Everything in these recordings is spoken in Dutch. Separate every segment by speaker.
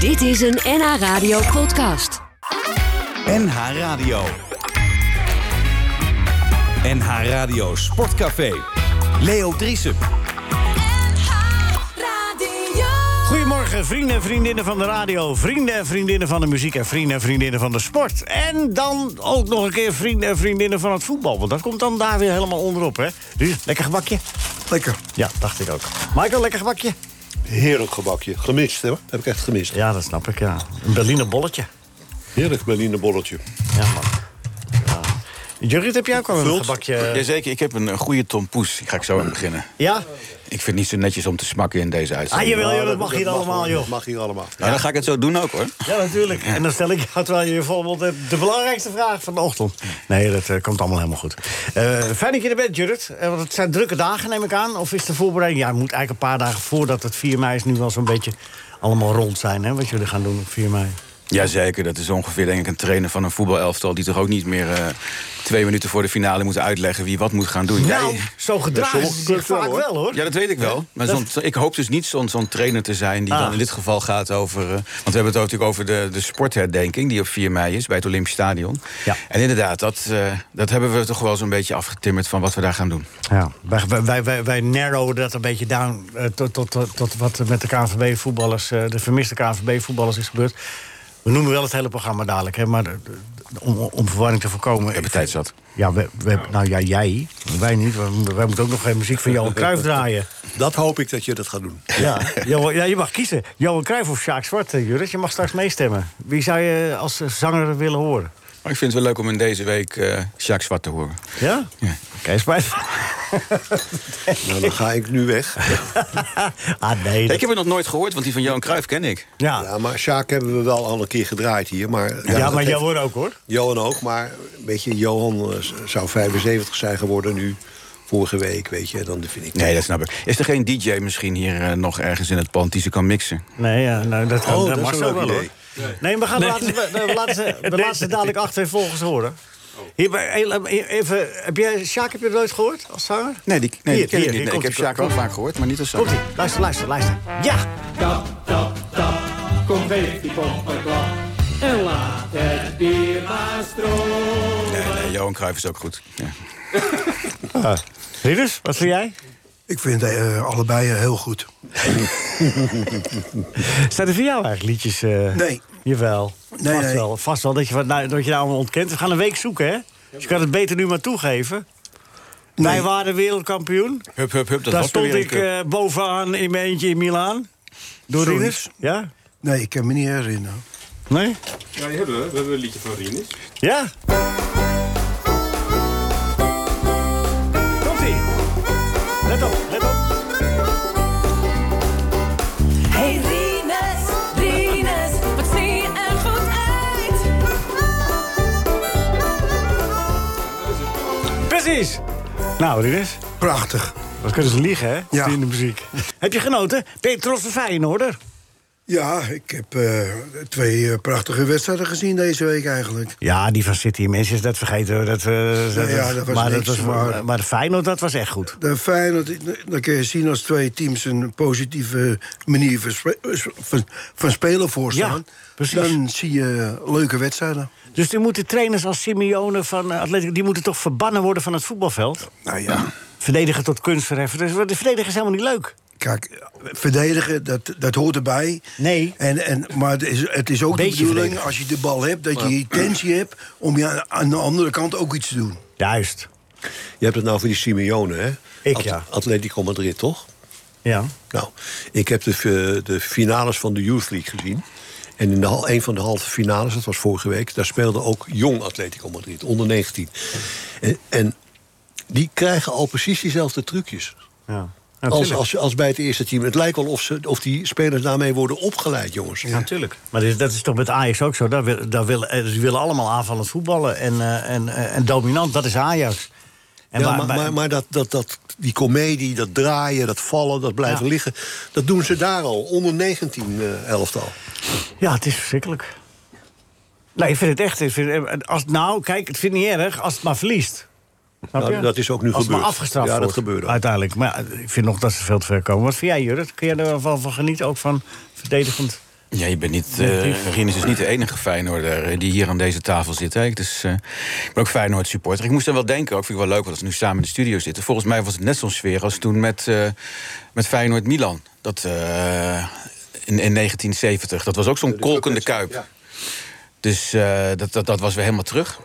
Speaker 1: Dit is een NH Radio podcast.
Speaker 2: NH Radio. NH Radio Sportcafé. Leo Driessen.
Speaker 3: Goedemorgen, vrienden en vriendinnen van de radio, vrienden en vriendinnen van de muziek en vrienden en vriendinnen van de sport. En dan ook nog een keer vrienden en vriendinnen van het voetbal, want dat komt dan daar weer helemaal onderop, hè? Dus lekker gebakje?
Speaker 4: Lekker.
Speaker 3: Ja, dacht ik ook. Michael, lekker gebakje?
Speaker 5: Heerlijk gebakje. Gemist, hè? Heb ik echt gemist.
Speaker 3: Ja, dat snap ik, ja. Een Berliner bolletje.
Speaker 5: Heerlijk Berliner bolletje.
Speaker 3: Ja, man. Ja. Jurrit, heb jij ook al een gebakje?
Speaker 6: Jazeker, ik heb een eh, goede tompoes. Die ga ik zo aan beginnen.
Speaker 3: Ja?
Speaker 6: Ik vind het niet zo netjes om te smakken in deze
Speaker 3: Ah,
Speaker 6: uitzending.
Speaker 3: jawel, joh, dat mag hier allemaal,
Speaker 5: Dat
Speaker 3: joh.
Speaker 5: mag hier allemaal.
Speaker 6: Nou, dan ga ik het zo doen ook, hoor.
Speaker 3: Ja, natuurlijk. En dan stel ik jou, terwijl je je volle mond hebt, de belangrijkste vraag van de ochtend. Nee, dat eh, komt allemaal helemaal goed. Eh, fijn dat je er bent, Jurrit. Eh, want het zijn drukke dagen, neem ik aan. Of is de voorbereiding... Ja, het moet eigenlijk een paar dagen voordat het 4 mei is... nu wel zo'n beetje allemaal rond zijn, hè, wat jullie gaan doen op 4 mei.
Speaker 6: Jazeker, dat is ongeveer denk ik een trainer van een voetbalelftal... die toch ook niet meer eh, twee minuten voor de finale moet uitleggen... wie wat moet gaan doen. Ja,
Speaker 3: Nou, zo gedragen
Speaker 5: sommige
Speaker 3: ze zich
Speaker 5: clubs wel,
Speaker 3: vaak
Speaker 5: hoor.
Speaker 3: wel, hoor.
Speaker 6: Ja, dat weet ik wel. Maar zo'n- ik hoop dus niet zo'n zo'n trainer te zijn die
Speaker 3: Ah.
Speaker 6: dan in dit geval gaat over... eh, want we hebben het ook natuurlijk over de, de sportherdenking die op 4 mei is bij het Olympisch Stadion.
Speaker 3: Ja.
Speaker 6: En inderdaad, dat, eh, dat hebben we toch wel zo'n beetje afgetimmerd van wat we daar gaan doen.
Speaker 3: Ja, wij, wij- wij, wij, wij narrowen dat een beetje down eh, tot, tot, tot, tot wat er met de KNVB-voetballers, eh, de vermiste KNVB-voetballers is gebeurd. We noemen wel het hele programma dadelijk, hè, maar de- de- om, om verwarring te voorkomen.
Speaker 6: Ik heb tijd zat.
Speaker 3: Ja, we, we, hebben- nou ja, jij, wij niet. Wij, moeten- wij moeten ook nog geen muziek van Johan Cruijff draaien.
Speaker 5: Dat hoop ik dat je dat gaat doen.
Speaker 3: Ja, Johan, ja, je mag kiezen. Johan Cruijff of Sjaak Zwart, eh, Juris. Je mag straks meestemmen. Wie zou je als eh, zanger willen horen?
Speaker 6: Maar ik vind het wel leuk om in deze week eh Jacques Zwart te horen.
Speaker 3: Ja? Oké, spijt.
Speaker 5: Nou, dan ga ik nu weg.
Speaker 3: ah, nee. dat-
Speaker 6: Ik heb het nog nooit gehoord, want die van Johan Cruijff ken ik.
Speaker 3: Ja,
Speaker 5: Ja, maar Sjaak hebben we wel al een keer gedraaid hier. Maar,
Speaker 3: ja,
Speaker 5: dat
Speaker 3: maar
Speaker 5: heeft-
Speaker 3: jij wordt ook, hoor.
Speaker 5: Johan ook, maar weet je, Johan eh, z- zou 75 zijn geworden nu. Vorige week, weet je, dan vind ik...
Speaker 6: Nee, dat snap ik. Is er geen DJ misschien hier eh, nog ergens in het pand die ze kan mixen?
Speaker 3: Nee, ja, nou, dat kan
Speaker 5: Oh,
Speaker 3: dat
Speaker 5: dat is
Speaker 3: mag
Speaker 5: een
Speaker 3: zo
Speaker 5: leuk
Speaker 3: wel
Speaker 5: idee.
Speaker 3: hoor. Nee, maar gaan laten we, we- we laten ze, we laten ze dadelijk achter volgens horen. Hier, bij- heel- even, heb jij, Sjaak, heb je dat nooit gehoord als zanger?
Speaker 6: Nee, die,
Speaker 3: Hier,
Speaker 6: nee, die ken
Speaker 3: hier,
Speaker 6: ik
Speaker 3: hier
Speaker 6: niet. Nee, ik
Speaker 3: komt-ie,
Speaker 6: heb Sjaak wel
Speaker 3: komt-ie.
Speaker 6: vaak gehoord, maar niet als
Speaker 3: Komt
Speaker 6: zanger.
Speaker 3: ie, luister, luister, luister. Ja!
Speaker 7: Tap, tap, tap, komt kop maar klap. En laat het bier maar stromen.
Speaker 6: Nee, nee, Johan Cruijff is ook goed. Ja.
Speaker 3: Ridders, Ah. wat vind jij?
Speaker 4: Ik vind eh, allebei eh, heel goed.
Speaker 3: Zijn er voor jou eigenlijk liedjes? eh?
Speaker 4: Nee.
Speaker 3: Jawel.
Speaker 4: Nee,
Speaker 3: vast,
Speaker 4: nee.
Speaker 3: Wel, vast wel dat je, wat- nou, dat je daar allemaal ontkent. We gaan een week zoeken, hè? Dus je kan het beter nu maar toegeven. Wij waren wereldkampioen.
Speaker 6: Hup, hup, hup, dat
Speaker 3: Daar
Speaker 6: was de
Speaker 3: stond ik
Speaker 6: Wereldcup.
Speaker 3: eh, bovenaan in mijn eentje in Milaan. Door
Speaker 4: Zoiets.
Speaker 3: Ridders. Ja?
Speaker 4: Nee, ik kan me niet herinneren.
Speaker 3: Nee?
Speaker 8: Ja, die hebben we. We hebben een liedje van Rinus.
Speaker 3: Ja? Komt-ie. Let op, let op.
Speaker 9: Hey Rinus, Rinus, wat zie je er goed uit?
Speaker 3: Precies. Nou, Rinus,
Speaker 4: Prachtig.
Speaker 3: wat kunnen ze liegen, hè?
Speaker 4: Ja.
Speaker 3: In de muziek. Heb je genoten? Oh, Ben je trots op Feyenoorder?
Speaker 4: Ja, ik heb eh, twee eh, prachtige wedstrijden gezien deze week eigenlijk.
Speaker 3: Ja, die van City mensen is dat vergeten. hoor. Dat, eh, dat-
Speaker 4: ja, dat was
Speaker 3: maar,
Speaker 4: niks,
Speaker 3: dat was, maar,
Speaker 4: maar-
Speaker 3: de Feyenoord, dat was echt goed.
Speaker 4: Dan fijn dat dan kun je zien als twee teams een positieve manier van, spe- eh, van, van spelen voorstaan.
Speaker 3: Ja, precies.
Speaker 4: Dan zie je leuke wedstrijden.
Speaker 3: Dus die moeten trainers als Simeone van eh, Atletico... die moeten toch verbannen worden van het voetbalveld?
Speaker 4: Nou ja,
Speaker 3: Verdedigen tot kunstverheffen. Dus de verdedigen is helemaal niet leuk.
Speaker 4: kijk, verdedigen, dat, dat hoort erbij.
Speaker 3: Nee.
Speaker 4: En, en, maar het is, het is ook
Speaker 3: Beetje
Speaker 4: de bedoeling,
Speaker 3: verdedigen.
Speaker 4: als je de bal hebt, dat je intentie hebt om je aan- aan de andere kant ook iets te doen.
Speaker 3: Juist.
Speaker 5: Je hebt het nou voor die Simeone, hè?
Speaker 3: Ik, ja.
Speaker 5: Atletico Madrid, toch?
Speaker 3: Ja.
Speaker 5: Nou, ik heb de, eh, de finales van de Youth League gezien. En in de, hal- een van de halve finales, dat was vorige week... daar speelde ook jong Atletico Madrid, onder 19. En, en die krijgen al precies diezelfde trucjes.
Speaker 3: ja.
Speaker 5: Als,
Speaker 3: natuurlijk.
Speaker 5: als, als bij het eerste team. Het lijkt wel of, ze, of die spelers daarmee worden opgeleid, jongens.
Speaker 3: Ja, natuurlijk. Maar dit- dat is toch met Ajax ook zo? Daar wil, daar wil, eh, ze willen allemaal aanvallend voetballen en, eh, en, eh, en dominant. Dat is Ajax. En
Speaker 5: Ja,
Speaker 3: waar-
Speaker 5: maar
Speaker 3: waar-
Speaker 5: maar, maar dat, dat, dat, die komedie, dat draaien, dat vallen, dat blijven
Speaker 3: Ja.
Speaker 5: liggen... dat doen ze daar al, onder 19 eh, elftal.
Speaker 3: Ja, het is verschrikkelijk. Nee, ik vind het echt. Ik vind, eh, als, nou, kijk, het vind ik niet erg als het maar verliest. Snap
Speaker 5: Nou,
Speaker 3: je?
Speaker 5: dat is ook nu
Speaker 3: als het maar
Speaker 5: gebeurd.
Speaker 3: afgestraft
Speaker 5: Ja, dat
Speaker 3: wordt,
Speaker 5: gebeurde ook.
Speaker 3: Uiteindelijk. Maar ja, ik vind nog dat ze veel te ver komen. Wat vind jij, Jurrit? Kun jij er wel van, van genieten? Ook van verdedigend
Speaker 6: Ja, je bent niet. eh Rinus is niet de enige Feyenoorder eh, die hier aan deze tafel zit. Hè. Dus, eh, ik ben ook Feyenoord supporter. Ik moest dan wel denken, ook vind ik wel leuk dat we nu samen in de studio zitten. Volgens mij was het net zo'n sfeer als toen met, eh, met Feyenoord Milan. Dat eh, in, in 1970. Dat was ook zo'n kolkende kuip. Dus eh, dat, dat, dat was weer helemaal terug.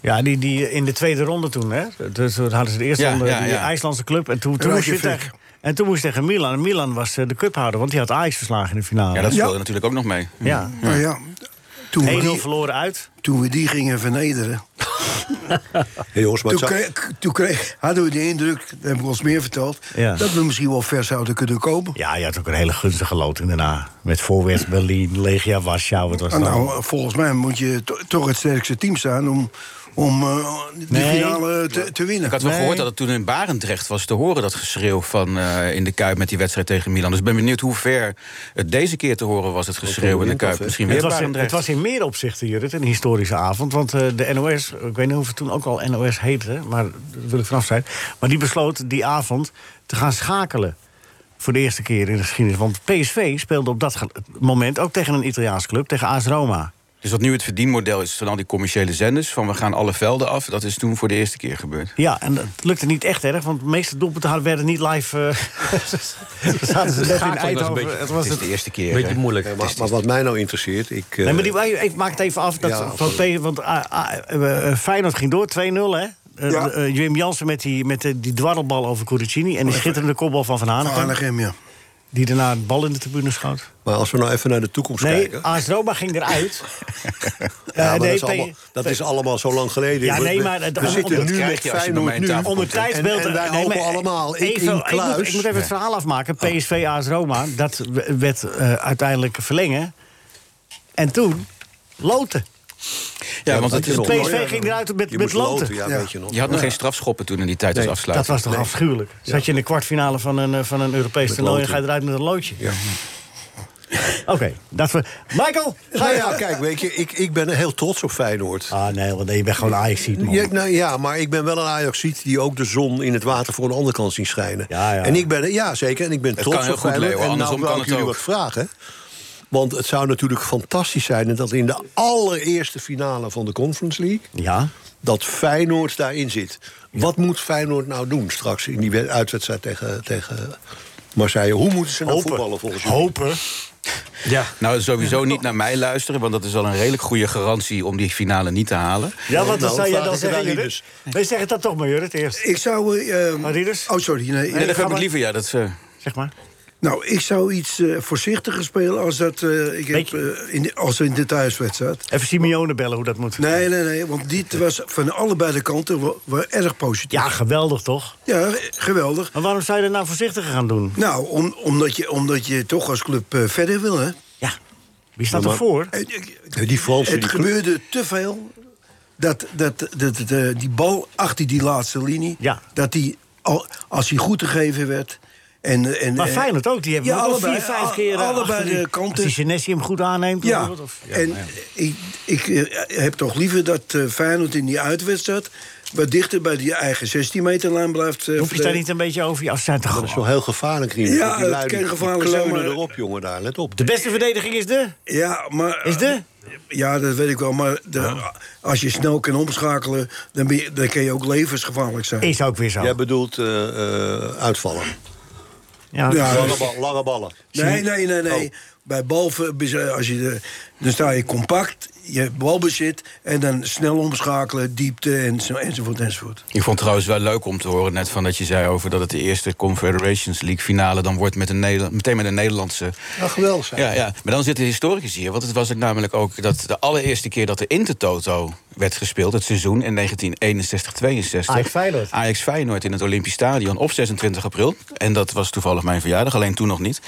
Speaker 3: Ja, die, die eh, in de tweede ronde toen, hè? Dus toen hadden ze de eerste
Speaker 6: Ja,
Speaker 3: ronde,
Speaker 6: ja,
Speaker 3: die
Speaker 6: ja.
Speaker 3: IJslandse club. En toen, toen moest je
Speaker 4: Reykjavik.
Speaker 3: tegen, en toen moest je tegen Milan. En Milan was eh, de cuphouder, want die had Ajax verslagen in de finale.
Speaker 6: Ja, dat
Speaker 4: Ja.
Speaker 6: speelde natuurlijk ook nog mee.
Speaker 3: Ja.
Speaker 4: Nou ja, toen we,
Speaker 3: 1-0
Speaker 4: die,
Speaker 3: verloren uit.
Speaker 4: toen we die gingen vernederen...
Speaker 5: Hey jongens, maar
Speaker 4: Toen,
Speaker 5: het zou-
Speaker 4: kreeg, toen kreeg- hadden we de indruk, dat heb ik ons meer verteld...
Speaker 3: Ja.
Speaker 4: dat we misschien wel ver zouden kunnen komen.
Speaker 3: Ja, je had ook een hele gunstige loting daarna. Met voorwest Berlin, Legia Warschau, wat was
Speaker 4: Ah,
Speaker 3: dat?
Speaker 4: nou, volgens mij moet je to- toch het sterkste team staan om, om eh, die
Speaker 3: Nee.
Speaker 4: finale te, te winnen.
Speaker 6: Ik had wel
Speaker 3: Nee.
Speaker 6: gehoord dat het toen in Barendrecht was te horen, dat geschreeuw van eh, in de Kuip met die wedstrijd tegen Milan. Dus ik ben benieuwd hoe ver het deze keer te horen was, het geschreeuw in de
Speaker 5: benieuwd
Speaker 6: Kuip.
Speaker 5: of, eh,
Speaker 6: Misschien weer
Speaker 3: Het was, in, het
Speaker 6: Barendrecht.
Speaker 3: was in meer opzichten, Jurrit, een historische avond. Want eh, de NOS, ik weet niet of het toen ook al NOS heette, maar daar wil ik vanaf zijn. Maar die besloot die avond te gaan schakelen. Voor de eerste keer in de geschiedenis. Want PSV speelde op dat ge- moment ook tegen een Italiaans club, tegen AS Roma.
Speaker 6: Dus wat nu het verdienmodel is van al die commerciële zenders, van we gaan alle velden af, dat is toen voor de eerste keer gebeurd.
Speaker 3: Ja, en dat lukte niet echt erg, want de meeste doelpunten hadden- werden niet live. eh, zaten ze net in Eindhoven. Het was
Speaker 6: het is de eerste keer. hè.
Speaker 5: moeilijk. maar, maar wat mij nou interesseert, ik... eh,
Speaker 3: Nee, maar die, maar ik maak het even af. Dat
Speaker 5: Ja,
Speaker 3: van P- want ah, ah, eh, eh, Feyenoord ging door, 2-0 hè? Eh,
Speaker 4: Ja.
Speaker 3: eh, Jim Jansen met die, met eh, die dwarrelbal over Curicini...
Speaker 5: Oh,
Speaker 3: en die schitterende kopbal van Van
Speaker 4: Van
Speaker 3: Hanegem...
Speaker 4: Hanegem, ja.
Speaker 3: die daarna de bal in de tribune schoot.
Speaker 5: maar als we nou even naar de toekomst
Speaker 3: Nee,
Speaker 5: kijken...
Speaker 3: AS Roma ging eruit.
Speaker 5: Ja, maar
Speaker 3: Eh,
Speaker 5: dat,
Speaker 3: nee,
Speaker 5: is allemaal,
Speaker 3: P-
Speaker 5: dat is allemaal zo lang geleden.
Speaker 3: Ja,
Speaker 5: We-
Speaker 3: nee,
Speaker 5: we-
Speaker 3: maar het-
Speaker 5: we
Speaker 3: om-
Speaker 5: zitten
Speaker 3: om-
Speaker 5: nu
Speaker 6: krijg je als
Speaker 5: met
Speaker 6: je bij
Speaker 5: Feyenoord
Speaker 6: mijn
Speaker 5: nu.
Speaker 6: tafel
Speaker 3: Om het
Speaker 6: komt, hè.
Speaker 3: tijdsbeeld...
Speaker 5: En- en wij
Speaker 3: nee,
Speaker 5: hopen
Speaker 3: maar
Speaker 5: allemaal, ik
Speaker 3: even-
Speaker 5: in Oh.
Speaker 3: ik, moet, ik
Speaker 5: kluis.
Speaker 3: moet even het verhaal afmaken. PSV, AS Roma, dat w- werd eh, uiteindelijk verlengen. En toen loten.
Speaker 6: Ja, want
Speaker 5: dat
Speaker 6: het is
Speaker 5: is
Speaker 6: nog-
Speaker 5: Loten,
Speaker 3: PSV
Speaker 5: ja,
Speaker 3: ging
Speaker 5: dan-
Speaker 3: eruit met,
Speaker 5: Je
Speaker 3: met
Speaker 5: moest
Speaker 3: loten.
Speaker 5: loten, ja,
Speaker 4: Ja.
Speaker 5: weet je nog.
Speaker 6: Je had nog geen strafschoppen toen in die tijd als
Speaker 3: Dat
Speaker 6: afsluiting.
Speaker 3: was toch afschuwelijk? Zat je in de kwartfinale van een, eh, van een Europees toernooi en
Speaker 5: loting.
Speaker 3: ga je eruit met een loodje? Oké, dat we. Michael, ga
Speaker 5: Nou
Speaker 3: je
Speaker 5: ja, kijk, weet je, ik, ik ben heel trots op Feyenoord.
Speaker 3: Ah nee, want je bent gewoon ajax man.
Speaker 5: Ja, nou ja, maar ik ben wel een Ajaxiet die ook de zon in het water voor een ander kan zien schijnen.
Speaker 3: Ja, ja.
Speaker 5: En ik ben, ja zeker, en ik ben trots
Speaker 6: kan heel
Speaker 5: op
Speaker 6: goed,
Speaker 5: Feyenoord.
Speaker 6: Leo,
Speaker 5: en nou
Speaker 6: andersom
Speaker 5: wil
Speaker 6: kan
Speaker 5: ik
Speaker 6: het
Speaker 5: jullie
Speaker 6: ook.
Speaker 5: wat vragen. Want het zou natuurlijk fantastisch zijn dat in de allereerste finale van de Conference League...
Speaker 3: Ja.
Speaker 5: dat Feyenoord daarin zit. Wat moet Feyenoord nou doen straks in die wed- uitwedstrijd tegen, tegen Marseille? Hoe moeten ze nou voetballen volgens jullie?
Speaker 3: Hopen. Ja.
Speaker 6: Nou, sowieso niet naar mij luisteren, want dat is al een redelijk goede garantie om die finale niet te halen.
Speaker 3: Ja, want
Speaker 5: Nou,
Speaker 3: wat zou jij dan
Speaker 5: vraag ik het
Speaker 3: zeggen,
Speaker 5: aan
Speaker 3: Jurrit?
Speaker 5: Rieders.
Speaker 3: Wij zeggen dat toch maar, Jurrit, eerst.
Speaker 4: Ik zou... eh,
Speaker 3: Maar Rieders?
Speaker 4: oh, sorry. Nee,
Speaker 6: Nee,
Speaker 4: eh,
Speaker 6: dat heb ik
Speaker 3: maar-
Speaker 6: liever, ja. Dat, ze-
Speaker 3: Zeg maar.
Speaker 4: Nou, ik zou iets eh, voorzichtiger spelen als dat eh, ik heb,
Speaker 3: Beetje.
Speaker 4: eh, in de, als in de thuiswedstrijd.
Speaker 3: Even Simeone bellen hoe dat moet.
Speaker 4: Nee, nee, nee, want dit was van allebei de kanten wel, wel erg positief.
Speaker 3: Ja, geweldig toch?
Speaker 4: Ja, geweldig.
Speaker 3: Maar waarom zou je dat nou voorzichtiger gaan doen?
Speaker 4: Nou, om, omdat, je, omdat je toch als club eh, verder wil, hè.
Speaker 3: Ja. Wie staat
Speaker 5: Ja,
Speaker 3: er
Speaker 5: maar-
Speaker 3: voor?
Speaker 4: Eh, eh,
Speaker 5: Die Fransen,
Speaker 4: Het
Speaker 5: die
Speaker 4: gebeurde te veel dat, dat, dat, dat, eh, die bal achter die laatste linie...
Speaker 3: Ja.
Speaker 4: dat die, al- als die goed gegeven werd... En, eh, en,
Speaker 3: Maar
Speaker 4: eh,
Speaker 3: Feyenoord ook, die hebben
Speaker 4: ja,
Speaker 3: ook al
Speaker 4: allebei,
Speaker 3: vier, vijf
Speaker 4: al-
Speaker 3: keer... eh,
Speaker 4: allebei
Speaker 3: achter die-
Speaker 4: de kanten.
Speaker 3: Als die Senesi hem goed aanneemt
Speaker 4: Ja,
Speaker 3: bijvoorbeeld. Of,
Speaker 4: en ik, ik eh, heb toch liever dat eh, Feyenoord in die uitwedstrijd... wat dichter bij die eigen 16-meterlijn blijft. eh,
Speaker 3: Hoef je het daar niet een beetje over je af zijn te
Speaker 5: Dat is
Speaker 3: gaan?
Speaker 5: wel heel gevaarlijk, Rien.
Speaker 4: Ja,
Speaker 5: Die lui
Speaker 4: het
Speaker 5: die
Speaker 4: kan gevaarlijk zijn,
Speaker 5: kleunen
Speaker 4: maar-
Speaker 5: erop, jongen, daar. Let op.
Speaker 3: De beste verdediging is de...
Speaker 4: Ja, maar...
Speaker 3: Is de?
Speaker 4: Ja, dat weet ik wel. Maar de- als je snel kan omschakelen, dan, ben je, dan kan je ook levensgevaarlijk zijn.
Speaker 3: Is ook weer zo.
Speaker 5: Jij bedoelt eh, eh, uitvallen.
Speaker 3: Ja,
Speaker 4: Ja,
Speaker 5: Lange, bal- lange ballen.
Speaker 4: Nee, nee, nee, nee.
Speaker 6: Oh.
Speaker 4: Bij balver, eh, als je de, dan sta je compact, je balbezit... en dan snel omschakelen, diepte en zo, enzovoort, enzovoort.
Speaker 6: Ik vond het trouwens wel leuk om te horen, net van dat je zei over dat het de eerste Confederations League finale dan wordt met een Nederla- meteen met een Nederlandse.
Speaker 5: Nou, geweldig zijn.
Speaker 6: Ja, ja, maar dan zitten historicus hier. Want het was ook namelijk ook dat de allereerste keer dat de Intertoto werd gespeeld, het seizoen in 1961-62.
Speaker 3: Ajax Feyenoord.
Speaker 6: Ajax Feyenoord in het Olympisch Stadion op 26 april. En dat was toevallig mijn verjaardag, alleen toen nog niet.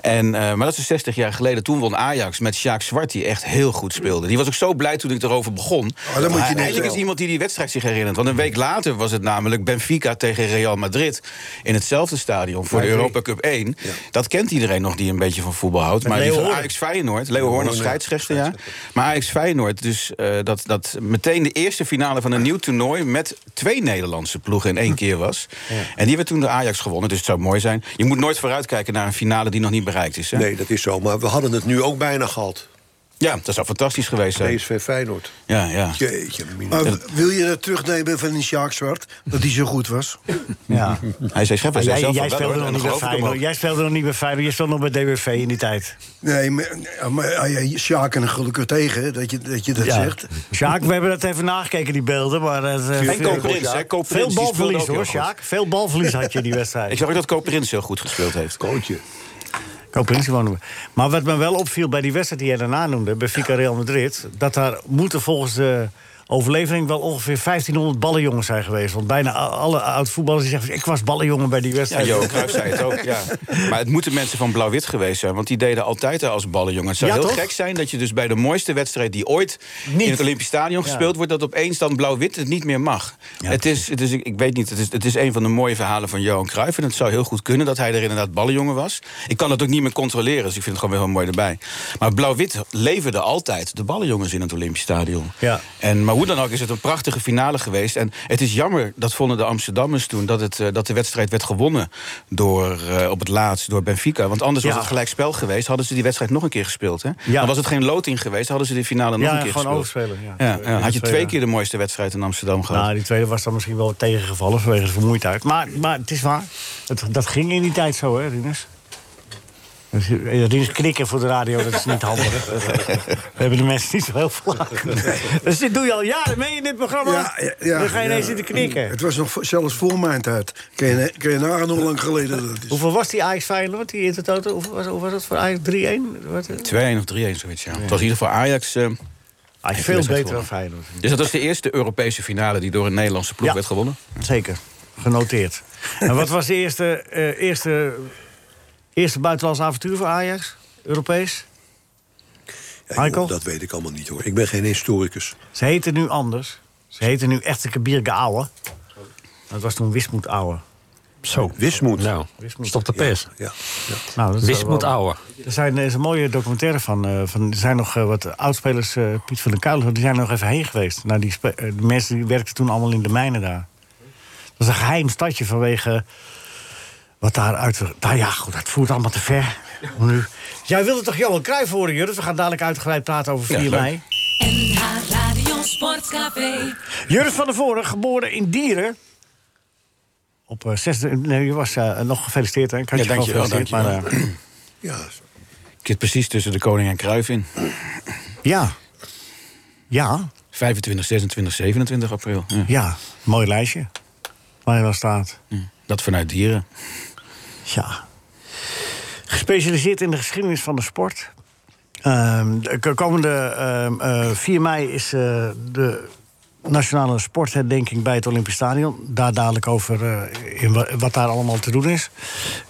Speaker 6: En, eh, maar dat is 60 jaar geleden. Toen won Ajax met Sjaak Zwart, die echt heel goed speelde. Die was ook zo blij toen ik erover begon.
Speaker 4: Oh, moet je
Speaker 6: Maar
Speaker 4: niet
Speaker 6: eigenlijk
Speaker 4: zeggen.
Speaker 6: is iemand die die wedstrijd zich herinnert. Want een week later was het namelijk Benfica tegen Real Madrid... in hetzelfde stadion voor de Europa Cup 1. Dat kent iedereen nog die een beetje van voetbal houdt. maar
Speaker 3: Leo
Speaker 6: die van
Speaker 3: Hoorn.
Speaker 6: Ajax Feyenoord, Leo Hoorn als scheidsrechter, ja. Maar Ajax Feyenoord, dus eh, dat, dat meteen de eerste finale van een nieuw toernooi... met twee Nederlandse ploegen in één keer was. En die werd toen de Ajax gewonnen, dus het zou mooi zijn. Je moet nooit vooruitkijken naar een finale die nog niet bereikt is. Hè?
Speaker 5: Nee, dat is zo. Maar we hadden het nu ook bijna gehad.
Speaker 6: Ja, dat zou fantastisch geweest zijn.
Speaker 5: PSV Feyenoord.
Speaker 6: Ja, ja.
Speaker 5: Jeetje, mina.
Speaker 4: Maar wil je dat terugnemen van die Sjaak Zwart? Dat hij zo goed was?
Speaker 3: Ja. Ah,
Speaker 6: Hij zei schep, hij
Speaker 3: Jij,
Speaker 6: zei zelf
Speaker 3: jij
Speaker 6: al wel,
Speaker 3: speelde
Speaker 6: hoor.
Speaker 3: nog
Speaker 6: En
Speaker 3: niet bij
Speaker 6: dan geloof ik hem
Speaker 3: Feyenoord. Jij speelde nog niet bij Feyenoord. Jij speelde nog bij DWV in die tijd.
Speaker 4: Nee, maar, maar ah, ja, Sjaak en gelukkig tegen hè, dat je dat, je dat zegt.
Speaker 3: Sjaak, we hebben dat even nagekeken, die beelden. Maar dat, eh,
Speaker 6: ook. En
Speaker 3: veel,
Speaker 6: Koopprins, hè. Koopprins,
Speaker 3: veel
Speaker 6: die speelde
Speaker 3: balverlies
Speaker 6: ook heel
Speaker 3: hoor,
Speaker 6: goed.
Speaker 3: Sjaak. Veel balverlies had je in die
Speaker 6: Ik
Speaker 3: wedstrijd.
Speaker 6: zag ook dat Koopprins heel goed gespeeld heeft.
Speaker 5: Kootje.
Speaker 3: Koopprins gewoon. Maar wat me wel opviel bij die wedstrijd die jij daarna noemde... bij Villarreal Madrid... dat daar moeten volgens de overlevering wel ongeveer 1500 ballenjongens zijn geweest. Want bijna a- alle oud-voetballers die zeggen... ik was ballenjongen bij die
Speaker 6: Ja,
Speaker 3: wedstrijd.
Speaker 6: Jo Cruijff zei het ook, ja. Maar het moeten mensen van Blauw-Wit geweest zijn... want die deden altijd als ballenjongen. Het zou
Speaker 3: Ja,
Speaker 6: heel
Speaker 3: toch?
Speaker 6: gek zijn dat je dus bij de mooiste wedstrijd... die ooit in het Olympisch Stadion gespeeld wordt... dat opeens dan Blauw-Wit het niet meer mag. het is, het is, ik, ik weet niet, het is, het is een van de mooie verhalen van Johan Cruijff... en het zou heel goed kunnen dat hij er inderdaad ballenjongen was. Ik kan dat ook niet meer controleren, dus ik vind het gewoon wel heel mooi erbij. Maar Blauw-Wit leverde altijd de ballenjongens in het Olympisch Stadion.
Speaker 3: Ja.
Speaker 6: En, maar hoe dan ook is het een prachtige finale geweest. En het is jammer, dat vonden de Amsterdammers toen... dat, het, eh, dat de wedstrijd werd gewonnen door, eh, op het laatst door Benfica. Want anders
Speaker 3: Ja.
Speaker 6: was het gelijk spel geweest. Hadden ze die wedstrijd nog een keer gespeeld. Hè?
Speaker 3: Ja.
Speaker 6: Dan was het geen loting geweest, hadden ze de finale nog
Speaker 3: Ja,
Speaker 6: een keer
Speaker 3: gewoon
Speaker 6: gespeeld.
Speaker 3: overspelen, ja.
Speaker 6: Ja, ja. Had je twee
Speaker 3: Tweede.
Speaker 6: keer de mooiste wedstrijd in Amsterdam gehad.
Speaker 3: Nou, die tweede was dan misschien wel tegengevallen vanwege de vermoeidheid. Maar, maar het is waar. Het, dat ging in die tijd zo, hè, Rinus? Dus, eh, Rinus knikken voor de radio, dat is niet handig. We hebben de mensen niet zo heel vlak. Dus dit doe je al jaren mee in dit programma. dan ga je ineens
Speaker 4: ja.
Speaker 3: zitten knikken.
Speaker 4: Het was nog vo- zelfs voor mijn tijd. Kun je, kun je nagaan hoe lang geleden dat is.
Speaker 3: Hoeveel was die Ajax Feyenoord, die intertoto? Hoeveel was, hoe was dat voor Ajax? 3-1? Wat, eh?
Speaker 6: 2-1 of 3-1, zoiets, ja. Het was in ieder geval Ajax. eh,
Speaker 3: Ajax
Speaker 6: die
Speaker 3: veel
Speaker 6: wedstrijd
Speaker 3: beter dan Feyenoord.
Speaker 6: dus dat was de eerste Europese finale... die door een Nederlandse ploeg
Speaker 3: Ja.
Speaker 6: werd gewonnen.
Speaker 3: Zeker, genoteerd. en wat was de eerste, eh, eerste, eerste buitenlands avontuur voor Ajax? Europees?
Speaker 5: Ja, joh,
Speaker 3: Michael?
Speaker 5: dat weet ik allemaal niet hoor. Ik ben geen historicus.
Speaker 3: Ze heten nu anders. Ze heten nu echte Kabirge Ouwe. Dat was toen Wismoed Ouwe.
Speaker 10: Zo.
Speaker 5: Wismoed.
Speaker 10: Nou,
Speaker 3: Wismoed.
Speaker 10: stop de pers.
Speaker 5: Ja.
Speaker 3: Nou, dat is
Speaker 10: Wismoed
Speaker 3: wel-
Speaker 10: ouwe.
Speaker 3: Er, zijn, er is een mooie documentaire van. eh, van er zijn nog eh, wat oudspelers, eh, Piet van den Kuilen, die zijn er nog even heen geweest. Nou, die spe- eh, de mensen die werkten toen allemaal in de mijnen daar. Dat is een geheim stadje vanwege eh, wat daar uit... Nou ja, goed, dat voert allemaal te ver. Om nu. Jij wilde toch Johan Cruijff horen, Jurrit? We gaan dadelijk uitgebreid praten over
Speaker 6: Ja,
Speaker 3: 4
Speaker 6: leuk.
Speaker 3: mei.
Speaker 9: NH Radio Sportcafé.
Speaker 3: Jurrit van der Voren, geboren in Dieren. Op eh, 6 de- Nee, je was eh, nog gefeliciteerd. Hè? Ik had
Speaker 6: Ja,
Speaker 3: je gewoon
Speaker 6: dankjewel,
Speaker 3: gefeliciteerd, Maar, eh,
Speaker 5: ja.
Speaker 6: Ik zit precies tussen de koning en Cruijff in.
Speaker 3: ja. Ja,
Speaker 6: 25, 26, 27 april. Ja.
Speaker 3: ja. Mooi lijstje. Waar je wel staat.
Speaker 6: Dat vanuit dieren.
Speaker 3: Ja. Gespecialiseerd in de geschiedenis van de sport. Ehm, de k- komende ehm, eh, 4 mei is eh, de nationale sportherdenking bij het Olympisch Stadion. Daar dadelijk over eh, in wa- wat daar allemaal te doen is.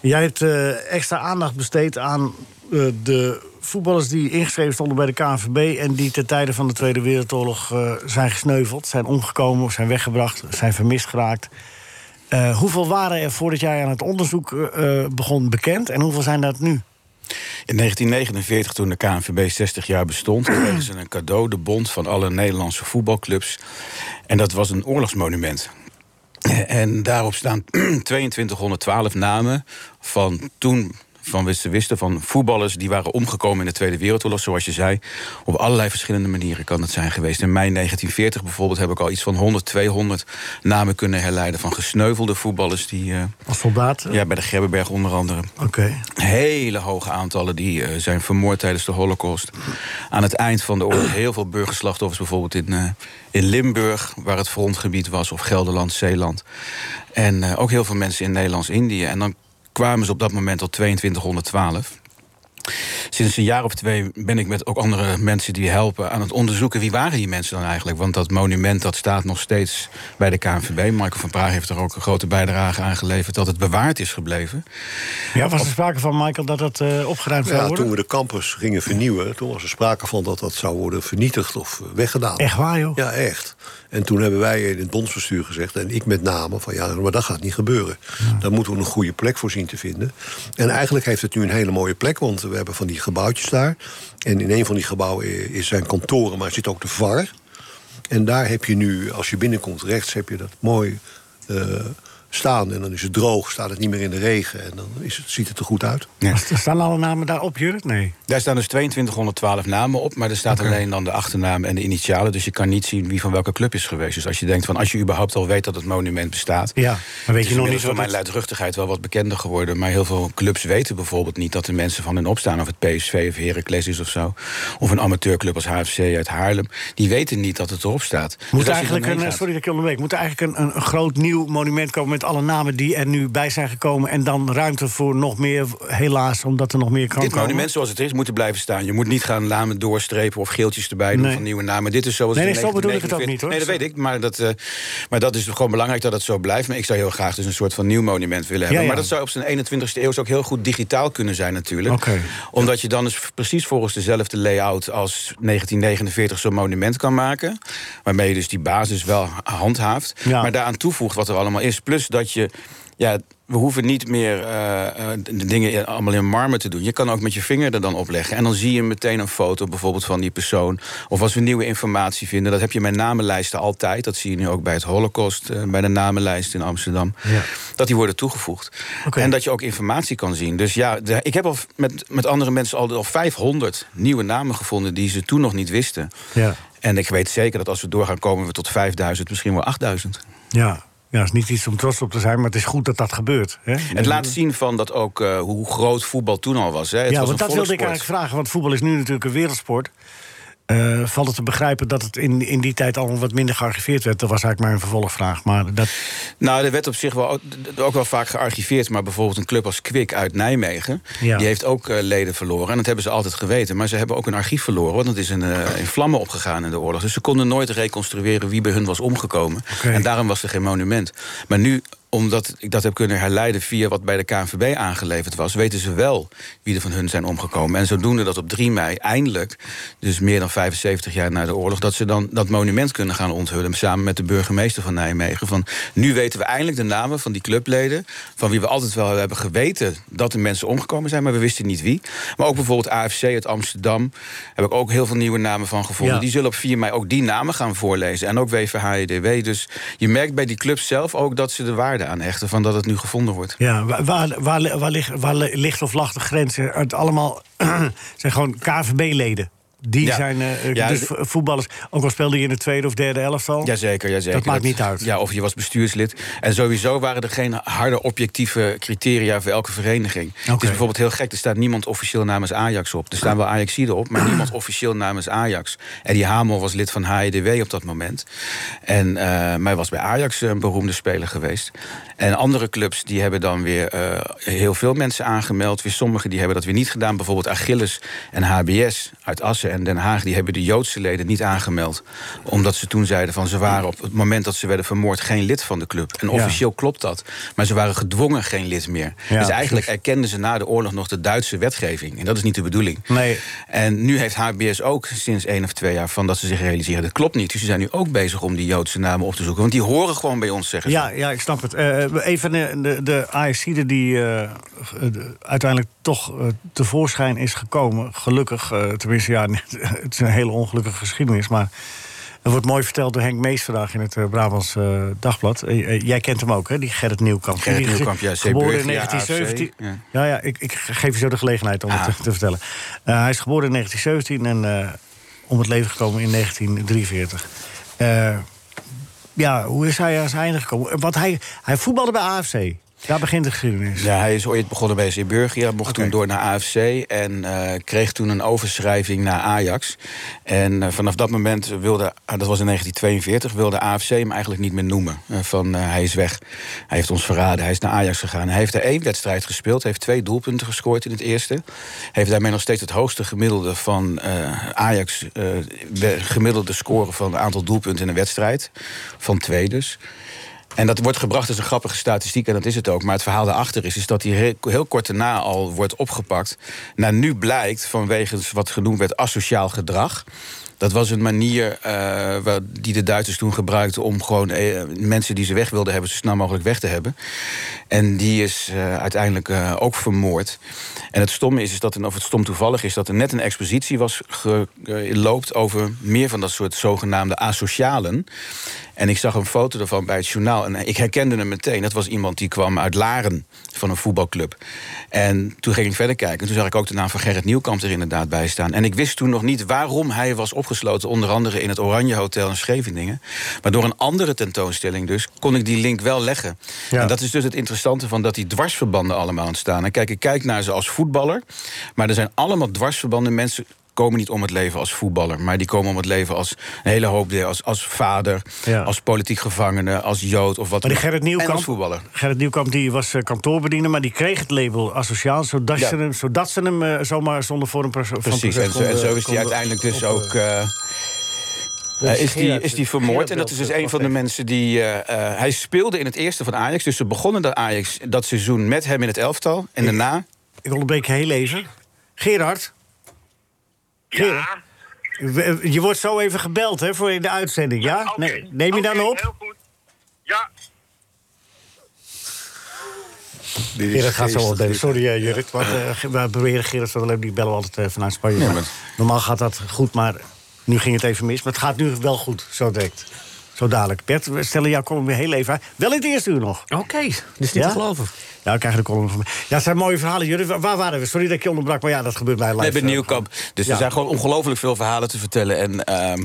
Speaker 3: Jij hebt eh, extra aandacht besteed aan eh, de voetballers die ingeschreven stonden bij de KNVB... en die ten tijde van de Tweede Wereldoorlog eh, zijn gesneuveld... zijn omgekomen, zijn weggebracht, zijn vermist geraakt. Eh, hoeveel waren er voordat jij aan het onderzoek eh, eh, begon bekend en hoeveel zijn dat nu?
Speaker 6: In 1949, toen de KNVB 60 jaar bestond, kregen ze een cadeau, de bond van alle Nederlandse voetbalclubs. En dat was een oorlogsmonument. En daarop staan 2212 namen van toen. Van wie ze wisten van voetballers die waren omgekomen in de Tweede Wereldoorlog, zoals je zei. Op allerlei verschillende manieren kan het zijn geweest. In mei 1940 bijvoorbeeld heb ik al iets van 100, 200 namen kunnen herleiden van gesneuvelde voetballers die eh,
Speaker 3: Als soldaat?
Speaker 6: ja, bij de Grebbeberg onder andere
Speaker 3: Oké.
Speaker 6: hele hoge aantallen die eh, zijn vermoord tijdens de Holocaust. Aan het eind van de oorlog heel veel burgerslachtoffers, bijvoorbeeld in, eh, in Limburg, waar het frontgebied was, of Gelderland, Zeeland. En eh, ook heel veel mensen in Nederlands-Indië. En dan kwamen ze op dat moment tot 2212. Sinds een jaar of twee ben ik met ook andere mensen die helpen aan het onderzoeken wie waren die mensen dan eigenlijk. Want dat monument dat staat nog steeds bij de KNVB. Michael van Praag heeft er ook een grote bijdrage aan geleverd dat het bewaard is gebleven.
Speaker 3: Ja, was er sprake van, Michael, dat dat eh, opgeruimd zou
Speaker 5: Ja,
Speaker 3: worden?
Speaker 5: toen we de campus gingen vernieuwen, toen was er sprake van dat dat zou worden vernietigd of eh, weggedaan.
Speaker 3: Echt waar, joh?
Speaker 5: Ja, echt. En toen hebben wij in het bondsbestuur gezegd, en ik met name, van ja, maar dat gaat niet gebeuren. Daar moeten we een goede plek voor zien te vinden. En eigenlijk heeft het nu een hele mooie plek, want we hebben eh, van die gebouwtjes daar. En in een van die gebouwen is zijn kantoren, maar zit ook de VAR. En daar heb je nu, als je binnenkomt rechts, heb je dat mooi eh, staan. En dan is het droog, staat het niet meer in de regen. En dan is het, ziet het er goed uit.
Speaker 3: Staan alle namen daarop, Jurrit? Nee.
Speaker 6: Daar staan dus 2212 namen op, maar er staat alleen dan de achternaam en de initialen. Dus je kan niet zien wie van welke club is geweest. Dus als je denkt van als je überhaupt al weet dat het monument bestaat.
Speaker 3: Ja, maar weet je nog niet
Speaker 6: van
Speaker 3: wat
Speaker 6: mijn
Speaker 3: het...
Speaker 6: luidruchtigheid wel wat bekender geworden. Maar heel veel clubs weten bijvoorbeeld niet dat de mensen van hen opstaan. Of het PSV of Heracles is of zo. Of een amateurclub als HFC uit Haarlem. Die weten niet dat het erop staat. Dus als
Speaker 3: Moet
Speaker 6: je
Speaker 3: eigenlijk
Speaker 6: ermee
Speaker 3: een,
Speaker 6: gaat-
Speaker 3: sorry dat ik je onderbreek, moet er eigenlijk een, een, een groot nieuw monument komen met alle namen die er nu bij zijn gekomen. En dan ruimte voor nog meer, helaas, omdat er nog meer kan
Speaker 6: Dit
Speaker 3: komen.
Speaker 6: monument zoals het is moet er blijven staan. Je moet niet gaan namen doorstrepen of geeltjes erbij doen
Speaker 3: Nee.
Speaker 6: van nieuwe namen. Dit is zoals
Speaker 3: Nee,
Speaker 6: het
Speaker 3: nee,
Speaker 6: in
Speaker 3: zo bedoel ik het ook
Speaker 6: 1949
Speaker 3: niet, hoor.
Speaker 6: Nee, dat weet ik. Maar dat, eh, maar dat is gewoon belangrijk dat het zo blijft. Maar ik zou heel graag dus een soort van nieuw monument willen hebben.
Speaker 3: ja.
Speaker 6: Maar dat zou op zijn 21ste eeuw ook heel goed digitaal kunnen zijn natuurlijk.
Speaker 3: Oké.
Speaker 6: Omdat je dan dus precies volgens dezelfde layout als 1949 zo'n monument kan maken. Waarmee je dus die basis wel handhaaft.
Speaker 3: Ja.
Speaker 6: Maar daaraan toevoegt wat er allemaal is. Plus dat je. Ja, we hoeven niet meer eh, eh, de dingen allemaal in marmer te doen. Je kan ook met je vinger er dan op leggen. En dan zie je meteen een foto bijvoorbeeld van die persoon. Of als we nieuwe informatie vinden. Dat heb je bij namenlijsten altijd. Dat zie je nu ook bij het Holocaust. eh, bij de namenlijst in Amsterdam. Dat die worden toegevoegd.
Speaker 3: Oké.
Speaker 6: En dat je ook informatie kan zien. Dus ja, de- ik heb al v- met, met andere mensen al, al 500 nieuwe namen gevonden. die ze toen nog niet wisten.
Speaker 3: Ja,
Speaker 6: En ik weet zeker dat als we doorgaan, komen we tot 5000, misschien wel 8000.
Speaker 3: ja. ja, is niet iets om trots op te zijn, maar het is goed dat dat gebeurt. Hè?
Speaker 6: Het laat zien van dat ook eh, hoe groot voetbal toen al was. Hè. Het
Speaker 3: ja,
Speaker 6: was
Speaker 3: want
Speaker 6: een
Speaker 3: dat wilde ik
Speaker 6: volkssport.
Speaker 3: eigenlijk vragen, want voetbal is nu natuurlijk een wereldsport. Eh, valt het te begrijpen dat het in, in die tijd al wat minder gearchiveerd werd? Dat was eigenlijk mijn vervolgvraag. Maar dat,
Speaker 6: Nou, er werd op zich wel, ook- ook wel vaak gearchiveerd. Maar bijvoorbeeld een club als Kwik uit Nijmegen...
Speaker 3: Ja.
Speaker 6: die heeft ook eh, leden verloren. En dat hebben ze altijd geweten. Maar ze hebben ook een archief verloren. Want dat is in, eh, in vlammen opgegaan in de oorlog. Dus ze konden nooit reconstrueren wie bij hun was omgekomen.
Speaker 3: Oké.
Speaker 6: En daarom was er geen monument. Maar nu omdat ik dat heb kunnen herleiden via wat bij de KNVB aangeleverd was... weten ze wel wie er van hun zijn omgekomen. En zodoende dat op 3 mei eindelijk, dus meer dan 75 jaar na de oorlog... dat ze dan dat monument kunnen gaan onthullen samen met de burgemeester van Nijmegen. Van, nu weten we eindelijk de namen van die clubleden... van wie we altijd wel hebben geweten dat de mensen omgekomen zijn... maar we wisten niet wie. Maar ook bijvoorbeeld AFC uit Amsterdam... heb ik ook heel veel nieuwe namen van gevonden.
Speaker 3: Ja.
Speaker 6: Die zullen op 4 mei ook die namen gaan voorlezen. En ook WVHEDW. Dus je merkt bij die clubs zelf ook dat ze de waarde aan hechten... van dat het nu gevonden wordt.
Speaker 3: ja, wa- waar, waar, li- waar, lig- waar li- ligt of lag de grens? Eh, Het allemaal zijn gewoon KVB-leden. Die
Speaker 6: Ja.
Speaker 3: zijn eh,
Speaker 6: Ja,
Speaker 3: dus
Speaker 6: de-
Speaker 3: vo- voetballers. Ook al speelde je in de tweede of derde elftal.
Speaker 6: Jazeker, jazeker.
Speaker 3: Dat maakt niet uit.
Speaker 6: Ja, of je was bestuurslid. En sowieso waren er geen harde objectieve criteria voor elke vereniging. Dus Het is bijvoorbeeld heel gek, er staat niemand officieel namens Ajax op. Er staan wel Ajaxiden op, maar niemand officieel namens Ajax. En die Hamel was lid van HEDW op dat moment. En, eh, maar hij was bij Ajax eh, een beroemde speler geweest. En andere clubs die hebben dan weer eh, heel veel mensen aangemeld. Weer sommigen die hebben dat weer niet gedaan. Bijvoorbeeld Achilles en HBS uit Assen en Den Haag... die hebben de Joodse leden niet aangemeld. Omdat ze toen zeiden van ze waren op het moment dat ze werden vermoord... geen lid van de club. En
Speaker 3: Ja.
Speaker 6: officieel klopt dat. Maar ze waren gedwongen geen lid meer.
Speaker 3: Ja,
Speaker 6: dus eigenlijk
Speaker 3: precies.
Speaker 6: erkenden ze na de oorlog nog de Duitse wetgeving. En dat is niet de bedoeling.
Speaker 3: Nee.
Speaker 6: En nu heeft HBS ook sinds één of twee jaar... van dat ze zich realiseren, dat klopt niet. Dus ze zijn nu ook bezig om die Joodse namen op te zoeken. Want die horen gewoon bij ons, zeggen ze.
Speaker 3: Ja, ja, ik snap het. Eh, even de, de, de AFC'er die eh, de- uiteindelijk toch eh, tevoorschijn is gekomen. Gelukkig, eh, tenminste, ja, het is een hele ongelukkige geschiedenis. Maar er wordt mooi verteld door Henk Mees vandaag in het eh, Brabants eh, Dagblad. Eh, eh, jij kent hem ook, hè? Die Gerrit Nieuwkamp.
Speaker 6: Gerrit
Speaker 3: Die-
Speaker 6: Nieuwkamp, ja,
Speaker 3: Geboren in
Speaker 6: Zeeburg, ja,
Speaker 3: 1917. Ja,
Speaker 6: AFC,
Speaker 3: ja, ik, ik geef je zo de gelegenheid om
Speaker 6: Ah.
Speaker 3: het te, te vertellen. Eh, hij is geboren in 1917 en eh, om het leven gekomen in 1943. Eh, ja, hoe is hij aan zijn einde gekomen? Want hij, hij voetbalde bij AFC. Daar begint de geschiedenis.
Speaker 6: Ja, hij is ooit begonnen bij Zeeburgia, mocht toen door naar AFC... en eh, kreeg toen een overschrijving naar Ajax. En eh, vanaf dat moment wilde, ah, dat was in 1942... wilde AFC hem eigenlijk niet meer noemen. Eh, van eh, hij is weg, hij heeft ons verraden, hij is naar Ajax gegaan. Hij heeft er één wedstrijd gespeeld, heeft twee doelpunten gescoord in het eerste. Heeft daarmee nog steeds het hoogste gemiddelde van eh, Ajax... eh, de gemiddelde score van het aantal doelpunten in een wedstrijd. Van twee dus. En dat wordt gebracht als een grappige statistiek, en dat is het ook. Maar het verhaal daarachter is, is dat hij heel, heel kort daarna al wordt opgepakt. Nou, nu blijkt, vanwege wat genoemd werd asociaal gedrag... Dat was een manier eh, waar- die de Duitsers toen gebruikten om gewoon eh, mensen die ze weg wilden hebben, zo snel mogelijk weg te hebben. En die is eh, uiteindelijk eh, ook vermoord. En het stomme is, is dat, en of het stom toevallig is, dat er net een expositie was geloopt over meer van dat soort zogenaamde asocialen. En ik zag een foto ervan bij het journaal. En ik herkende hem meteen. Dat was iemand die kwam uit Laren van een voetbalclub. En toen ging ik verder kijken. En toen zag ik ook de naam van Gerrit Nieuwkamp er inderdaad bij staan. En ik wist toen nog niet waarom hij was opgesloten. Onder andere in het Oranje Hotel in Scheveningen. Maar door een andere tentoonstelling dus kon ik die link wel leggen.
Speaker 3: Ja.
Speaker 6: En dat is dus het interessante van dat die dwarsverbanden allemaal ontstaan. En kijk, ik kijk naar ze als voetballer. Maar er zijn allemaal dwarsverbanden. Mensen komen niet om het leven als voetballer. Maar die komen om het leven als een hele hoop dingen. Als, als vader,
Speaker 3: Ja.
Speaker 6: als politiek gevangene, als jood of wat
Speaker 3: Maar
Speaker 6: dan
Speaker 3: die
Speaker 6: ook.
Speaker 3: Gerrit Nieuwkamp,
Speaker 6: En als voetballer.
Speaker 3: Gerrit Nieuwkamp die was eh, kantoorbediener, maar die kreeg het label asociaal... zodat,
Speaker 6: Ja.
Speaker 3: ze, hem, zodat ze hem eh, zomaar zonder voor een pers- van
Speaker 6: Precies,
Speaker 3: proces
Speaker 6: en zo,
Speaker 3: konden-
Speaker 6: en zo is die
Speaker 3: konden
Speaker 6: uiteindelijk dus
Speaker 3: op-
Speaker 6: ook... eh, eh, is, die, is die vermoord? En dat is dus een van de mensen die. eh, eh, hij speelde in het eerste van Ajax. Dus ze begonnen dat Ajax dat seizoen met hem in het elftal. En daarna.
Speaker 3: Ik onderbreek je heel even. Gerard?
Speaker 6: eh,
Speaker 3: Gerard? We- Je wordt zo even gebeld, hè, voor in de uitzending, ja? Nee, neem je dan op?
Speaker 10: Ja,
Speaker 3: Gerard gaat zo wel delen. Sorry, eh, Jurrit. Want, eh, Ge- we proberen Gerard van der Leeuwen, die bellen we altijd eh, vanuit Spanje.
Speaker 6: Ja,
Speaker 3: Maar
Speaker 6: maar-
Speaker 3: Normaal gaat dat goed, maar nu ging het even mis. Maar het gaat nu wel goed, zo direct. Zo dadelijk. Bert, we stellen jouw column weer heel even uit. Wel in het eerste uur nog.
Speaker 11: Oké, dus niet
Speaker 3: Ja?
Speaker 11: te geloven.
Speaker 3: Ja, ik krijg de column van mij. Ja, het zijn mooie verhalen, Jurrit. Wa- Waar waren we? Sorry dat ik je onderbrak, maar ja, dat gebeurt bij live.
Speaker 6: Nee, bij
Speaker 3: eh,
Speaker 6: Nieuwkamp. Dus
Speaker 3: Ja.
Speaker 6: er zijn gewoon ongelooflijk veel verhalen te vertellen. En, ehm,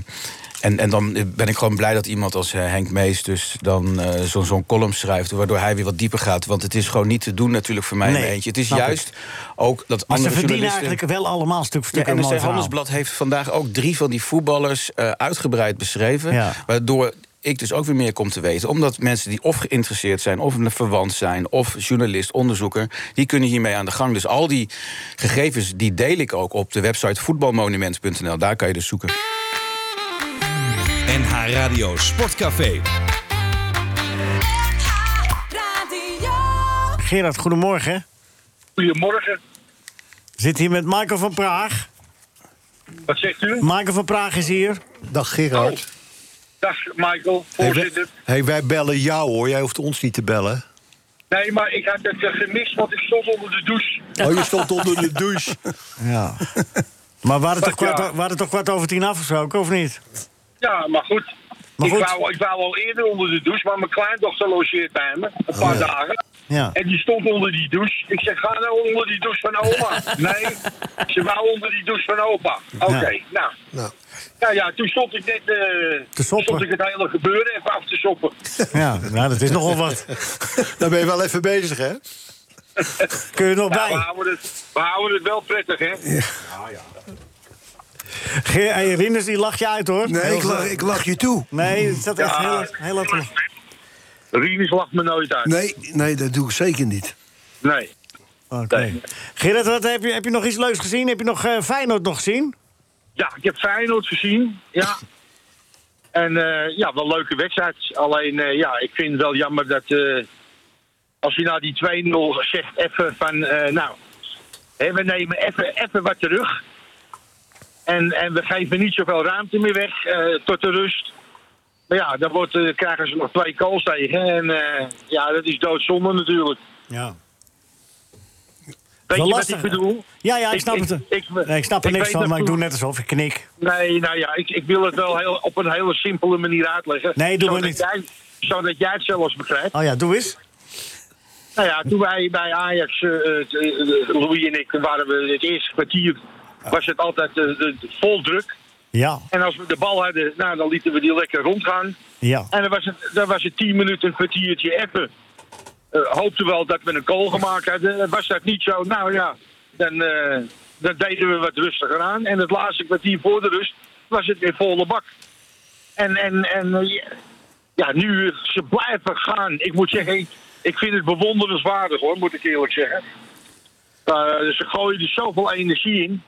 Speaker 6: en, en dan ben ik gewoon blij dat iemand als eh, Henk Mees dus dan eh, zo- zo'n column schrijft. Waardoor hij weer wat dieper gaat. Want het is gewoon niet te doen natuurlijk voor mij in
Speaker 3: Nee,
Speaker 6: mijn eentje. Het is
Speaker 3: snap ik.
Speaker 6: juist ook dat
Speaker 3: Maar ze
Speaker 6: andere
Speaker 3: verdienen
Speaker 6: journalisten...
Speaker 3: eigenlijk wel allemaal stuk voor stuk
Speaker 6: Ja,
Speaker 3: een mooi
Speaker 6: NRC
Speaker 3: verhaal.
Speaker 6: Handelsblad heeft vandaag ook drie van die voetballers eh, uitgebreid beschreven.
Speaker 3: Ja.
Speaker 6: Waardoor ik dus ook weer meer kom te weten. Omdat mensen die of geïnteresseerd zijn, of verwant zijn... of journalist, onderzoeker, die kunnen hiermee aan de gang. Dus al die gegevens die deel ik ook op de website voetbalmonument.nl. Daar kan je dus zoeken.
Speaker 2: NH Radio Sportcafé.
Speaker 9: Radio.
Speaker 3: Gerard, goedemorgen.
Speaker 10: goedemorgen.
Speaker 3: We zitten hier met Michael van Praag.
Speaker 10: Wat zegt u? Oh,
Speaker 3: Michael van Praag is hier.
Speaker 5: Dag Gerard.
Speaker 10: Dag Michael,
Speaker 5: Hey, wij-
Speaker 10: voorzitter.
Speaker 5: hey, wij bellen jou hoor. Jij hoeft ons niet te bellen.
Speaker 10: Nee, maar ik had het eh, gemist, want ik stond onder de douche.
Speaker 5: Oh, je stond onder de douche.
Speaker 3: Ja. maar we hadden, toch
Speaker 10: Ja.
Speaker 3: kwart, we hadden toch kwart over tien afgesproken, of niet?
Speaker 10: Ja, maar goed.
Speaker 3: Maar goed.
Speaker 10: Ik, wou, ik wou al eerder onder de douche, maar mijn kleindochter logeert bij me. Een paar dagen.
Speaker 3: Ja.
Speaker 10: En die stond onder die douche. Ik zeg, ga nou onder die douche van oma. nee, ze wou onder die douche van opa. Oké, nou.
Speaker 5: Nou.
Speaker 10: Nou ja, toen stond ik net... eh,
Speaker 3: soppen.
Speaker 10: stond ik het hele gebeuren even af te soppen.
Speaker 3: Ja, nou, dat is nogal wat.
Speaker 5: Daar ben je wel even bezig, hè?
Speaker 3: Kun je er nog
Speaker 10: Ja, Nou, we,
Speaker 3: bij?
Speaker 10: houden het, we houden het wel prettig, hè? Ah,
Speaker 3: Ge- hey, Rinus, die lacht je uit, hoor.
Speaker 4: Nee,
Speaker 3: Heel
Speaker 4: ik lach,
Speaker 3: zo-
Speaker 4: ik lach je toe.
Speaker 3: Nee, het zat echt
Speaker 10: Ja.
Speaker 3: heel, heel hard om.
Speaker 10: Rinus lacht me nooit uit.
Speaker 4: Nee, nee, dat doe ik zeker niet.
Speaker 10: nee.
Speaker 3: Oké.
Speaker 10: Nee.
Speaker 3: Gerard, wat heb, je, heb je nog iets leuks gezien? Heb je nog eh, Feyenoord nog gezien?
Speaker 10: Ja, ik heb Feyenoord gezien. Ja. En eh, ja, wel een leuke wedstrijd. Alleen eh, ja, ik vind het wel jammer dat eh, als je na die 2-0 zegt even van eh, nou, hè, we nemen even, even wat terug. En, en we geven niet zoveel ruimte meer weg eh, tot de rust. Maar ja, dan wordt, eh, krijgen ze nog twee calls tegen. En eh, ja, dat is doodzonde natuurlijk.
Speaker 3: Ja.
Speaker 10: Weet
Speaker 3: Wel
Speaker 10: je
Speaker 3: lastig,
Speaker 10: wat ik bedoel?
Speaker 3: Ja, ja, ik
Speaker 10: Ik-
Speaker 3: snap
Speaker 10: ik-
Speaker 3: het.
Speaker 10: ik-
Speaker 3: nee, ik snap er
Speaker 10: ik
Speaker 3: niks
Speaker 10: weet
Speaker 3: van,
Speaker 10: dat
Speaker 3: maar ik doe
Speaker 10: toen-
Speaker 3: net alsof ik knik.
Speaker 10: Nee, nou ja, ik, ik wil het wel heel, op een hele simpele manier uitleggen.
Speaker 3: Nee, doe maar
Speaker 10: zodat
Speaker 3: niet.
Speaker 10: Jij, zodat jij het zelfs begrijpt.
Speaker 3: Oh ja, doe eens.
Speaker 10: Nou ja, toen wij bij Ajax, eh, eh, t- eh, Louis en ik, waren we het eerste kwartier... was het altijd eh, de- de- vol druk.
Speaker 3: Ja,
Speaker 10: En als we de bal hadden, nou, dan lieten we die lekker rondgaan.
Speaker 3: ja.
Speaker 10: En dan was het, dan was het tien minuten, een kwartiertje effen. Eh hoopten wel dat we een goal gemaakt hadden. Eh, Was dat niet zo? Nou ja, dan, eh, dan deden we wat rustiger aan. En het laatste kwartier voor de rust was het weer volle bak. En, en, en eh, ja, ja, nu eh, ze blijven gaan. Ik moet zeggen, ik, ik vind het bewonderenswaardig hoor, moet ik eerlijk zeggen. Eh, ze gooien er zoveel energie in.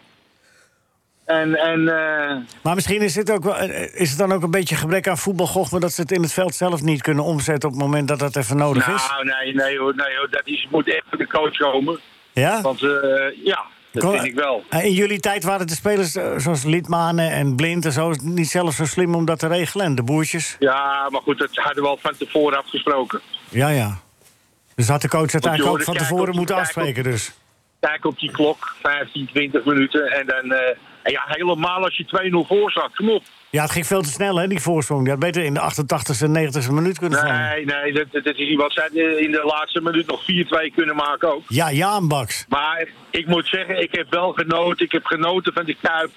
Speaker 10: En, en eh,
Speaker 3: Maar misschien is het, ook wel, eh, is het dan ook een beetje gebrek aan voetbalgochme... dat ze het in het veld zelf niet kunnen omzetten... op het moment dat dat even nodig is?
Speaker 10: nou, nee, nee, hoor, nee hoor, dat is, moet echt van de coach komen.
Speaker 3: Ja?
Speaker 10: Want eh, ja, dat
Speaker 3: Kon-
Speaker 10: vind ik wel.
Speaker 3: Eh, In jullie tijd waren de spelers eh, zoals Liedmanen en Blind... en zo niet zelf zo slim om dat te regelen. En de boertjes?
Speaker 10: Ja, maar goed, dat hadden we al van tevoren afgesproken.
Speaker 3: Ja, ja. Dus had de coach het
Speaker 10: je
Speaker 3: eigenlijk ook
Speaker 10: hoorde
Speaker 3: van
Speaker 10: kijken
Speaker 3: tevoren
Speaker 10: op-
Speaker 3: moeten
Speaker 10: kijken op-
Speaker 3: afspreken, dus.
Speaker 10: Kijk op die klok, 15, 20 minuten. En dan, eh, en ja, helemaal als je 2-0 voor zat, kom op.
Speaker 3: Ja, het ging veel te snel, hè, die voorsprong. Die had beter in de 88e en 90e minuut kunnen vallen.
Speaker 10: Nee, nee, dat, dat dat is niet wat zij in de laatste minuut nog 4-2 kunnen maken ook.
Speaker 3: Ja, Jaan Baks.
Speaker 10: Maar ik moet zeggen, ik heb wel genoten. Ik heb genoten van de Kuip.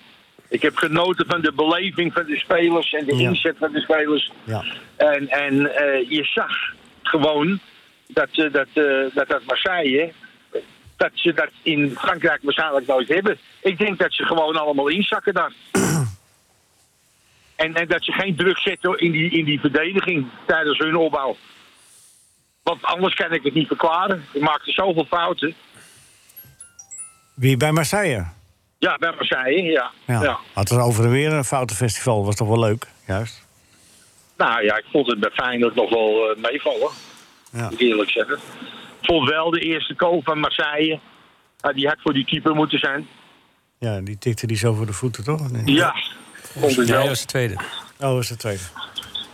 Speaker 10: Ik heb genoten van de beleving van de spelers en de
Speaker 3: Ja.
Speaker 10: inzet van de spelers.
Speaker 3: Ja.
Speaker 10: En, en eh, je zag gewoon dat, eh, dat, eh, dat, dat Marseille, dat ze dat in Frankrijk waarschijnlijk nooit hebben. Ik denk dat ze gewoon allemaal inzakken daar. en, en dat ze geen druk zetten in die, in die verdediging tijdens hun opbouw. Want anders kan ik het niet verklaren. Ze maakten zoveel fouten.
Speaker 3: Wie bij Marseille?
Speaker 10: Ja, bij Marseille, ja.
Speaker 3: Ja.
Speaker 10: ja.
Speaker 3: Had het over en weer een foutenfestival. Was toch wel leuk? Juist.
Speaker 10: Nou ja, ik vond het bij Feyenoord nog wel eh, meevallen,
Speaker 3: Ja.
Speaker 10: moet ik eerlijk zeggen. Ik vond wel de eerste goal van Marseille. Ah, die had voor die keeper moeten zijn.
Speaker 3: Ja, die tikte die zo voor de voeten, toch? of niet?
Speaker 10: Ja, vond ik
Speaker 11: Ja,
Speaker 10: wel.
Speaker 11: dat was de tweede.
Speaker 3: Oh, is het tweede.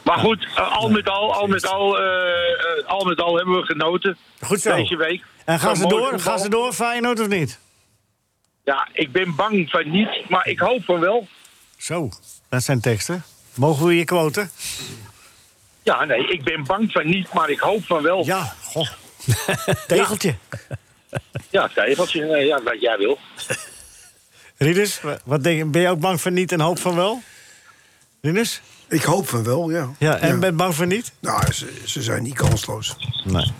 Speaker 10: Maar goed, eh, al met al, al met al, eh, eh, al met al hebben we genoten
Speaker 3: Goed zo.
Speaker 10: deze week.
Speaker 3: En gaan
Speaker 10: Van
Speaker 3: ze
Speaker 10: mooi
Speaker 3: door?
Speaker 10: voetbal.
Speaker 3: Gaan ze door, Feyenoord, of niet?
Speaker 10: Ja, ik ben bang van niet, maar ik hoop van wel.
Speaker 3: Zo, dat zijn teksten. Mogen we je quoten?
Speaker 10: Ja, nee, ik ben bang van niet, maar ik hoop van wel. Ja,
Speaker 3: Ja, goh. Tegeltje.
Speaker 10: tegeltje,
Speaker 12: eh,
Speaker 10: nee, ja, wat jij wil.
Speaker 3: Rinus, wa- wat denk, je- ben je ook bang voor niet en hoop van wel? Rinus?
Speaker 4: Ik hoop van wel, ja.
Speaker 3: Ja, en ben je bang voor niet?
Speaker 4: Nou, ze, ze zijn niet kansloos.
Speaker 3: Nee.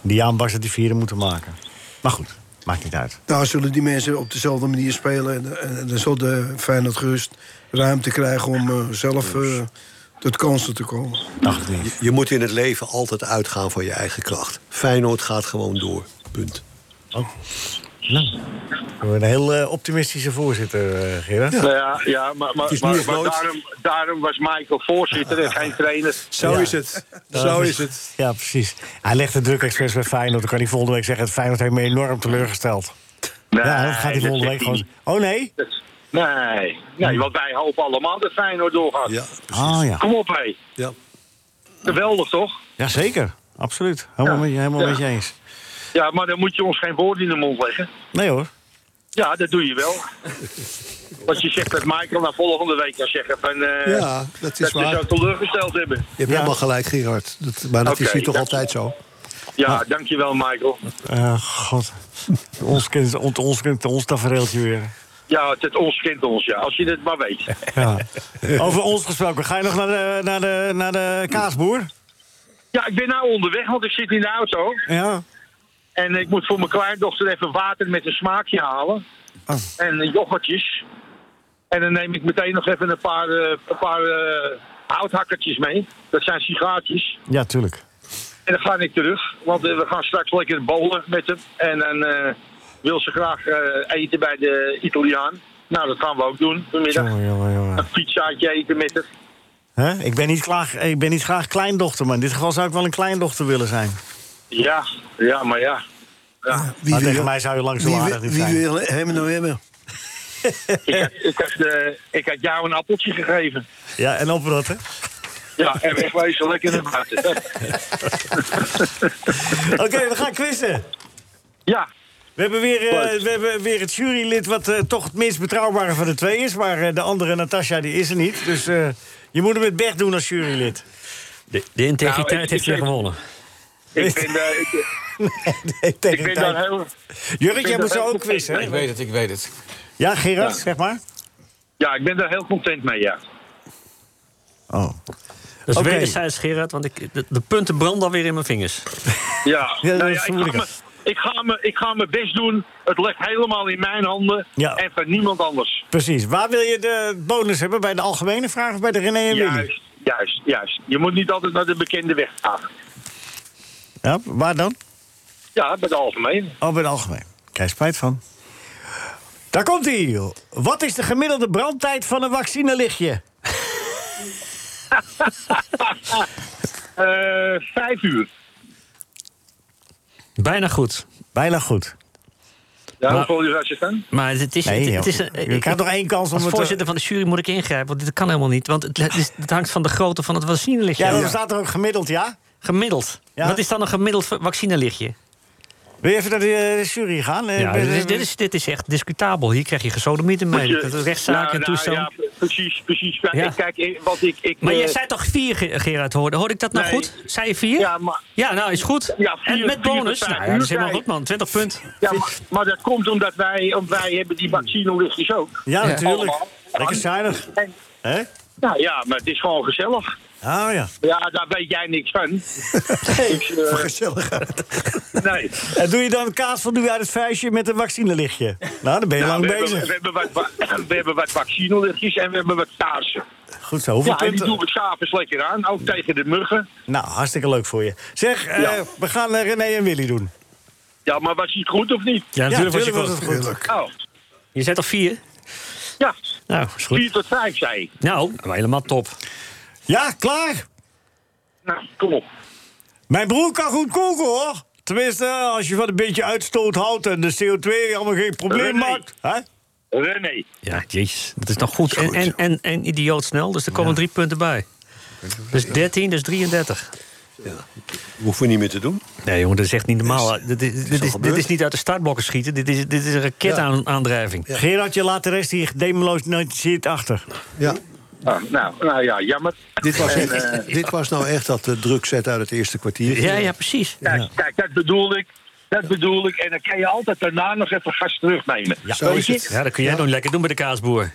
Speaker 3: Die aanbaks dat die vieren moeten maken. Maar goed, maakt niet uit.
Speaker 4: Nou, zullen die mensen op dezelfde manier spelen... en, en, en dan zal de Feyenoord gerust ruimte krijgen om eh, zelf eh, tot kansen te komen.
Speaker 3: Dacht ik niet.
Speaker 5: Je moet in het leven altijd uitgaan van je eigen kracht. Feyenoord gaat gewoon door. Punt.
Speaker 3: We hebben een heel eh, optimistische voorzitter, eh, Gerard.
Speaker 10: Nou ja, ja, maar, maar,
Speaker 5: is nu
Speaker 10: maar,
Speaker 5: of
Speaker 10: maar
Speaker 5: nooit.
Speaker 10: daarom, daarom was Michael voorzitter en geen trainer.
Speaker 5: Zo
Speaker 3: Ja. dus
Speaker 5: is het. Zo is het.
Speaker 3: Ja, precies. Hij legt de druk expres bij Feyenoord. Dan kan hij volgende week zeggen... dat Feyenoord heeft me enorm teleurgesteld.
Speaker 10: Nee,
Speaker 3: ja, dat gaat hij volgende week
Speaker 10: zegt
Speaker 3: gewoon... Oh, nee?
Speaker 10: niet. Dat- Nee, nee, want wij hopen allemaal dat Feyenoord doorgaat.
Speaker 5: Ja,
Speaker 3: Ah, ja.
Speaker 10: Kom op, hé.
Speaker 5: ja.
Speaker 10: Geweldig, toch?
Speaker 3: Jazeker. Absoluut. Helemaal,
Speaker 10: Ja.
Speaker 3: met, je- helemaal
Speaker 10: Ja.
Speaker 3: met je eens.
Speaker 10: Ja, maar dan moet je ons geen woord in de mond leggen.
Speaker 3: Nee, hoor.
Speaker 10: Ja, dat doe je wel. Want je zegt dat Michael naar volgende week kan zeggen van... eh,
Speaker 5: ja dat
Speaker 10: dat
Speaker 5: is
Speaker 10: ze
Speaker 5: waar.
Speaker 10: zo
Speaker 5: Je
Speaker 10: teleurgesteld hebben.
Speaker 5: hebt helemaal gelijk, Gerard. Dat, maar dat is
Speaker 10: Oké,
Speaker 5: hier toch
Speaker 10: ja.
Speaker 5: altijd zo?
Speaker 10: Ja, dankjewel, Michael.
Speaker 3: Eh, god. Ons kind, ont, ons kind, ons tafereeltje weer.
Speaker 10: Ja, het, het ons kent ons, ja. Als je het maar weet.
Speaker 3: Ja. Over ons gesproken. Ga je nog naar de, naar de, naar de kaasboer?
Speaker 10: Ja, ik ben nou onderweg, want ik zit in de auto.
Speaker 3: Ja.
Speaker 10: En ik moet voor mijn kleindochter even water met een smaakje halen.
Speaker 3: Oh.
Speaker 10: En yoghurtjes. En dan neem ik meteen nog even een paar, eh, een paar eh, houthakkertjes mee. Dat zijn sigaartjes.
Speaker 3: Ja, tuurlijk.
Speaker 10: En dan ga ik terug. Want eh, we gaan straks lekker bowlen met hem. En dan eh, wil ze graag eh, eten bij de Italiaan. Nou, dat gaan we ook doen vanmiddag.
Speaker 3: Jongen, jongen, jongen.
Speaker 10: Een pizzaatje eten met hem.
Speaker 3: Hè? Ik, ben niet klaar, ik ben niet graag kleindochter, maar in dit geval zou ik wel een kleindochter willen zijn.
Speaker 10: Ja, ja, maar ja.
Speaker 4: Wie
Speaker 3: Maar tegen mij zou je langs de
Speaker 4: wie,
Speaker 3: aardig
Speaker 4: wil-
Speaker 3: niet
Speaker 4: wie
Speaker 3: zijn.
Speaker 4: wil hem nou hebben?
Speaker 10: Ik, had- ik, had, eh, ik had jou een appeltje gegeven.
Speaker 3: Ja, en oprotten.
Speaker 10: Ja, en wegwezen lekker naar buiten.
Speaker 3: Oké, we gaan quizzen.
Speaker 10: Ja,
Speaker 3: We hebben weer, eh,
Speaker 10: Leuk.
Speaker 3: we hebben weer het jurylid wat eh, toch het minst betrouwbare van de twee is. Maar eh, de andere, Natasja, die is er niet. Dus eh, je moet hem het best doen als jurylid.
Speaker 11: De, de integriteit
Speaker 10: Nou, ik-
Speaker 11: heeft
Speaker 10: ik-
Speaker 11: weer gewonnen.
Speaker 10: ik ben, eh, ik,
Speaker 3: Nee, tegen
Speaker 10: ik ben
Speaker 3: tijd.
Speaker 10: daar heel...
Speaker 3: Jurrit, jij
Speaker 10: ben
Speaker 3: moet
Speaker 10: daar
Speaker 3: zo
Speaker 10: heel
Speaker 3: ook quizzen.
Speaker 6: Ik
Speaker 3: hè?
Speaker 6: weet het, ik weet het.
Speaker 3: Ja, Gerard, zeg maar.
Speaker 10: Ja, ik ben daar heel content mee, ja.
Speaker 3: Oh.
Speaker 11: Dat is
Speaker 3: Oké.
Speaker 11: Dus wederzijds, Gerard, want ik, de, de punten branden alweer in mijn vingers.
Speaker 10: Ja,
Speaker 3: Ja, dat
Speaker 10: nou ja, ik,
Speaker 3: vermoed
Speaker 10: ga
Speaker 3: ik
Speaker 10: me, ik, ga me, ik ga mijn best doen. Het ligt helemaal in mijn handen
Speaker 3: Ja.
Speaker 10: en van niemand anders.
Speaker 3: Precies. Waar wil je de bonus hebben? Bij de algemene vraag of bij de René en Willy?
Speaker 10: Juist, juist, juist. Je moet niet altijd naar de bekende weg gaan.
Speaker 3: Ja, waar dan?
Speaker 10: Ja, bij de algemeen.
Speaker 3: Oh, bij de algemeen. Krijg je spijt van. Daar komt hij. Wat is de gemiddelde brandtijd van een vaccinelichtje?
Speaker 10: Eh, vijf uur.
Speaker 11: Bijna goed.
Speaker 3: Bijna goed.
Speaker 10: Ja,
Speaker 11: Maar-
Speaker 10: hoeveel uur had je staan?
Speaker 11: Maar het is...
Speaker 10: Nee,
Speaker 11: het, het is
Speaker 10: joh. Je krijgt nog één kans om
Speaker 3: eh,
Speaker 11: Als
Speaker 10: het eh, te-
Speaker 11: voorzitter van de jury moet ik ingrijpen, want dit kan helemaal niet. Want het, het is- het hangt van de grootte van het vaccinelichtje.
Speaker 3: Ja, dan
Speaker 11: af.
Speaker 3: staat er ook gemiddeld, ja?
Speaker 11: Gemiddeld. Wat is dan een gemiddeld va- vaccinelichtje?
Speaker 3: Wil je even naar de eh, jury gaan? Eh,
Speaker 11: Ja,
Speaker 3: ben-
Speaker 11: dit, is, dit, is, dit is echt discutabel. Hier krijg je gesodemieten mee.
Speaker 10: Moet je-
Speaker 11: Dat is rechtszaak
Speaker 10: Nou,
Speaker 11: en
Speaker 10: nou,
Speaker 11: toestand.
Speaker 10: ja, precies, precies. Kijk,
Speaker 11: Ja.
Speaker 10: kijk ik- wat ik... ik
Speaker 11: Maar
Speaker 10: eh,
Speaker 11: jij zei toch vier, Ge- Gerard Hoorde? Hoorde ik dat nou
Speaker 10: Nee.
Speaker 11: goed? Zei je vier? Ja, nou is goed.
Speaker 10: Ja, vier-
Speaker 11: en met
Speaker 10: vier
Speaker 11: bonus?
Speaker 10: tot vijf
Speaker 11: Nou, ja, dat is
Speaker 10: uur,
Speaker 11: helemaal
Speaker 10: kijk.
Speaker 11: goed, man. 20 punt.
Speaker 10: Ja, maar, maar dat komt omdat wij, omdat wij hebben die vaccinelichtjes ook.
Speaker 3: Ja, natuurlijk. Lekker
Speaker 10: zuinig.
Speaker 3: Hè?
Speaker 10: Nou ja, maar het is gewoon gezellig.
Speaker 3: Ah ja.
Speaker 10: Ja, daar weet jij niks van. dus, eh, Nee.
Speaker 3: En doe je dan kaas van nu uit het vuistje met een vaccinelichtje? Nou, dan ben je
Speaker 10: Nou,
Speaker 3: lang
Speaker 10: we
Speaker 3: bezig.
Speaker 10: Hebben, we, hebben wat, wa- we hebben wat vaccinelichtjes en we hebben wat kaarsen.
Speaker 3: Goed zo, hoeveel
Speaker 10: ja, en die
Speaker 3: punten?
Speaker 10: doen we s'avonds lekker aan, ook tegen de muggen.
Speaker 3: Nou, hartstikke leuk voor je. Zeg, eh,
Speaker 10: Ja.
Speaker 3: we gaan eh, René en Willy doen.
Speaker 10: Ja, maar was hij het goed of niet?
Speaker 11: Ja, natuurlijk was hij
Speaker 3: was het
Speaker 11: goed.
Speaker 3: goed.
Speaker 10: Oh,
Speaker 11: Je zei toch vier?
Speaker 10: ja,
Speaker 11: Nou, is goed.
Speaker 10: 4 tot 5 zei hij.
Speaker 11: Nou, helemaal top.
Speaker 3: Ja, klaar.
Speaker 10: Nou, kom op.
Speaker 3: Mijn broer kan goed koken, hoor. Tenminste, als je van een beetje uitstoot houdt en de CO2 allemaal geen probleem
Speaker 10: René.
Speaker 3: maakt. Hè?
Speaker 10: René.
Speaker 11: Ja, jezus. Dat is nog goed. En, en, en, en idioot snel, dus er komen drie punten bij. Dus 13, dus 33.
Speaker 5: Hoeven we niet meer te doen. Dus
Speaker 11: Nee, jongen, dat is echt niet normaal. Dit is, dit is, dit
Speaker 5: gebeurd.
Speaker 11: is niet uit de startblokken schieten. Dit is, dit is een raketaandrijving.
Speaker 3: Gerard, je laat de rest hier gedemeloosnotieerd achter.
Speaker 5: Ja.
Speaker 10: Ah, nou, nou ja, jammer.
Speaker 5: Dit was,
Speaker 10: En,
Speaker 5: echt-
Speaker 10: eh,
Speaker 5: dit was nou echt dat eh, drukzet uit het eerste kwartier.
Speaker 11: Ja, ja, precies.
Speaker 10: Kijk, kijk, dat bedoel ik. Dat bedoel ik. En dan kan je altijd daarna nog even gas terugnemen. Ja,
Speaker 5: Zo is het.
Speaker 11: Ja, dat kun jij nog lekker doen bij de kaasboer.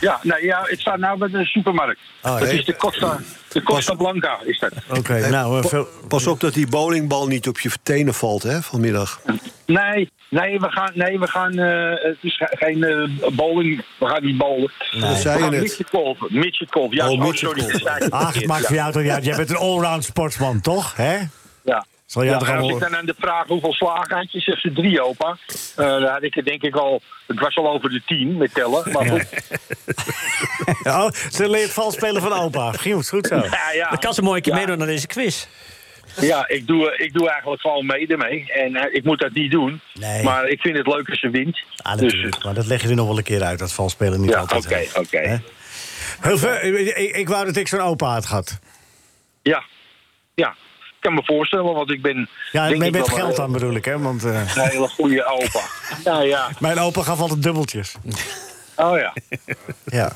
Speaker 10: Ja, nou ja, het staat nou bij de supermarkt.
Speaker 5: Ah,
Speaker 10: dat
Speaker 5: nee.
Speaker 10: is de Costa, de Costa Blanca, is dat.
Speaker 3: Oké, nou, eh,
Speaker 5: Pa-
Speaker 3: veel-
Speaker 5: Pas op dat die bowlingbal niet op je tenen valt hè, vanmiddag.
Speaker 10: Nee, nee, we gaan, nee, we gaan eh, het is ge- geen eh bowling, we gaan niet bowlen.
Speaker 5: Dat zei je
Speaker 10: We gaan
Speaker 5: net.
Speaker 10: midgetkolven, midgetkolven. Ja,
Speaker 5: Oh,
Speaker 10: oh,
Speaker 5: midgetkolven.
Speaker 10: sorry. dat zei ik
Speaker 3: Ach, Ah, het
Speaker 10: verkeerd,
Speaker 3: maakt
Speaker 10: ja.
Speaker 3: voor jou toch niet uit. Jij bent een allround sportsman, toch? Hè?
Speaker 10: Ja.
Speaker 3: Zal jij
Speaker 10: Ja,
Speaker 3: toch
Speaker 10: en als
Speaker 3: allemaal-
Speaker 10: ik dan aan de vraag hoeveel slagen had je, zegt ze drie, opa. Eh dan had ik het denk ik al, het was al over de tien met tellen. Maar goed,
Speaker 3: Oh, ze leert vals spelen van opa. Goed, goed zo.
Speaker 10: ja, ja.
Speaker 11: Dan kan ze mooi een keer
Speaker 10: Ja.
Speaker 11: meedoen aan deze quiz.
Speaker 10: Ja, ik doe, eh, ik doe eigenlijk gewoon mee ermee. En eh, ik moet dat niet doen.
Speaker 3: Nee.
Speaker 10: Maar ik vind het leuk als ze wint.
Speaker 3: Ah,
Speaker 10: dus,
Speaker 3: natuurlijk. Maar dat leg je er nog wel een keer uit, dat vals spelen niet
Speaker 10: ja, oké,
Speaker 3: altijd.
Speaker 10: oké.
Speaker 3: helpt. Hè? Heel veel, ik, ik- ik wou dat ik zo'n opa had gehad.
Speaker 10: Ja. ja, ik kan me voorstellen, want ik ben...
Speaker 3: Ja,
Speaker 10: denk
Speaker 3: met,
Speaker 10: ik
Speaker 3: met
Speaker 10: wel
Speaker 3: geld
Speaker 10: een-
Speaker 3: dan bedoel ik, hè? Want eh,
Speaker 10: Een hele goede opa. ja, ja.
Speaker 3: mijn opa gaf altijd dubbeltjes.
Speaker 10: Oh ja.
Speaker 3: Ja.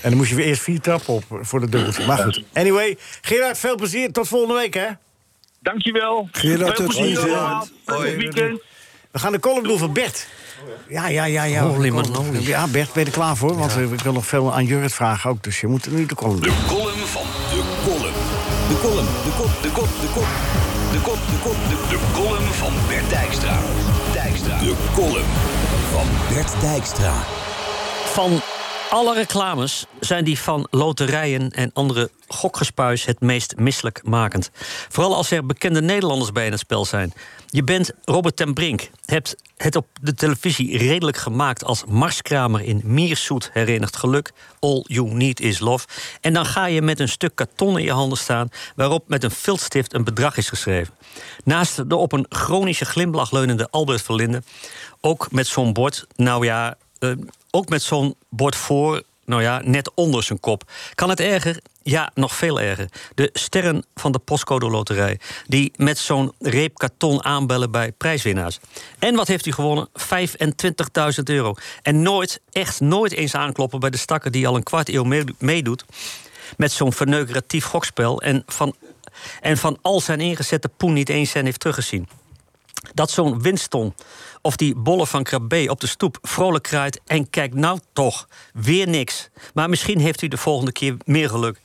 Speaker 3: En dan moest je weer eerst vier trappen op voor de dubbeltjes. Maar goed. Anyway, Gerard, veel plezier. Tot volgende week, hè?
Speaker 10: Dankjewel.
Speaker 5: Gerard,
Speaker 10: Veel
Speaker 5: tot
Speaker 10: plezier
Speaker 5: ziens.
Speaker 10: allemaal. Fijne weekend.
Speaker 3: We gaan de column doen van Bert. Ja, ja, ja. ja.
Speaker 11: Holy
Speaker 3: De column.
Speaker 11: manoli.
Speaker 3: Ja, Bert, ben je er klaar voor? Want eh, ik wil nog veel aan Jurrit vragen ook. Dus je moet nu de column doen.
Speaker 2: De column van de column. De column, de kop, de kop, de kop. De kop, de kop, de De column van Bert Dijkstra. Dijkstra. De column van Bert Dijkstra.
Speaker 11: Van alle reclames zijn die van loterijen en andere gokgespuis het meest misselijkmakend. Vooral als er bekende Nederlanders bij in het spel zijn. Je bent Robert ten Brink, hebt het op de televisie redelijk gemaakt als marskramer in Miersoet herenigd geluk. All you need is love. En dan ga je met een stuk karton in je handen staan waarop met een viltstift een bedrag is geschreven. Naast de op een chronische glimlach leunende Albert Verlinde, ook met zo'n bord, nou ja, eh, ook met zo'n bord voor, nou ja, net onder zijn kop. Kan het erger? Ja, nog veel erger. De sterren van de postcode loterij... die met zo'n reep karton aanbellen bij prijswinnaars. En wat heeft hij gewonnen? 25.000 euro. En nooit, echt nooit eens aankloppen bij de stakker... die al een kwart eeuw mee- meedoet met zo'n verneukeratief gokspel... En van, en van al zijn ingezette poen niet eens cent heeft teruggezien dat zo'n Winston of die bolle van Krabbe op de stoep vrolijk kraait... en kijk nou toch, weer niks. Maar misschien heeft u de volgende keer meer geluk.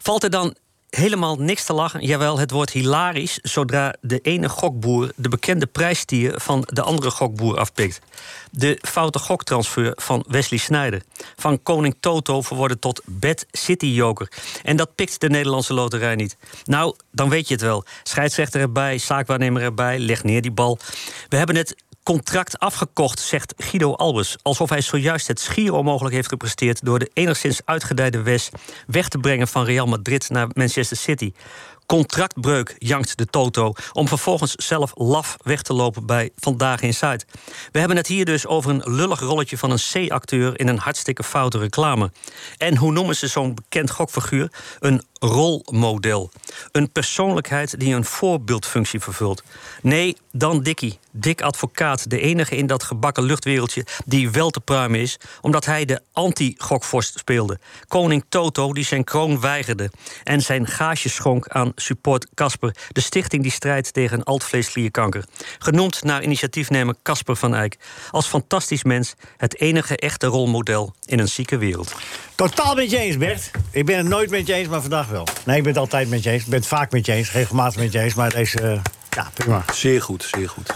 Speaker 11: Valt er dan helemaal niks te lachen? Jawel, het wordt hilarisch zodra de ene gokboer... de bekende prijstier van de andere gokboer afpikt. De foute goktransfer van Wesley Snijder. Van koning Toto verworden tot Bad City Joker. En dat pikt de Nederlandse loterij niet. Nou, dan weet je het wel. Scheidsrechter erbij, zaakwaarnemer erbij, leg neer die bal. We hebben het contract afgekocht, zegt Guido Albers. Alsof hij zojuist het schier onmogelijk heeft gepresteerd... door de enigszins uitgedijde Wes weg te brengen van Real Madrid naar Manchester City. Contractbreuk, jankt de Toto, om vervolgens zelf laf weg te lopen bij Vandaag in Zuid. We hebben het hier dus over een lullig rolletje van een C-acteur in een hartstikke foute reclame. En hoe noemen ze zo'n bekend gokfiguur? Een rolmodel. Een persoonlijkheid die een voorbeeldfunctie vervult. Nee, dan Dikkie, Dick Advocaat, de enige in dat gebakken luchtwereldje die wel te pruimen is, omdat hij de anti-gokvorst speelde. Koning Toto, die zijn kroon weigerde en zijn gaasje schonk aan Support Casper, de stichting die strijdt tegen altvleesklierkanker. Genoemd naar initiatiefnemer Casper van Eyck. Als fantastisch mens, het enige echte rolmodel in een zieke wereld.
Speaker 3: Totaal met je eens, Bert. Ik ben het nooit met je eens, maar vandaag wel. Nee, ik ben het altijd met je eens. Ik ben het vaak met je eens, regelmatig met je eens. Maar deze, eh, ja, prima.
Speaker 5: Zeer goed, zeer goed.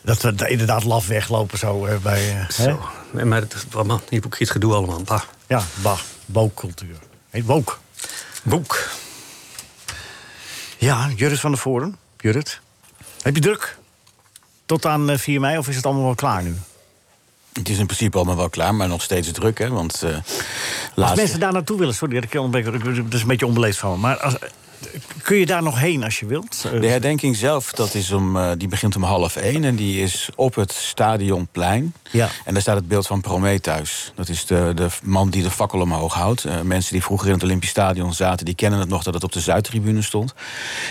Speaker 3: Dat we da- inderdaad laf weglopen zo eh, bij... eh, hè?
Speaker 11: Zo. Nee, Maar het is allemaal hypocriet gedoe allemaal. Bah.
Speaker 3: Ja, bah, bookcultuur. Heet wook.
Speaker 11: Boek.
Speaker 3: Ja, Jurrit van der Voren. Jurrit, heb je druk? Tot aan eh, 4 mei, of is het allemaal wel klaar nu?
Speaker 6: Het is in principe allemaal wel klaar, maar nog steeds druk. Hè? Want eh
Speaker 3: Als
Speaker 6: laatst...
Speaker 3: mensen daar naartoe willen, sorry dat ik je ontbreek, ik- dat is een beetje onbeleefd van me. Maar als- kun je daar nog heen als je wilt?
Speaker 6: De herdenking zelf dat is om, eh, die begint om half één en die is op het stadionplein.
Speaker 3: Ja.
Speaker 6: En daar staat het beeld van Prometheus. Dat is de, de man die de fakkel omhoog houdt. Eh, mensen die vroeger in het Olympisch Stadion zaten, die kennen het nog dat het op de Zuidtribune stond.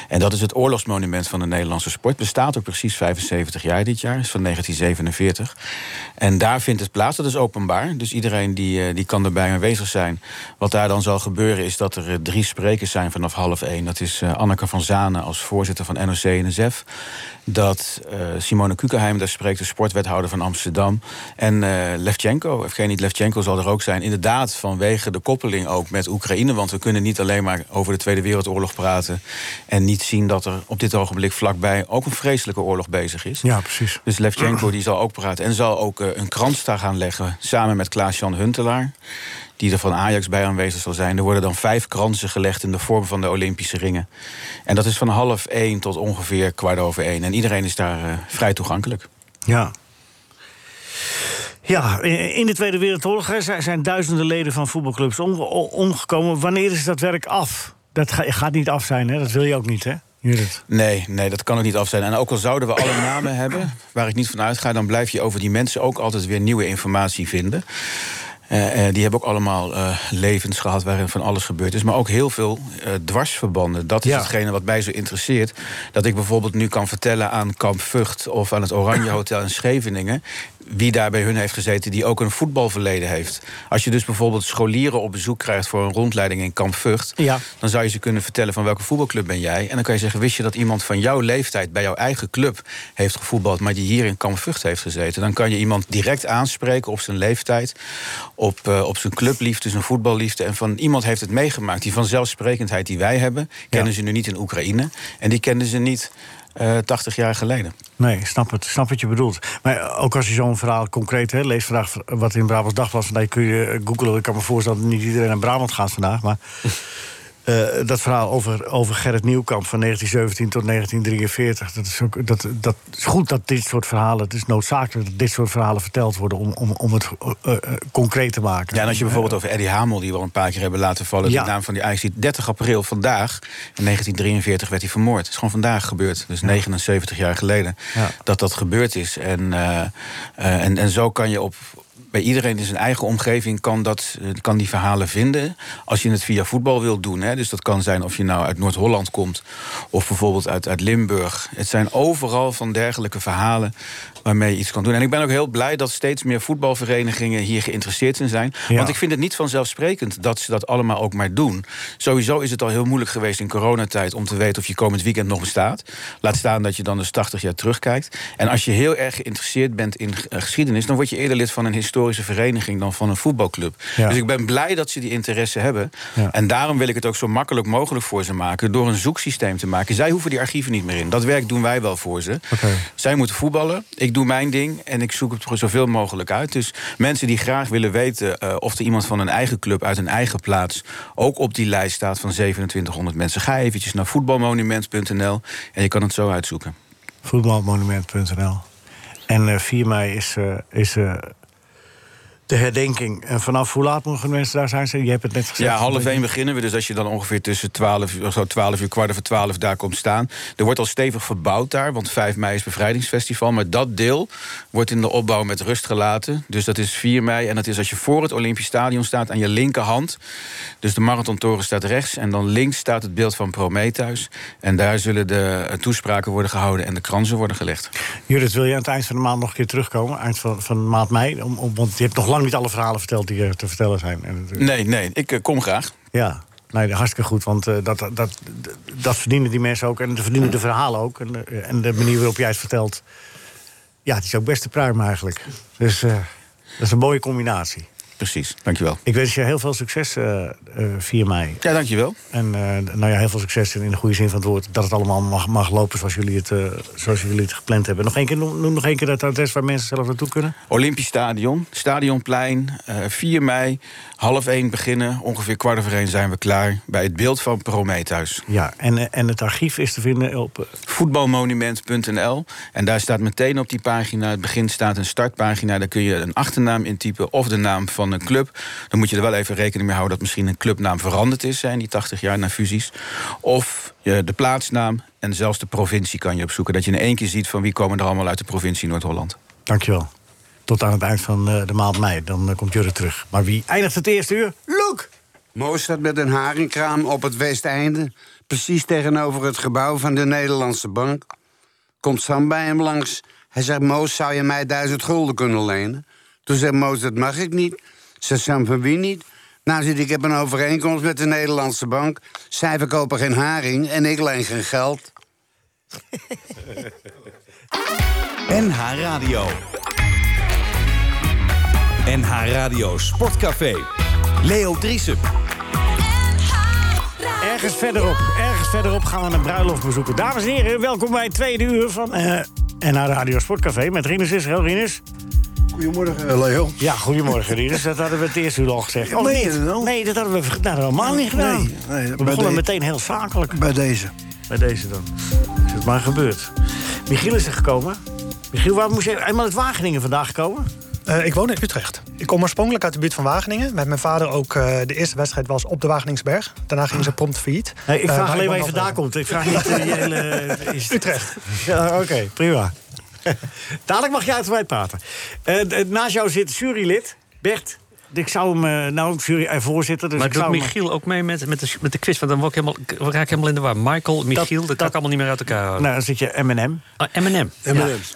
Speaker 6: En dat is het oorlogsmonument van de Nederlandse sport. Bestaat ook precies 75 jaar dit jaar, is van 1947. En daar vindt het plaats, dat is openbaar. Dus iedereen die, eh, die kan erbij aanwezig zijn. Wat daar dan zal gebeuren is dat er eh, drie sprekers zijn vanaf half één. Dat is eh, Anneke van Zanen als voorzitter van NOC-NSF. Dat eh, Simone Kukenheim, daar spreekt de sportwethouder van Amsterdam. En eh Levchenko, Evgeny Levchenko zal er ook zijn. Inderdaad, vanwege de koppeling ook met Oekraïne. Want we kunnen niet alleen maar over de Tweede Wereldoorlog praten... en niet zien dat er op dit ogenblik vlakbij ook een vreselijke oorlog bezig is.
Speaker 3: Ja, precies.
Speaker 6: Dus Levchenko die zal ook praten en zal ook eh, een krans daar gaan leggen... samen met Klaas-Jan Huntelaar, die er van Ajax bij aanwezig zal zijn. Er worden dan vijf kransen gelegd in de vorm van de Olympische ringen. En dat is van half één tot ongeveer kwart over één. En iedereen is daar eh, vrij toegankelijk.
Speaker 3: Ja. Ja, eh, in de Tweede Wereldoorlog hè, zijn zijn duizenden leden van voetbalclubs om- o- omgekomen. Wanneer is dat werk af? Dat ga- gaat niet af zijn, hè? dat wil je ook niet, hè? Judith.
Speaker 6: Nee, nee, dat kan ook niet af zijn. En ook al zouden we alle namen hebben, waar ik niet van uitga... dan blijf je over die mensen ook altijd weer nieuwe informatie vinden. Eh, eh, die hebben ook allemaal eh, levens gehad waarin van alles gebeurd is. Maar ook heel veel eh, dwarsverbanden. Dat is hetgene wat mij zo interesseert. Dat ik bijvoorbeeld nu kan vertellen aan Kamp Vught... of aan het Oranje Hotel in Scheveningen... wie daar bij hun heeft gezeten die ook een voetbalverleden heeft. Als je dus bijvoorbeeld scholieren op bezoek krijgt... voor een rondleiding in Kamp Vught...
Speaker 3: Ja.
Speaker 6: Dan zou je ze kunnen vertellen van welke voetbalclub ben jij. En dan kan je zeggen, wist je dat iemand van jouw leeftijd... bij jouw eigen club heeft gevoetbald... maar die hier in Kamp Vught heeft gezeten. Dan kan je iemand direct aanspreken op zijn leeftijd... op, eh, op zijn clubliefde, zijn voetballiefde. En van iemand heeft het meegemaakt. Die vanzelfsprekendheid die wij hebben... kennen ze nu niet in Oekraïne. En die kenden ze niet eh 80 jaar geleden.
Speaker 3: Nee, ik snap het. Ik Snap wat je bedoelt. Maar eh, ook als je zo'n verhaal concreet hè, leest vandaag... wat in Brabants Dagblad vandaag kun je eh, googlen. Ik kan me voorstellen dat niet iedereen naar Brabant gaat vandaag. Maar eh, dat verhaal over, over Gerrit Nieuwkamp van 1917 tot 1943... Dat is, ook, dat, dat is goed dat dit soort verhalen... het is noodzakelijk dat dit soort verhalen verteld worden... om, om, om het eh, eh, concreet te maken.
Speaker 6: Ja, en als je bijvoorbeeld over Eddie Hamel, die we al een paar keer hebben laten vallen...
Speaker 3: Ja.
Speaker 6: de naam van die Ajax, 30 april vandaag, in 1943 werd hij vermoord. Het is gewoon vandaag gebeurd, dus 79 jaar geleden,
Speaker 3: Ja.
Speaker 6: dat dat gebeurd is. En, eh, eh, en, en zo kan je op... Bij iedereen in zijn eigen omgeving kan, dat, eh, kan die verhalen vinden. Als je het via voetbal wilt doen. Hè. Dus dat kan zijn of je nou uit Noord-Holland komt. Of bijvoorbeeld uit, uit Limburg. Het zijn overal van dergelijke verhalen waarmee je iets kan doen. En ik ben ook heel blij dat steeds meer voetbalverenigingen hier geïnteresseerd in zijn.
Speaker 13: Ja.
Speaker 6: Want ik vind het niet vanzelfsprekend dat ze dat allemaal ook maar doen. Sowieso is het al heel moeilijk geweest in coronatijd om te weten of je komend weekend nog bestaat. Laat staan dat je dan dus 80 jaar terugkijkt. En als je heel erg geïnteresseerd bent in eh, geschiedenis, dan word je eerder lid van een historische vereniging dan van een voetbalclub.
Speaker 13: Ja.
Speaker 6: Dus ik ben blij dat ze die interesse hebben.
Speaker 13: Ja.
Speaker 6: En daarom wil ik het ook zo makkelijk mogelijk voor ze maken door een zoeksysteem te maken. Zij hoeven die archieven niet meer in. Dat werk doen wij wel voor ze. Zij moeten voetballen, ik doe mijn ding en ik zoek het voor zoveel mogelijk uit. Dus mensen die graag willen weten eh, of er iemand van een eigen club uit een eigen plaats ook op die lijst staat van 2700 mensen, ga eventjes naar voetbalmonument.nl en je kan het zo uitzoeken.
Speaker 3: Voetbalmonument.nl. En eh, 4 mei is, eh, is eh, de herdenking. En vanaf hoe laat mogen mensen daar zijn? Ze- Je hebt het net gezegd.
Speaker 6: Ja, half één beginnen we. Dus als je dan ongeveer tussen 12, uur- zo 12 uur, kwart over 12 daar komt staan. Er wordt al stevig verbouwd daar, want 5 mei is bevrijdingsfestival. Maar dat deel wordt in de opbouw met rust gelaten. Dus dat is 4 mei. En dat is als je voor het Olympisch Stadion staat aan je linkerhand. Dus de Marathontoren staat rechts. En dan links staat het beeld van Prometheus. En daar zullen de eh, toespraken worden gehouden en de kransen worden gelegd.
Speaker 3: Judith, wil je aan het eind van de maand nog een keer terugkomen? Eind van, van maand mei? Om, om- want je hebt nog lang niet alle verhalen verteld die er te vertellen zijn. En het-
Speaker 6: Nee, nee, ik eh, kom graag.
Speaker 3: Ja, nee, hartstikke goed. Want eh, dat, dat, dat, dat verdienen die mensen ook. En dat verdienen de verhalen ook. En, eh, en de manier waarop jij het vertelt. Ja, het is ook best de pruim eigenlijk. Dus eh, dat is een mooie combinatie.
Speaker 6: Precies, dankjewel.
Speaker 3: Ik wens je heel veel succes eh eh 4 mei.
Speaker 6: Ja, dankjewel.
Speaker 3: En eh, nou ja, heel veel succes in de goede zin van het woord. Dat het allemaal mag, mag lopen zoals jullie, het, eh, zoals jullie het gepland hebben. Nog één keer, noem, noem nog één keer dat adres waar mensen zelf naartoe kunnen.
Speaker 6: Olympisch Stadion, Stadionplein, eh, 4 mei, half 1 beginnen. Ongeveer kwart over 1 zijn we klaar bij het beeld van Prometheus.
Speaker 3: Ja, en, eh, en het archief is te vinden op... eh,
Speaker 6: Voetbalmonument.nl. En daar staat meteen op die pagina, het begin staat een startpagina. Daar kun je een achternaam intypen of de naam van een club. Dan moet je er wel even rekening mee houden dat misschien een clubnaam veranderd is hè, in die 80 jaar na fusies. Of eh, de plaatsnaam en zelfs de provincie kan je opzoeken. Dat je in één keer ziet van wie komen er allemaal uit de provincie Noord-Holland.
Speaker 3: Dankjewel. Tot aan het eind van eh, de maand mei. Dan eh, komt Jurre terug. Maar wie eindigt het eerste uur? Loek!
Speaker 13: Mo staat met een haringkraam op het westeinde... precies tegenover het gebouw van de Nederlandse Bank. Komt Sam bij hem langs. Hij zegt, Moos, zou je mij duizend gulden kunnen lenen? Toen zegt Moos, dat mag ik niet. Zegt Sam, van wie niet? Nou, zegt hij, ik heb een overeenkomst met de Nederlandse Bank. Zij verkopen geen haring en ik leen geen geld.
Speaker 2: NH Radio. NH Radio Sportcafé. Leo Driesen.
Speaker 3: Ergens verderop, ergens verderop gaan we een bruiloft bezoeken. Dames en heren, welkom bij het tweede uur van eh NH Radio Sportcafé met Rinus Israël. Rinus?
Speaker 4: Goedemorgen, eh, Leo.
Speaker 3: Ja, goedemorgen Rinus. Dat hadden we het eerste uur al gezegd. Oh,
Speaker 4: Nee,
Speaker 3: niet? nee, dat hadden we ver- nou, helemaal niet gedaan.
Speaker 4: Nee, nee,
Speaker 3: we
Speaker 4: bij
Speaker 3: begonnen
Speaker 4: de-
Speaker 3: meteen heel zakelijk.
Speaker 4: Bij deze.
Speaker 3: Bij deze dan. Is het maar gebeurd. Michiel is er gekomen. Michiel, waar moest je eenmaal uit Wageningen vandaag komen?
Speaker 14: Eh, ik woon in Utrecht. Ik kom oorspronkelijk uit de buurt van Wageningen. Met mijn vader ook eh, de eerste wedstrijd was op de Wageningsberg. Daarna ging ze prompt failliet.
Speaker 3: Nee, ik
Speaker 14: Eh,
Speaker 3: vraag
Speaker 14: maar
Speaker 3: alleen waar
Speaker 14: woon
Speaker 3: je
Speaker 14: wel-
Speaker 3: vandaan komt. Ik vraag niet eh, die hele...
Speaker 14: Utrecht.
Speaker 3: Ja, Oké, prima. Dadelijk mag je uitgebreid praten. Eh, d- naast jou zit jurylid Bert. Ik zou hem, eh, nou, jury en voorzitter. Dus
Speaker 11: maar
Speaker 3: ik zou
Speaker 11: doet
Speaker 3: hem-
Speaker 11: Michiel ook mee met, met, de, met de quiz? Want dan word ik helemaal, ik raak ik helemaal in de war. Michael, Michiel, dat, kan ik allemaal niet meer uit elkaar houden.
Speaker 3: Nou, dan zit je M&M.
Speaker 11: Ah, M&M.
Speaker 5: M&M.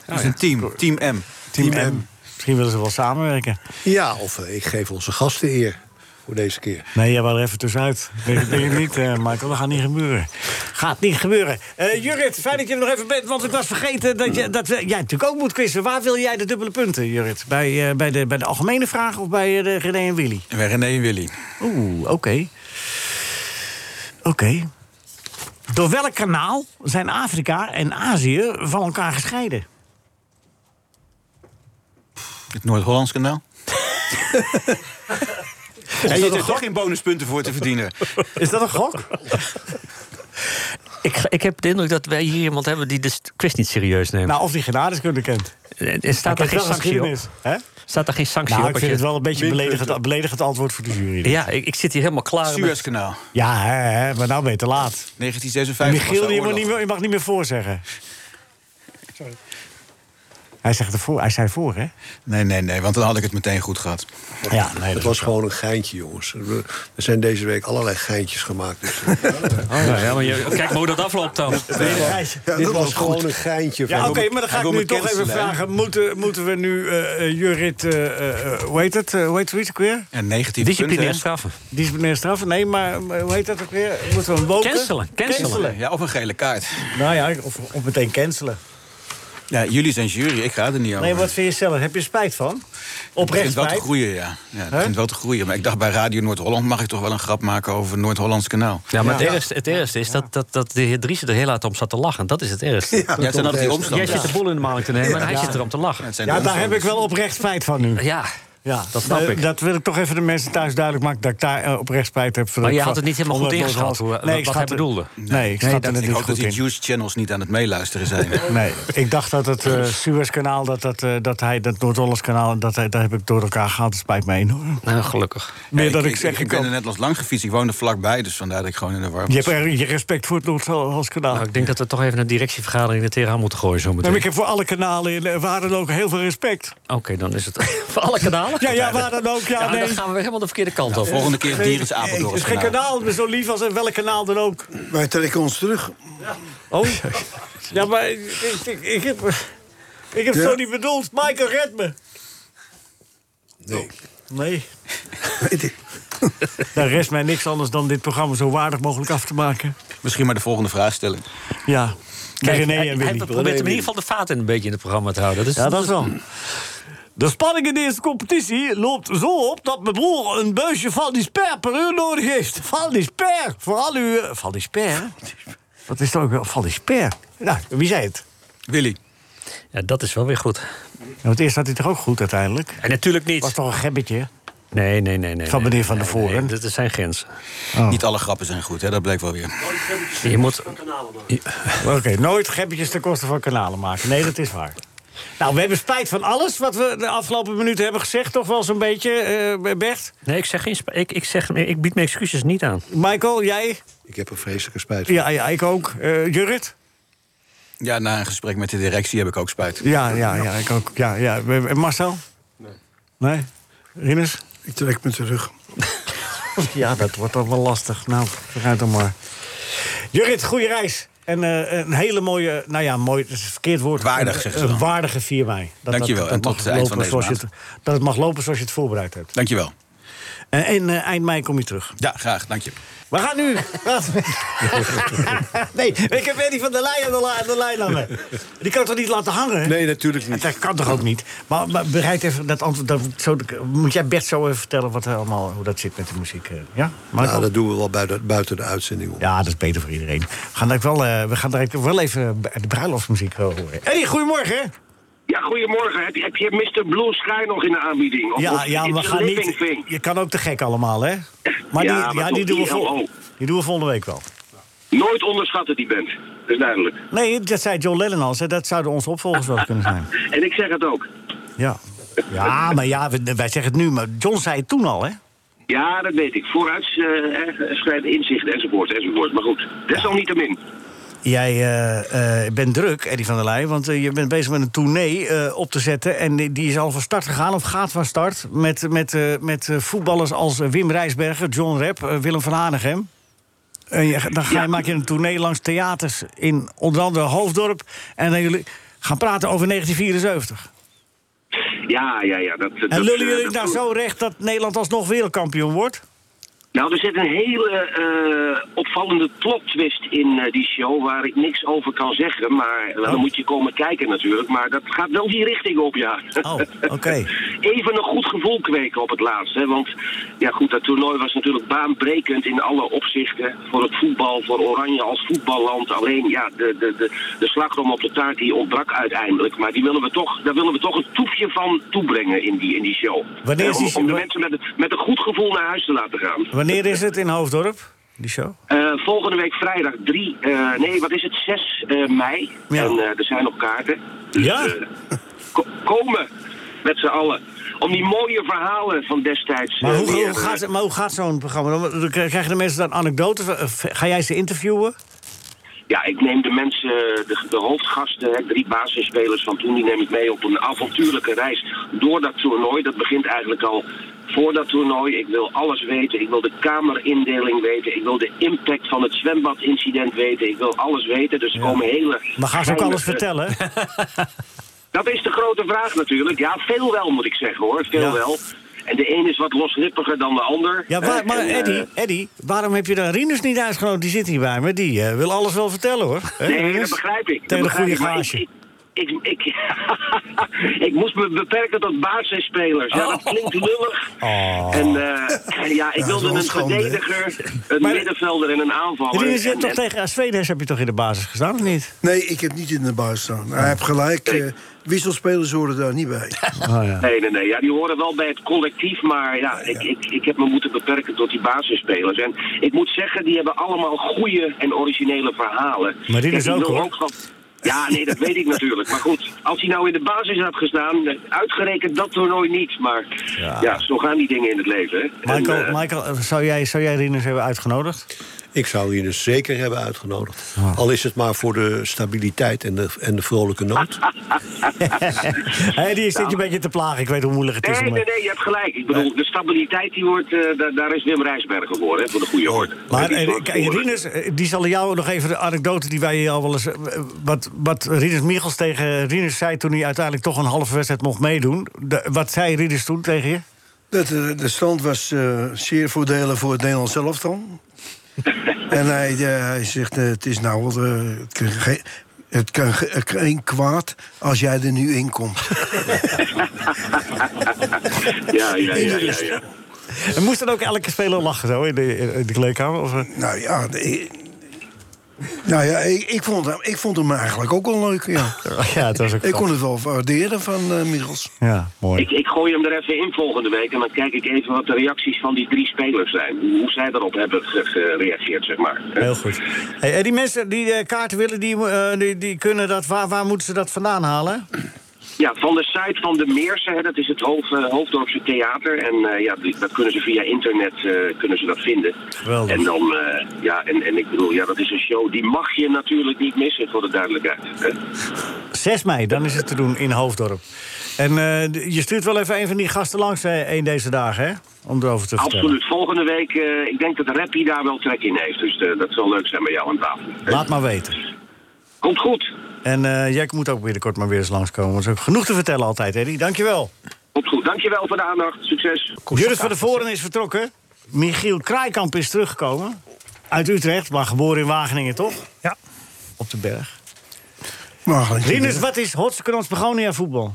Speaker 11: Dat is een
Speaker 6: team. Team M.
Speaker 3: Team, M. Misschien willen ze wel samenwerken.
Speaker 5: Ja, of eh, ik geef onze gasten eer voor deze keer.
Speaker 3: Nee, jij wou er even tussenuit. Nee, dat denk ik niet, eh, Michael. Dat gaat niet gebeuren. Gaat niet gebeuren. Eh Jurrit, fijn dat je er nog even bent. Want ik was vergeten dat, je, dat we- jij natuurlijk ook moet quizzen. Waar wil jij de dubbele punten, Jurrit? Bij, eh, bij, de, bij de algemene vraag of bij eh, de René en Willy?
Speaker 6: En bij René en Willy.
Speaker 3: Oeh, oké. Oké. Door welk kanaal zijn Afrika en Azië van elkaar gescheiden?
Speaker 6: Het Noord-Hollands kanaal.
Speaker 3: dat
Speaker 6: En je
Speaker 3: een
Speaker 6: hebt er
Speaker 3: gok?
Speaker 6: toch geen bonuspunten voor te verdienen.
Speaker 3: Is dat een gok?
Speaker 11: Ik, ik heb de indruk dat wij hier iemand hebben die de st- quiz niet serieus neemt.
Speaker 3: Nou, of die genadekunde kent.
Speaker 11: Eh, eh, Staat
Speaker 3: Hij
Speaker 11: er
Speaker 3: kent
Speaker 11: geen
Speaker 3: wel
Speaker 11: sanctie op?
Speaker 3: geschiedenis, hè?
Speaker 11: Staat er geen sanctie
Speaker 3: Nou, ik
Speaker 11: op? als
Speaker 3: vind
Speaker 11: je-
Speaker 3: het wel een beetje beledigend, beledigend antwoord voor de jury.
Speaker 11: Ja, ik, ik zit hier helemaal klaar. met-
Speaker 6: Suezkanaal.
Speaker 3: Ja, hè, hè, maar nou ben je te laat.
Speaker 6: 1956
Speaker 3: Michiel,
Speaker 6: was de
Speaker 3: je mag,
Speaker 6: oorlog.
Speaker 3: niet meer, je mag niet meer voorzeggen. Hij, zegt ervoor, hij zei voor, hè?
Speaker 6: Nee, nee, nee, want dan had ik het meteen goed gehad.
Speaker 3: Ja, nee,
Speaker 5: het was gewoon een geintje, jongens. Er zijn deze week allerlei geintjes gemaakt. Dus.
Speaker 11: Ja, Oh, ja, maar je- kijk maar hoe dat afloopt dan.
Speaker 5: Ja, dit was gewoon een geintje.
Speaker 3: Ja,
Speaker 5: van-
Speaker 3: oké, maar dan ga
Speaker 5: Hij
Speaker 3: ik
Speaker 5: wil
Speaker 3: nu
Speaker 5: me
Speaker 3: toch even
Speaker 5: cancelen, hè?
Speaker 3: vragen. Moeten, moeten we nu eh eh, Jurrit, eh, eh, eh, hoe heet het? eh, hoe heet zoiets ook weer?
Speaker 6: En 19
Speaker 11: Disciplinair
Speaker 6: punten, hè?
Speaker 11: straffen.
Speaker 3: Disciplinair straffen? Nee, maar eh, hoe heet dat ook weer? Moeten we hem boken?
Speaker 11: Cancelen, cancelen.
Speaker 6: Ja, of een gele kaart.
Speaker 3: Nou ja, of, of meteen cancelen.
Speaker 6: Ja, jullie zijn jury, ik ga er niet over.
Speaker 3: Nee, wat vind je zelf? Heb je spijt van?
Speaker 6: het
Speaker 3: Oprecht
Speaker 6: begint wel te
Speaker 3: spijt?
Speaker 6: groeien, ja. ja het begint wel te groeien. Maar ik dacht, bij Radio Noord-Holland mag ik toch wel een grap maken over Noord-Hollands kanaal.
Speaker 11: Ja, maar
Speaker 6: ja.
Speaker 11: Het, ergste, het ergste is dat, dat, dat de heer Driessen er heel hard om zat te lachen. Dat is het ergste.
Speaker 6: Ja, het zijn altijd die
Speaker 11: Jij
Speaker 6: omstanders.
Speaker 11: zit de boel in de maling te nemen en hij zit erom te lachen.
Speaker 6: Het zijn de
Speaker 3: Ja, daar heb ik
Speaker 6: omstanders.
Speaker 3: wel oprecht spijt van nu.
Speaker 11: Ja,
Speaker 3: Ja,
Speaker 11: dat snap
Speaker 3: eh,
Speaker 11: ik.
Speaker 3: Dat wil ik toch even de mensen thuis duidelijk maken dat ik daar eh, oprecht spijt heb. van
Speaker 11: Maar
Speaker 3: dat
Speaker 11: je
Speaker 3: ik
Speaker 11: had
Speaker 3: van-
Speaker 11: het niet helemaal
Speaker 3: omdat
Speaker 11: goed
Speaker 3: het was-
Speaker 11: ingeschat, hoe- wat
Speaker 3: ik
Speaker 11: hij
Speaker 3: snapte-
Speaker 11: bedoelde.
Speaker 3: Nee, ik snat er
Speaker 6: dat,
Speaker 3: net niet
Speaker 6: ik hoop dat
Speaker 3: goed
Speaker 6: die
Speaker 3: in.
Speaker 6: news channels niet aan het meeluisteren zijn.
Speaker 3: Nee, ik dacht dat het eh Suezkanaal, dat, dat, eh, dat hij, dat Noord-Hollandskanaal, dat, hij- daar heb ik door elkaar gehaald. Het spijt me enorm.
Speaker 11: Nou, gelukkig.
Speaker 3: Meer dan ik zeg,
Speaker 6: Ik,
Speaker 3: ik
Speaker 6: ben
Speaker 3: kan-
Speaker 6: er net als lang gefietst. Ik woon er vlakbij, dus vandaar dat ik gewoon in de war
Speaker 3: Je
Speaker 6: was.
Speaker 3: hebt er- je respect voor het Noord-Hollandskanaal.
Speaker 11: Nou, ik denk dat we toch even een directievergadering er tegenaan moeten gooien
Speaker 3: Nee,
Speaker 11: zometeen.
Speaker 3: maar ik heb voor alle kanalen in eh, waar dan ook heel veel respect.
Speaker 11: Oké, dan is het voor alle kanalen.
Speaker 3: Ja, ja, waar dan ook. Ja, nee.
Speaker 11: dan gaan we weer helemaal de verkeerde kant op.
Speaker 6: volgende keer Dierens Apeldoorn.
Speaker 3: Het is geen kanaal, maar zo lief als eh, welk kanaal dan ook.
Speaker 4: Wij trekken ons terug.
Speaker 11: Oh,
Speaker 3: Ja, maar ik, ik, ik heb, ik heb
Speaker 4: Ja.
Speaker 3: zo niet bedoeld. Michael, red me. Nee. Daar rest mij niks anders dan dit programma zo waardig mogelijk af te maken.
Speaker 6: Misschien maar de volgende vraag stellen.
Speaker 3: Ja.
Speaker 11: Kijk,
Speaker 3: René
Speaker 11: hij,
Speaker 3: en
Speaker 11: hij
Speaker 3: Willy.
Speaker 11: probeert hem in ieder geval de vaten een beetje in het programma te houden. Dus
Speaker 3: Ja, dat is wel. De spanning in deze competitie loopt zo op dat mijn broer een buisje van die sper per uur nodig heeft. Van die sper. Voor al uw. Van die sper? Wat is dat ook wel? Van die sper. Nou, wie zei het?
Speaker 6: Willy.
Speaker 11: Ja, dat is wel weer goed.
Speaker 3: Ja, want eerst had hij toch ook goed uiteindelijk?
Speaker 11: En natuurlijk niet.
Speaker 3: Was toch een gebbetje?
Speaker 11: Nee, nee, nee. nee
Speaker 3: Van
Speaker 11: nee,
Speaker 3: meneer Van
Speaker 11: nee,
Speaker 3: der Voren.
Speaker 11: nee, Dit zijn grenzen.
Speaker 3: Oh.
Speaker 6: Niet alle grappen zijn goed, hè? dat bleek wel weer.
Speaker 11: Je moet...
Speaker 3: Oké, nooit gebbetjes ten koste van kanalen maken. Nee, dat is waar. Nou, we hebben spijt van alles wat we de afgelopen minuten hebben gezegd. Toch wel zo'n beetje, eh Bert?
Speaker 11: Nee, ik zeg geen... spa- Ik, ik, zeg, ik bied mijn excuses niet aan.
Speaker 3: Michael, jij?
Speaker 5: Ik heb er vreselijke spijt van.
Speaker 3: Ja, ja ik ook. Eh Jurrit?
Speaker 6: Ja, na een gesprek met de directie heb ik ook spijt.
Speaker 3: Ja, ja, ja, ik ook. Ja, ja. En Marcel? Nee. Nee? Rinus?
Speaker 4: Ik trek me terug.
Speaker 3: Ja, dat wordt dan wel lastig. Nou, vooruit dan maar. Jurrit, goede reis. En eh, een hele mooie, nou ja, mooi, dat is het verkeerd woord.
Speaker 6: Waardig,
Speaker 3: Een-
Speaker 6: zegt ze
Speaker 3: een
Speaker 6: dan.
Speaker 3: waardige 4 mei. Dat- Dat,
Speaker 6: Dankjewel, en
Speaker 3: mag
Speaker 6: tot het eind
Speaker 3: lopen
Speaker 6: van deze
Speaker 3: zoals
Speaker 6: maand.
Speaker 3: je het- Dat het mag lopen zoals je het voorbereid hebt.
Speaker 6: Dankjewel.
Speaker 3: En, en, eh, eind mei kom je terug.
Speaker 6: Ja, graag, dank je.
Speaker 3: We gaan nu. nee, ik heb Eddie van der Leyen aan de, la- aan de lijn hangen. Die kan ik toch niet laten hangen?
Speaker 5: Nee, natuurlijk niet.
Speaker 3: Dat kan toch ook niet? Maar, maar bereid even dat antwoord. Dat, zo, moet jij Bert zo even vertellen wat er allemaal, hoe dat zit met de muziek? eh, Ja? Michael?
Speaker 5: Nou, dat doen we wel buiten, buiten de uitzending om.
Speaker 3: Ja, dat is beter voor iedereen. We gaan direct wel, eh, we gaan direct wel even de bruiloftsmuziek eh, horen. Eddie, goedemorgen.
Speaker 12: Ja, goedemorgen. Heb, heb je Mr. Blue Sky nog in de aanbieding? Of-
Speaker 3: Ja,
Speaker 12: of
Speaker 3: ja,
Speaker 12: It's
Speaker 3: we
Speaker 12: a
Speaker 3: gaan
Speaker 12: Living
Speaker 3: niet.
Speaker 12: Thing?
Speaker 3: Je kan ook te gek allemaal, hè? Maar
Speaker 12: Ja,
Speaker 3: die,
Speaker 12: maar
Speaker 3: ja,
Speaker 12: toch Oh,
Speaker 3: die, doen we
Speaker 12: die
Speaker 3: vol,
Speaker 12: LO.
Speaker 3: die doen we volgende week wel.
Speaker 12: Nooit onderschatten die band. Dat is duidelijk.
Speaker 3: Nee, dat zei John Lennon al. zei, Dat zouden onze opvolgers wel kunnen zijn.
Speaker 12: En ik zeg het ook.
Speaker 3: Ja, ja maar ja, we- wij zeggen het nu, maar John zei het toen al, hè?
Speaker 12: Ja, dat weet ik. Vooruit eh, schrijven inzicht enzovoort enzovoort. Maar goed, desalniettemin.
Speaker 3: Jij eh, eh, bent druk, Eddie van der Leij, want eh, je bent bezig met een tournee eh, op te zetten. En die, die is al van start gegaan, of gaat van start, met, met, eh, met eh, voetballers als eh, Wim Rijsberger, John Rep, eh, Willem van Hanegem. En je- dan ga je, maak je een tournee langs theaters in onder andere Hoofddorp. En dan jullie gaan praten over 1974.
Speaker 12: Ja, Ah, ja, ja. Dat, dat,
Speaker 3: En lullen
Speaker 12: eh,
Speaker 3: jullie
Speaker 12: dat-
Speaker 3: nou zo recht dat Nederland alsnog wereldkampioen wordt?
Speaker 12: Nou, er zit een hele eh, opvallende plot twist in eh, die show waar ik niks over kan zeggen. Maar nou,
Speaker 3: Oh.
Speaker 12: dan moet je komen kijken natuurlijk. Maar dat gaat wel die richting op, ja.
Speaker 3: Oh, oké.
Speaker 12: Even een goed gevoel kweken op het laatst. Hè? Want ja, goed, dat toernooi was natuurlijk baanbrekend in alle opzichten. Voor het voetbal, voor Oranje als voetballand. Alleen ja, de, de, de, de slagroom op de taart die ontbrak uiteindelijk. Maar die willen we toch, daar willen we toch een toefje van toebrengen in die, in die show.
Speaker 3: Wanneer is
Speaker 12: Eh, om,
Speaker 3: die-
Speaker 12: om de mensen met, het- met een goed gevoel naar huis te laten gaan.
Speaker 3: Wanneer is het in Hoofddorp, die show?
Speaker 12: Eh, volgende week vrijdag 3, eh, nee wat is het, 6 eh, mei.
Speaker 3: Ja.
Speaker 12: En eh, er zijn nog kaarten.
Speaker 3: Ja?
Speaker 12: eh, ko- komen met z'n allen. Om die mooie verhalen van destijds.
Speaker 3: Maar
Speaker 12: eh,
Speaker 3: hoe,
Speaker 12: weer,
Speaker 3: hoe gaat, maar hoe gaat zo'n programma? Dan Dan krijgen de mensen dan anekdotes? Eh, Ga jij ze interviewen?
Speaker 12: Ja, ik neem de mensen, de, de hoofdgasten, hè, drie basisspelers van toen, die neem ik mee op een avontuurlijke reis door dat toernooi. Dat begint eigenlijk al voor dat toernooi. Ik wil alles weten. Ik wil de kamerindeling weten. Ik wil de impact van het zwembadincident weten. Ik wil alles weten. Dus er komen hele.
Speaker 3: Maar gaan ze ook alles
Speaker 12: geinige-
Speaker 3: vertellen?
Speaker 12: Dat is de grote vraag natuurlijk. Ja, veel wel moet ik zeggen hoor. Veel wel. En de een is wat losrippiger dan de ander.
Speaker 3: Ja, waar-
Speaker 12: Eh,
Speaker 3: maar
Speaker 12: en, eh,
Speaker 3: Eddie, Eddie, waarom heb je dan Rinus niet uitgenodigd? Die zit hier bij me. Die eh, wil alles wel vertellen, hoor. Hè,
Speaker 12: Nee, dat
Speaker 3: Rinus?
Speaker 12: begrijp ik. Dat
Speaker 3: Tegen de
Speaker 12: begrijp
Speaker 3: goede
Speaker 12: ik, maar ik-
Speaker 3: gage.
Speaker 12: ik- ik, ik, ik moest me beperken tot basisspelers. Ja, dat klinkt lullig. En eh, ja, ik
Speaker 3: Oh. Ja,
Speaker 12: wilde
Speaker 3: dat is wel
Speaker 12: een
Speaker 3: schande, hè?
Speaker 12: verdediger, een middenvelder en een aanvaller.
Speaker 3: Rinus, je hebt
Speaker 12: En-
Speaker 3: toch tegen Asvedes heb je toch in de basis gestaan, of niet?
Speaker 4: Nee, ik heb niet in de baas staan. Hij heeft gelijk. eh, wisselspelers horen daar niet bij.
Speaker 3: Oh,
Speaker 12: Nee, nee, nee. Ja, die horen wel bij het collectief, maar ja, ik, ik, ik heb me moeten beperken tot die basisspelers. En ik moet zeggen, die hebben allemaal goede en originele verhalen.
Speaker 3: Maar dit
Speaker 12: Kijk,
Speaker 3: is
Speaker 12: ik
Speaker 3: ook,
Speaker 12: wil
Speaker 3: hoor.
Speaker 12: van- Ja, nee, dat weet ik natuurlijk. Maar goed, als hij nou in de basis had gestaan, eh, uitgerekend dat toernooi niet. Maar ja, zo gaan die dingen in het leven. hè. En,
Speaker 3: Michael,
Speaker 12: eh,
Speaker 3: Michael eh, zou jij, zou jij Rinus hebben uitgenodigd? Ah.
Speaker 5: Ik zou hier dus zeker hebben uitgenodigd. Al is het maar voor de stabiliteit en de, en de vrolijke Nou. noot.
Speaker 3: Hé, die is dit een beetje te plagen. Ik weet hoe moeilijk het is.
Speaker 12: Nee,
Speaker 3: om-
Speaker 12: nee, nee, je hebt gelijk. Ik bedoel, de stabiliteit die wordt, eh, daar, daar is Wim Rijsbergen voor, hè, voor de goede orde.
Speaker 3: Maar
Speaker 12: Die is
Speaker 3: eh,
Speaker 12: voor-
Speaker 3: kijk, Rinus, eh, die zal jou nog even de anekdote die wij hier al wel eens... eh, Wat, wat Rinus Michels tegen Rinus zei toen hij uiteindelijk toch een halve wedstrijd mocht meedoen. De- wat zei Rinus toen tegen je?
Speaker 4: Dat, eh, de stand was eh, zeer voordelig voor het Nederlands elftal. en hij, eh, hij zegt, eh, het is nou... wel, eh, het kan, geen- het kan ge- eh, geen kwaad als jij er nu in komt.
Speaker 12: ja, ja, ja, ja, ja.
Speaker 3: En moest dan ook elke speler lachen zo in de, in de kleedkamer? Of, eh?
Speaker 4: Nou ja, de- nou ja ik, ik, vond, hem- ik vond hem eigenlijk ook wel leuk. Ja.
Speaker 3: ja, het was ook
Speaker 4: ik
Speaker 3: grappig.
Speaker 4: kon het wel waarderen van eh Michels.
Speaker 3: Ja, mooi.
Speaker 12: Ik, ik gooi hem er even in volgende week en dan kijk ik even wat de reacties van die drie spelers zijn. Hoe, hoe zij daarop hebben ge- gereageerd, zeg maar.
Speaker 3: Heel goed. Hey, en die mensen die eh, kaarten willen, die, eh, die, die kunnen dat, waar, waar moeten ze dat vandaan halen?
Speaker 12: Ja, van de site van de Meersen, hè, dat is het hoofd, eh, Hoofddorpse Theater. En eh, ja, die- dat kunnen ze via internet eh, kunnen ze dat vinden.
Speaker 3: Geweldig.
Speaker 12: En dan, eh, ja, en, en ik bedoel, ja, dat is een show die mag je natuurlijk niet missen, voor de duidelijkheid. hè.
Speaker 3: 6 mei, dan is het te doen in Hoofddorp. En eh, d- je stuurt wel even een van die gasten langs eh, een deze dagen, hè? Om erover te vertellen.
Speaker 12: Absoluut. Volgende week, eh, ik denk dat Rappy daar wel trek in heeft. Dus eh, dat zal leuk zijn bij jou aan tafel.
Speaker 3: Laat maar weten.
Speaker 12: Komt goed.
Speaker 3: En eh, jij moet ook binnenkort maar weer eens langskomen. Want er is ook genoeg te vertellen altijd, Eddie. Dankjewel.
Speaker 12: Komt goed. Dankjewel voor de aandacht. Succes.
Speaker 3: Jurrit van der Voren is vertrokken. Michiel Kraaikamp is teruggekomen. Uit Utrecht, maar geboren in Wageningen, toch?
Speaker 14: Ja.
Speaker 3: Op de berg.
Speaker 4: Maar
Speaker 3: Rinus, wat is Hotsekrans Begonia voetbal? Nou,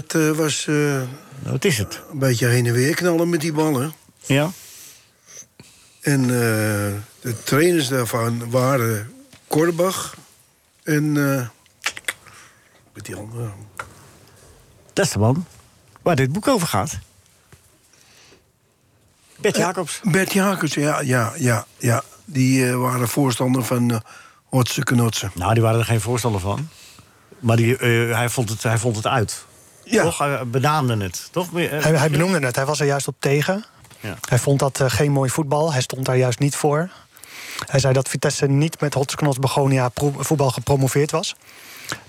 Speaker 4: Dat eh, was... eh,
Speaker 3: wat is het?
Speaker 4: Een beetje heen en weer knallen met die ballen.
Speaker 3: Ja.
Speaker 4: En eh, de trainers daarvan waren Korbach en... eh met die andere...
Speaker 3: Dat is de man waar dit boek over gaat. Bert Jacobs.
Speaker 4: Eh, Bert Jacobs, ja, ja, ja. ja. Die eh, waren voorstander van eh Hotse Knotsen.
Speaker 3: Nou, die waren er geen voorstander van. Maar die, eh, hij, vond het, hij vond het uit. Toch? Hij benaamde het. Toch? eh,
Speaker 14: Hij, hij benoemde het, hij was er juist op tegen.
Speaker 3: Ja.
Speaker 14: Hij vond dat eh, geen mooi voetbal, hij stond daar juist niet voor. Hij zei dat Vitesse niet met Hotsknots Begonia pro- voetbal gepromoveerd was.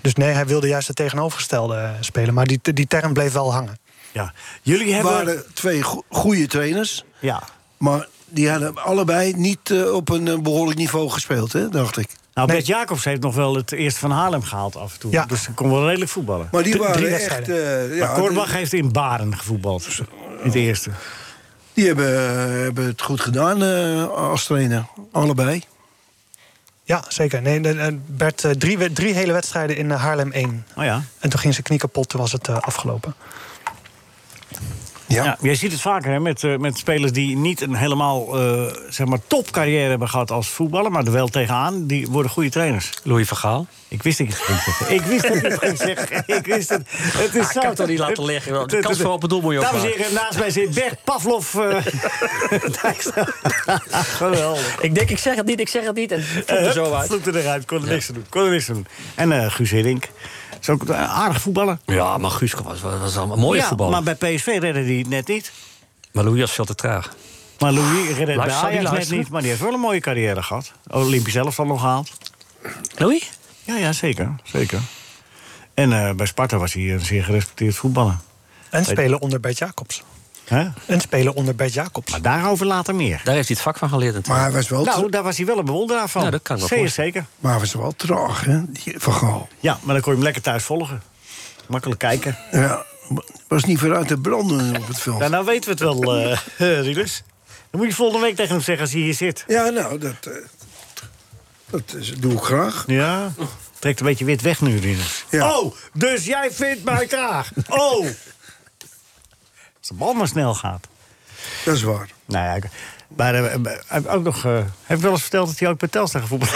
Speaker 14: Dus nee, hij wilde juist het tegenovergestelde eh, spelen. Maar die, die term bleef wel hangen.
Speaker 3: Ja. Jullie
Speaker 14: hebben-
Speaker 4: waren twee go- goede trainers.
Speaker 3: Ja.
Speaker 4: Maar die hadden allebei niet eh, op een eh, behoorlijk niveau gespeeld, hè, dacht ik.
Speaker 3: Nou, Bert Jacobs heeft nog wel het eerst van Haarlem gehaald af en toe. Dus ze kon wel redelijk voetballen.
Speaker 4: Maar die
Speaker 3: Drie
Speaker 4: waren echt...
Speaker 3: wedstrijden.
Speaker 4: eh, ja,
Speaker 3: maar Korbach heeft in Baren gevoetbald. dus, In het eerste.
Speaker 4: Die hebben, eh, hebben het goed gedaan eh, als trainer. Allebei.
Speaker 14: Ja, zeker. Nee, de- de- Bert, eh, drie, we- drie hele wedstrijden in eh, Haarlem 1.
Speaker 3: Oh ja.
Speaker 14: En toen ging zijn knie kapot, toen was het eh, afgelopen.
Speaker 4: Ja.
Speaker 3: jij ziet het vaker hè, met, eh, met spelers die niet een helemaal eh, zeg maar topcarrière hebben gehad als voetballer, maar er wel tegenaan. Die worden goede trainers.
Speaker 11: Louis van Gaal.
Speaker 3: Ik wist dat je het ging zeggen. Ik wist dat je het ging zeggen. Ik wist het. Het is
Speaker 11: Ah, ik kan het toch niet laten liggen, joh. De kans voor open doel moet je
Speaker 3: Dames en
Speaker 11: opmaken.
Speaker 3: heren, naast mij zit Bert Pavlov. eh, Dijkstra. Geweldig.
Speaker 11: Ik denk, ik zeg het niet, ik zeg het niet. En het
Speaker 3: Eh,
Speaker 11: er zo
Speaker 3: hup,
Speaker 11: uit.
Speaker 3: vloekte eruit, kon er niks aan doen. Kon er niks aan doen. En eh Guus Hiddink. Is ook een aardig voetballer.
Speaker 11: Ja, maar Guusco was, was allemaal mooie
Speaker 3: Ja,
Speaker 11: voetballer.
Speaker 3: Maar
Speaker 11: Maar,
Speaker 3: bij PSV redde hij het net niet.
Speaker 11: Louis was veel te traag.
Speaker 3: Maar Louis redde het bij
Speaker 11: Luister, die
Speaker 3: Ajax net
Speaker 11: luisteren.
Speaker 3: niet. Maar die heeft wel een mooie carrière gehad. Olympisch zelf al nog gehaald.
Speaker 11: Louis?
Speaker 3: Ja, ja zeker. zeker. En eh, bij Sparta was hij een zeer gerespecteerd voetballer.
Speaker 14: En
Speaker 3: Weet-
Speaker 14: spelen onder Bert Jacobs.
Speaker 3: Hè?
Speaker 14: En spelen onder Bert Jacobs.
Speaker 3: Maar daarover later meer.
Speaker 11: Daar heeft hij het vak van geleerd. natuurlijk.
Speaker 4: Maar hij was wel,
Speaker 3: Nou,
Speaker 4: tra-
Speaker 3: daar was hij wel een bewonderaar van.
Speaker 11: Ja, dat kan ik wel
Speaker 3: Zeer
Speaker 11: voorstellen.
Speaker 3: zeker.
Speaker 4: maar hij was wel traag, hè, die Van Gaal.
Speaker 3: Ja, maar dan kon je hem lekker thuis volgen. Makkelijk kijken.
Speaker 4: Ja, was niet vooruit te branden op het veld.
Speaker 3: Ja, nou weten we het wel, eh eh, Rinus. Dan moet je volgende week tegen hem
Speaker 14: nou,
Speaker 3: zeggen als hij hier zit.
Speaker 4: Ja, nou, dat, eh, dat is, doe ik graag.
Speaker 3: Ja. Trekt een beetje wit weg nu, Rinus. Oh, dus jij vindt mij traag. Oh! Als de bal maar snel gaat.
Speaker 4: Dat is waar.
Speaker 3: Nou ja, ik- maar eh, hij heeft ook nog, eh, hij heeft wel eens verteld dat hij ook bij Telstar gevoetbald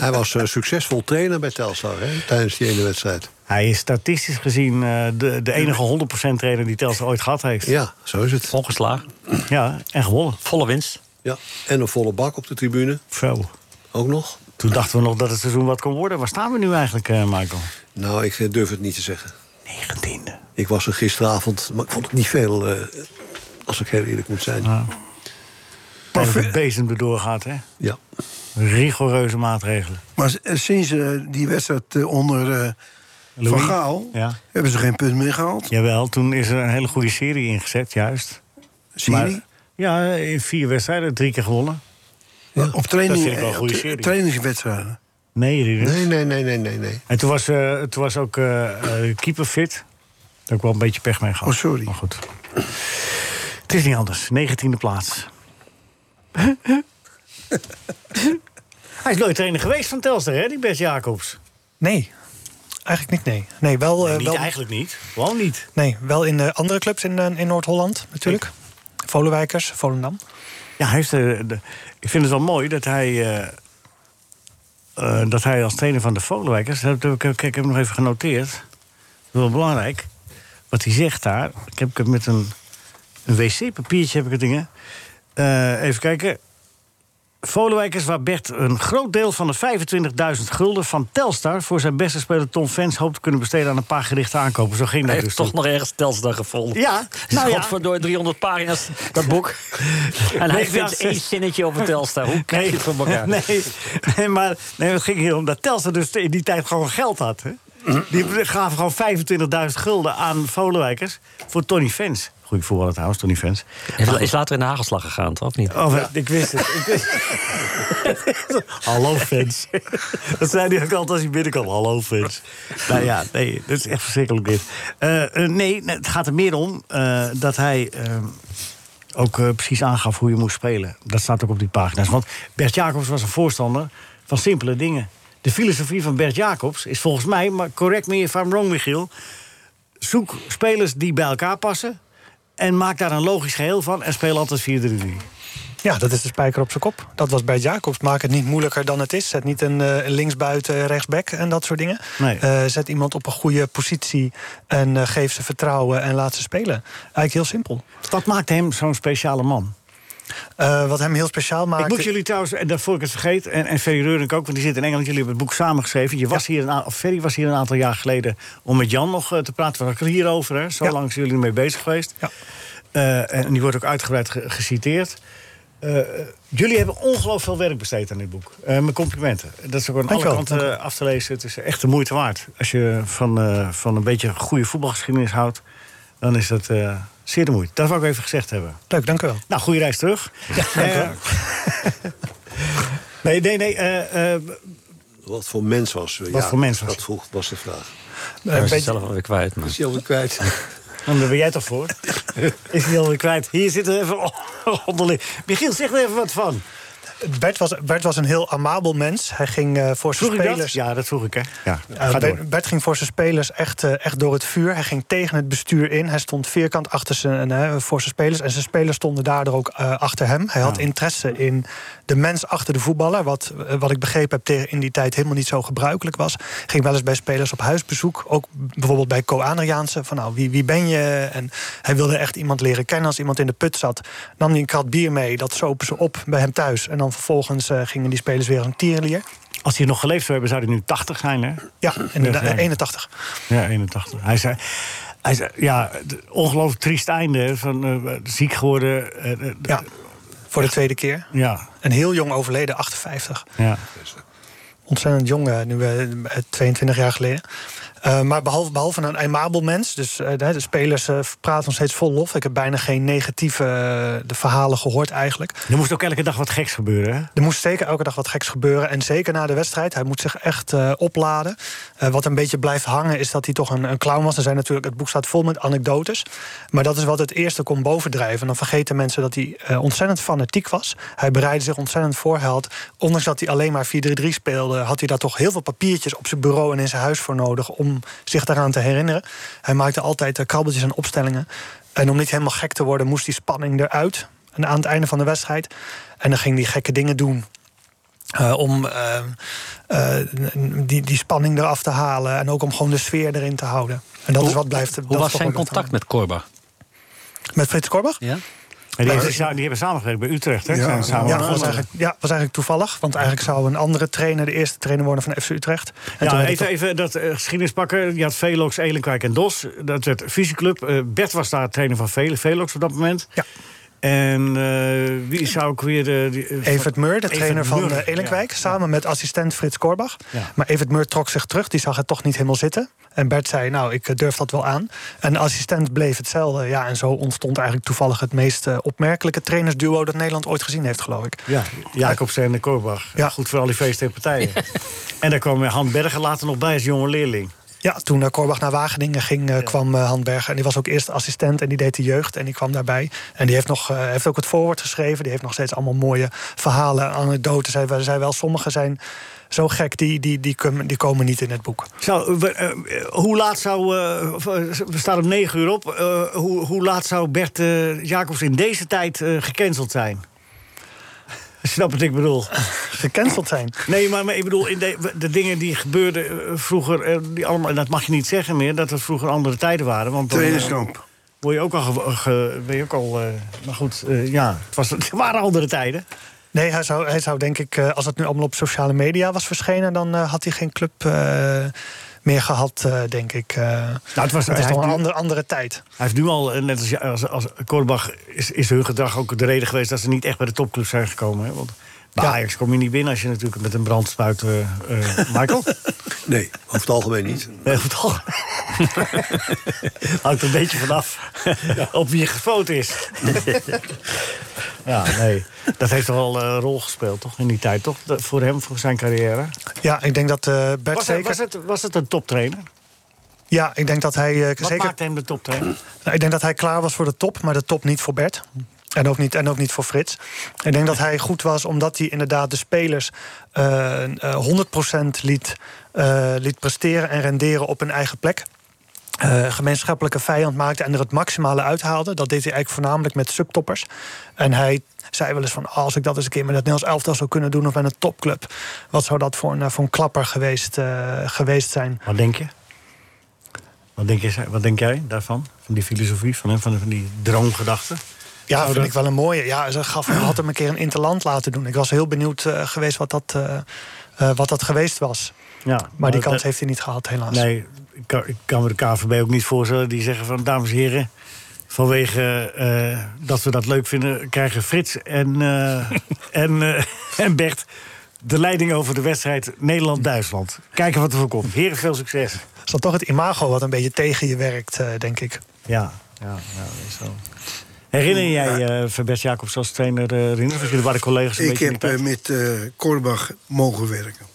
Speaker 5: Hij was eh, succesvol trainer bij Telstar hè, tijdens die ene wedstrijd.
Speaker 3: Hij is statistisch gezien eh, de, de enige 100% trainer die Telstar ooit gehad heeft.
Speaker 5: Ja, zo is het.
Speaker 11: Ongeslagen.
Speaker 3: Ja, en gewonnen.
Speaker 11: Volle winst.
Speaker 5: Ja, en een volle bak op de tribune.
Speaker 3: Zo.
Speaker 5: Ook nog?
Speaker 3: Toen dachten we nog dat het seizoen wat kon worden. Waar staan we nu eigenlijk, eh, Michael?
Speaker 5: Nou, ik eh, durf het niet te zeggen. Negentiende. Ik was er gisteravond, maar ik vond het niet veel, eh, als ik heel eerlijk moet zijn.
Speaker 3: Als het bezem erdoor gaat, hè?
Speaker 5: Ja.
Speaker 3: Rigoureuze maatregelen.
Speaker 4: Maar s- eh, sinds eh, die wedstrijd eh, onder eh Van
Speaker 3: Louis?
Speaker 4: Gaal...
Speaker 3: Ja.
Speaker 4: hebben ze geen punt meer gehaald.
Speaker 3: Jawel, toen is er een hele goede serie ingezet, juist.
Speaker 4: Serie?
Speaker 3: Maar- ja, in vier wedstrijden, drie keer gewonnen.
Speaker 4: Op training,
Speaker 3: Dat vind ik wel een
Speaker 4: eh,
Speaker 3: goede
Speaker 4: op tra-
Speaker 3: serie.
Speaker 4: trainingswedstrijden.
Speaker 3: Nee, Rinus.
Speaker 5: Nee, nee, nee, nee, nee. nee.
Speaker 3: En toen was, eh, toen was ook eh, eh, keeper fit. Daar heb ik wel een beetje pech mee gehad.
Speaker 4: Oh, sorry.
Speaker 3: Maar goed. Het is niet anders. 19e plaats. Hij is nooit trainer geweest van Telstar, hè, die Bert Jacobs?
Speaker 14: Nee, eigenlijk niet, nee. Nee, wel, eh,
Speaker 3: niet
Speaker 14: wel,
Speaker 3: eigenlijk niet. Gewoon niet.
Speaker 14: nee, wel in eh, andere clubs in, eh, in Noord-Holland natuurlijk. Volenwijkers, Volendam.
Speaker 3: Ja, hij heeft, eh, de- ik vind het wel mooi dat hij... eh, eh, dat hij als trainer van de Volenwijkers... Dat heb ik, kijk, ik heb hem nog even genoteerd. Dat is wel belangrijk. Wat hij zegt daar... Ik heb het met een, een wc-papiertje heb ik het dingen. Eh, even kijken. Volenwijkers waar Bert een groot deel van de 25.000 gulden van Telstar... voor zijn beste speler Tom Fens hoopt te kunnen besteden aan een paar gerichte aankopen. Zo ging dat
Speaker 11: Hij
Speaker 3: dus
Speaker 11: heeft toch nog ergens Telstar gevonden.
Speaker 3: Ja, nou ja.
Speaker 11: door 300 pagina's, dat boek. en hij vindt
Speaker 3: 1906.
Speaker 11: één zinnetje over Telstar. Hoe krijg je het voor elkaar?
Speaker 3: Nee, nee, maar nee, het ging hier om dat Telstra dus in die tijd gewoon geld had. Hè? Die gaven gewoon 25.000 gulden aan Volenwijkers voor Tony Fens. Goeie voetballer trouwens, Tony Fens.
Speaker 11: Is, is later in de hagelslag gegaan, toch? Of niet?
Speaker 3: Oh, ik wist het. Ik wist Hallo fans. Dat zei hij ook altijd als hij binnenkwam. Hallo fans. Nou ja, nee, dat is echt verschrikkelijk dit. Eh, eh, nee, nee, het gaat er meer om eh, dat hij eh, ook eh, precies aangaf hoe je moest spelen. Dat staat ook op die pagina's. Want Bert Jacobs was een voorstander van simpele dingen. De filosofie van Bert Jacobs is volgens mij, maar correct me if I'm wrong, Michiel... zoek spelers die bij elkaar passen... en maak daar een logisch geheel van en speel altijd 4-3-3.
Speaker 14: Ja, dat is de spijker op zijn kop. Dat was bij Jacobs. Maak het niet moeilijker dan het is. Zet niet een eh, linksbuiten, rechtsback en dat soort dingen.
Speaker 3: Nee.
Speaker 14: Eh, zet iemand op een goede positie en eh, geef ze vertrouwen en laat ze spelen. Eigenlijk heel simpel.
Speaker 3: Wat maakt hem zo'n speciale man?
Speaker 14: Eh, wat hem heel speciaal maakt...
Speaker 3: Ik moet jullie trouwens, en daarvoor ik het vergeet, en, en Ferry Reurink ook, want die zit in Engeland, jullie hebben het boek samengeschreven. Je was hier een, a- of Ferry was hier een aantal jaar geleden om met Jan nog eh, te praten. We hadden het hierover, hè? zo lang zijn jullie ermee bezig geweest. Eh, en die wordt ook uitgebreid ge- geciteerd. Eh, jullie hebben ongelooflijk veel werk besteed aan dit boek. Eh, mijn complimenten. Dat is ook aan alle
Speaker 14: Dankjewel,
Speaker 3: kanten
Speaker 14: dank
Speaker 3: af te lezen. Het is echt de moeite waard. Als je van, eh, van een beetje goede voetbalgeschiedenis houdt, dan is dat eh, zeer de moeite. Dat wou ik even gezegd hebben.
Speaker 14: Leuk, dank u wel.
Speaker 3: Nou, goede reis terug. Eh, nee, nee, nee. eh, eh,
Speaker 5: Wat voor mens was eh,
Speaker 3: Wat voor mens was Eh,
Speaker 5: Dat vroeg, was de vraag.
Speaker 11: Hij is
Speaker 14: beetje-
Speaker 11: het zelf alweer kwijt, man.
Speaker 5: Is hij alweer kwijt?
Speaker 3: dan Nou, ben jij toch voor? Is hij alweer kwijt? Hier zit er even onderling. Michiel, zeg er even wat van.
Speaker 14: Bert, was, Bert was een heel amabel mens. Hij ging eh, voor zijn
Speaker 3: Vroeg ik dat?
Speaker 14: spelers...
Speaker 3: Ja, dat vroeg ik, hè? Ja,
Speaker 14: Eh,
Speaker 3: ga door.
Speaker 14: Bert, Bert ging voor zijn spelers echt, eh, echt door het vuur. Hij ging tegen het bestuur in. Hij stond vierkant achter zijn, eh, voor zijn spelers. En zijn spelers stonden daardoor ook eh, achter hem. Hij had interesse in de mens achter de voetballer. Wat, eh, wat ik begrepen heb tegen- in die tijd helemaal niet zo gebruikelijk was. Ging wel eens bij spelers op huisbezoek. Ook bijvoorbeeld bij Co Adriaanse. Van nou, wie, wie ben je? En hij wilde echt iemand leren kennen. Als iemand in de put zat, nam hij een krat bier mee. Dat sopen ze op bij hem thuis. En dan vervolgens eh, gingen die spelers weer een tierenlier.
Speaker 3: Als hij nog geleefd zou hebben, zou hij nu 80 zijn, hè?
Speaker 14: Ja, inderdaad,
Speaker 3: Ja, ja.
Speaker 14: 81.
Speaker 3: Ja, 81. Hij zei, hij zei ja, d- ongelooflijk triest einde. hè, Van, eh, ziek geworden. eh, eh, d-
Speaker 14: Ja, voor de tweede keer.
Speaker 3: ja.
Speaker 14: En heel jong overleden, 58.
Speaker 3: ja.
Speaker 14: Ontzettend jong, eh, nu eh, 22 jaar geleden. Eh, Eh, maar behalve, behalve een aimabel mens, dus eh, de de spelers eh, praten nog steeds vol lof. Ik heb bijna geen negatieve eh, de verhalen gehoord eigenlijk.
Speaker 3: Er moest ook elke dag wat geks gebeuren, hè?
Speaker 14: Er moest zeker elke dag wat geks gebeuren. En zeker na de wedstrijd. Hij moet zich echt eh, opladen. Eh, wat een beetje blijft hangen is dat hij toch een, een clown was. Er zijn natuurlijk, het boek staat vol met anekdotes. Maar dat is wat het eerste komt bovendrijven. En dan vergeten mensen dat hij eh, ontzettend fanatiek was. Hij bereidde zich ontzettend voor. Hij had, ondanks dat hij alleen maar 4-3-3 speelde... had hij daar toch heel veel papiertjes op zijn bureau en in zijn huis voor nodig... om zich daaraan te herinneren. Hij maakte altijd eh, krabbeltjes en opstellingen. En om niet helemaal gek te worden moest die spanning eruit... En aan het einde van de wedstrijd. En dan ging hij gekke dingen doen. eh, om eh, eh, die, die spanning eraf te halen. En ook om gewoon de sfeer erin te houden. En dat
Speaker 11: Hoe-
Speaker 14: is wat blijft. dat
Speaker 11: Hoe
Speaker 14: is
Speaker 11: was
Speaker 14: toch
Speaker 11: zijn
Speaker 14: wat
Speaker 11: contact met Korba?
Speaker 14: blijft- Met Frits Korbach?
Speaker 11: Ja.
Speaker 3: En die,
Speaker 14: Nou,
Speaker 3: hebben
Speaker 14: ik-
Speaker 3: sa- die hebben samengewerkt bij Utrecht, hè?
Speaker 14: Ja,
Speaker 3: Zijn samen
Speaker 14: ja,
Speaker 3: aan
Speaker 14: was
Speaker 3: het voetballen.
Speaker 14: eigenlijk, ja, was eigenlijk toevallig. Want eigenlijk zou een andere trainer de eerste trainer worden van FC Utrecht. En toen
Speaker 3: ja,
Speaker 14: werd
Speaker 3: even,
Speaker 14: het
Speaker 3: even dat eh, geschiedenis pakken. Je had Velox, Elenkwijk en Dos. Dat werd Fysieclub. Eh, Bert was daar trainer van Vele, Velox op dat moment.
Speaker 14: Ja.
Speaker 3: En eh, wie zou ik weer... de die, eh,
Speaker 14: toch Evert Meur, de
Speaker 3: Evert
Speaker 14: trainer van
Speaker 3: Meur,
Speaker 14: eh, Elenkwijk. Samen met assistent Frits Korbach.
Speaker 3: Ja.
Speaker 14: Maar Evert Meur trok zich terug, die zag het toch niet helemaal zitten. En Bert zei, nou, ik eh, durf dat wel aan. En de assistent bleef hetzelfde. Ja, en zo ontstond eigenlijk toevallig het meest eh, opmerkelijke trainersduo... dat Nederland ooit gezien heeft, geloof ik.
Speaker 3: Ja, Jacobsen en Korbach. Goed voor al die feesten en partijen. en daar kwam eh, Han Berger later nog bij als jonge leerling.
Speaker 14: Ja, toen eh, Korbach naar Wageningen ging, eh, kwam eh, Han Berger. En die was ook eerst assistent en die deed de jeugd en die kwam daarbij. En die heeft, nog, eh, heeft ook het voorwoord geschreven. Die heeft nog steeds allemaal mooie verhalen, anekdotes. Hij, hij zei wel, sommige zijn zo gek, die, die, die, komen- die komen niet in het boek.
Speaker 3: Zou, we- eh, eh, hoe laat zou... eh, of, eh, we staan om negen uur op. Eh, hoe, hoe laat zou Bert eh, Jacobs in deze tijd eh, gecanceld zijn? Snap wat ik bedoel?
Speaker 14: Gecanceld zijn?
Speaker 3: Nee, maar, maar ik bedoel, in de, de dingen die gebeurden eh, vroeger... eh, die allemaal, en dat mag je niet zeggen meer, dat het vroeger andere tijden waren. Want dan, eh,
Speaker 4: Trainerskamp.
Speaker 3: Word je ook al... ge- ge- ben je ook al eh, maar goed, eh, ja, het, was, het waren andere tijden.
Speaker 14: Nee, hij zou, hij zou denk ik, eh, als het nu allemaal op sociale media was verschenen, dan eh, had hij geen club eh, meer gehad, eh, denk ik. Eh,
Speaker 3: Nou, het was-
Speaker 14: het is
Speaker 3: hij-
Speaker 14: toch een andere, andere tijd.
Speaker 3: Hij heeft nu al, eh, net als, als, als Korbach, is, is hun gedrag ook de reden geweest... dat ze niet echt bij de topclub zijn gekomen. Hè? Want bij Ajax kom je niet binnen als je natuurlijk met een brand spuit, eh, eh, Michael.
Speaker 5: Nee, over het algemeen niet.
Speaker 3: Nee, goed, toch? Hangt er een beetje vanaf op wie je gespoten is. ja, nee. Dat heeft toch wel eh, een rol gespeeld, toch? In die tijd, toch? Dat- voor hem, voor zijn carrière.
Speaker 14: Ja, ik denk dat eh, Bert
Speaker 3: Was, hij-
Speaker 14: zeker...
Speaker 3: was, het, was het een toptrainer?
Speaker 14: Ja, ik denk dat hij eh,
Speaker 3: Wat
Speaker 14: zeker...
Speaker 3: maakte hem de toptrainer?
Speaker 14: Nou, ik denk dat hij klaar was voor de top, maar de top niet voor Bert. En ook, niet, en ook niet voor Frits. Ik denk dat hij goed was omdat hij inderdaad de spelers eh, eh, 100% liet, eh, liet presteren en renderen op hun eigen plek. Eh, gemeenschappelijke vijand maakte en er het maximale uithaalde. Dat deed hij eigenlijk voornamelijk met subtoppers. En hij zei wel eens van... "Ah, als ik dat eens een keer met het Nederlands elftal zou kunnen doen... of met een topclub, wat zou dat voor een, eh, voor een klapper geweest, eh, geweest zijn?
Speaker 3: Wat denk je? Wat denk, je, wat denk jij daarvan? Van die filosofie, van, hem, van, van die droomgedachten?
Speaker 14: Ja,
Speaker 3: Zou
Speaker 14: vind
Speaker 3: dat-
Speaker 14: ik wel een mooie. Ja, ze gaf, had hem een keer een interland laten doen. Ik was heel benieuwd eh, geweest wat dat, eh, eh, wat dat geweest was.
Speaker 3: Ja,
Speaker 14: maar die
Speaker 3: Nou, dat-
Speaker 14: kans heeft hij niet gehad, helaas.
Speaker 3: Nee, ik kan, ik kan me de KVB ook niet voorstellen. Die zeggen van, dames en heren... vanwege eh, dat we dat leuk vinden... krijgen Frits en, eh, en, eh, en Bert de leiding over de wedstrijd Nederland-Duitsland. Kijken wat er voor komt. Heren, veel succes.
Speaker 14: Dat is dan toch het imago wat een beetje tegen je werkt, eh, denk ik.
Speaker 3: Ja, ja, ja dat is zo. Herinner jij eh Verbert Jacobs als trainer, eh Rinus? Of jullie waren collega's een
Speaker 4: Ik
Speaker 3: beetje in
Speaker 4: heb
Speaker 3: die
Speaker 4: eh,
Speaker 3: tijd?
Speaker 4: met eh, Korbach mogen werken.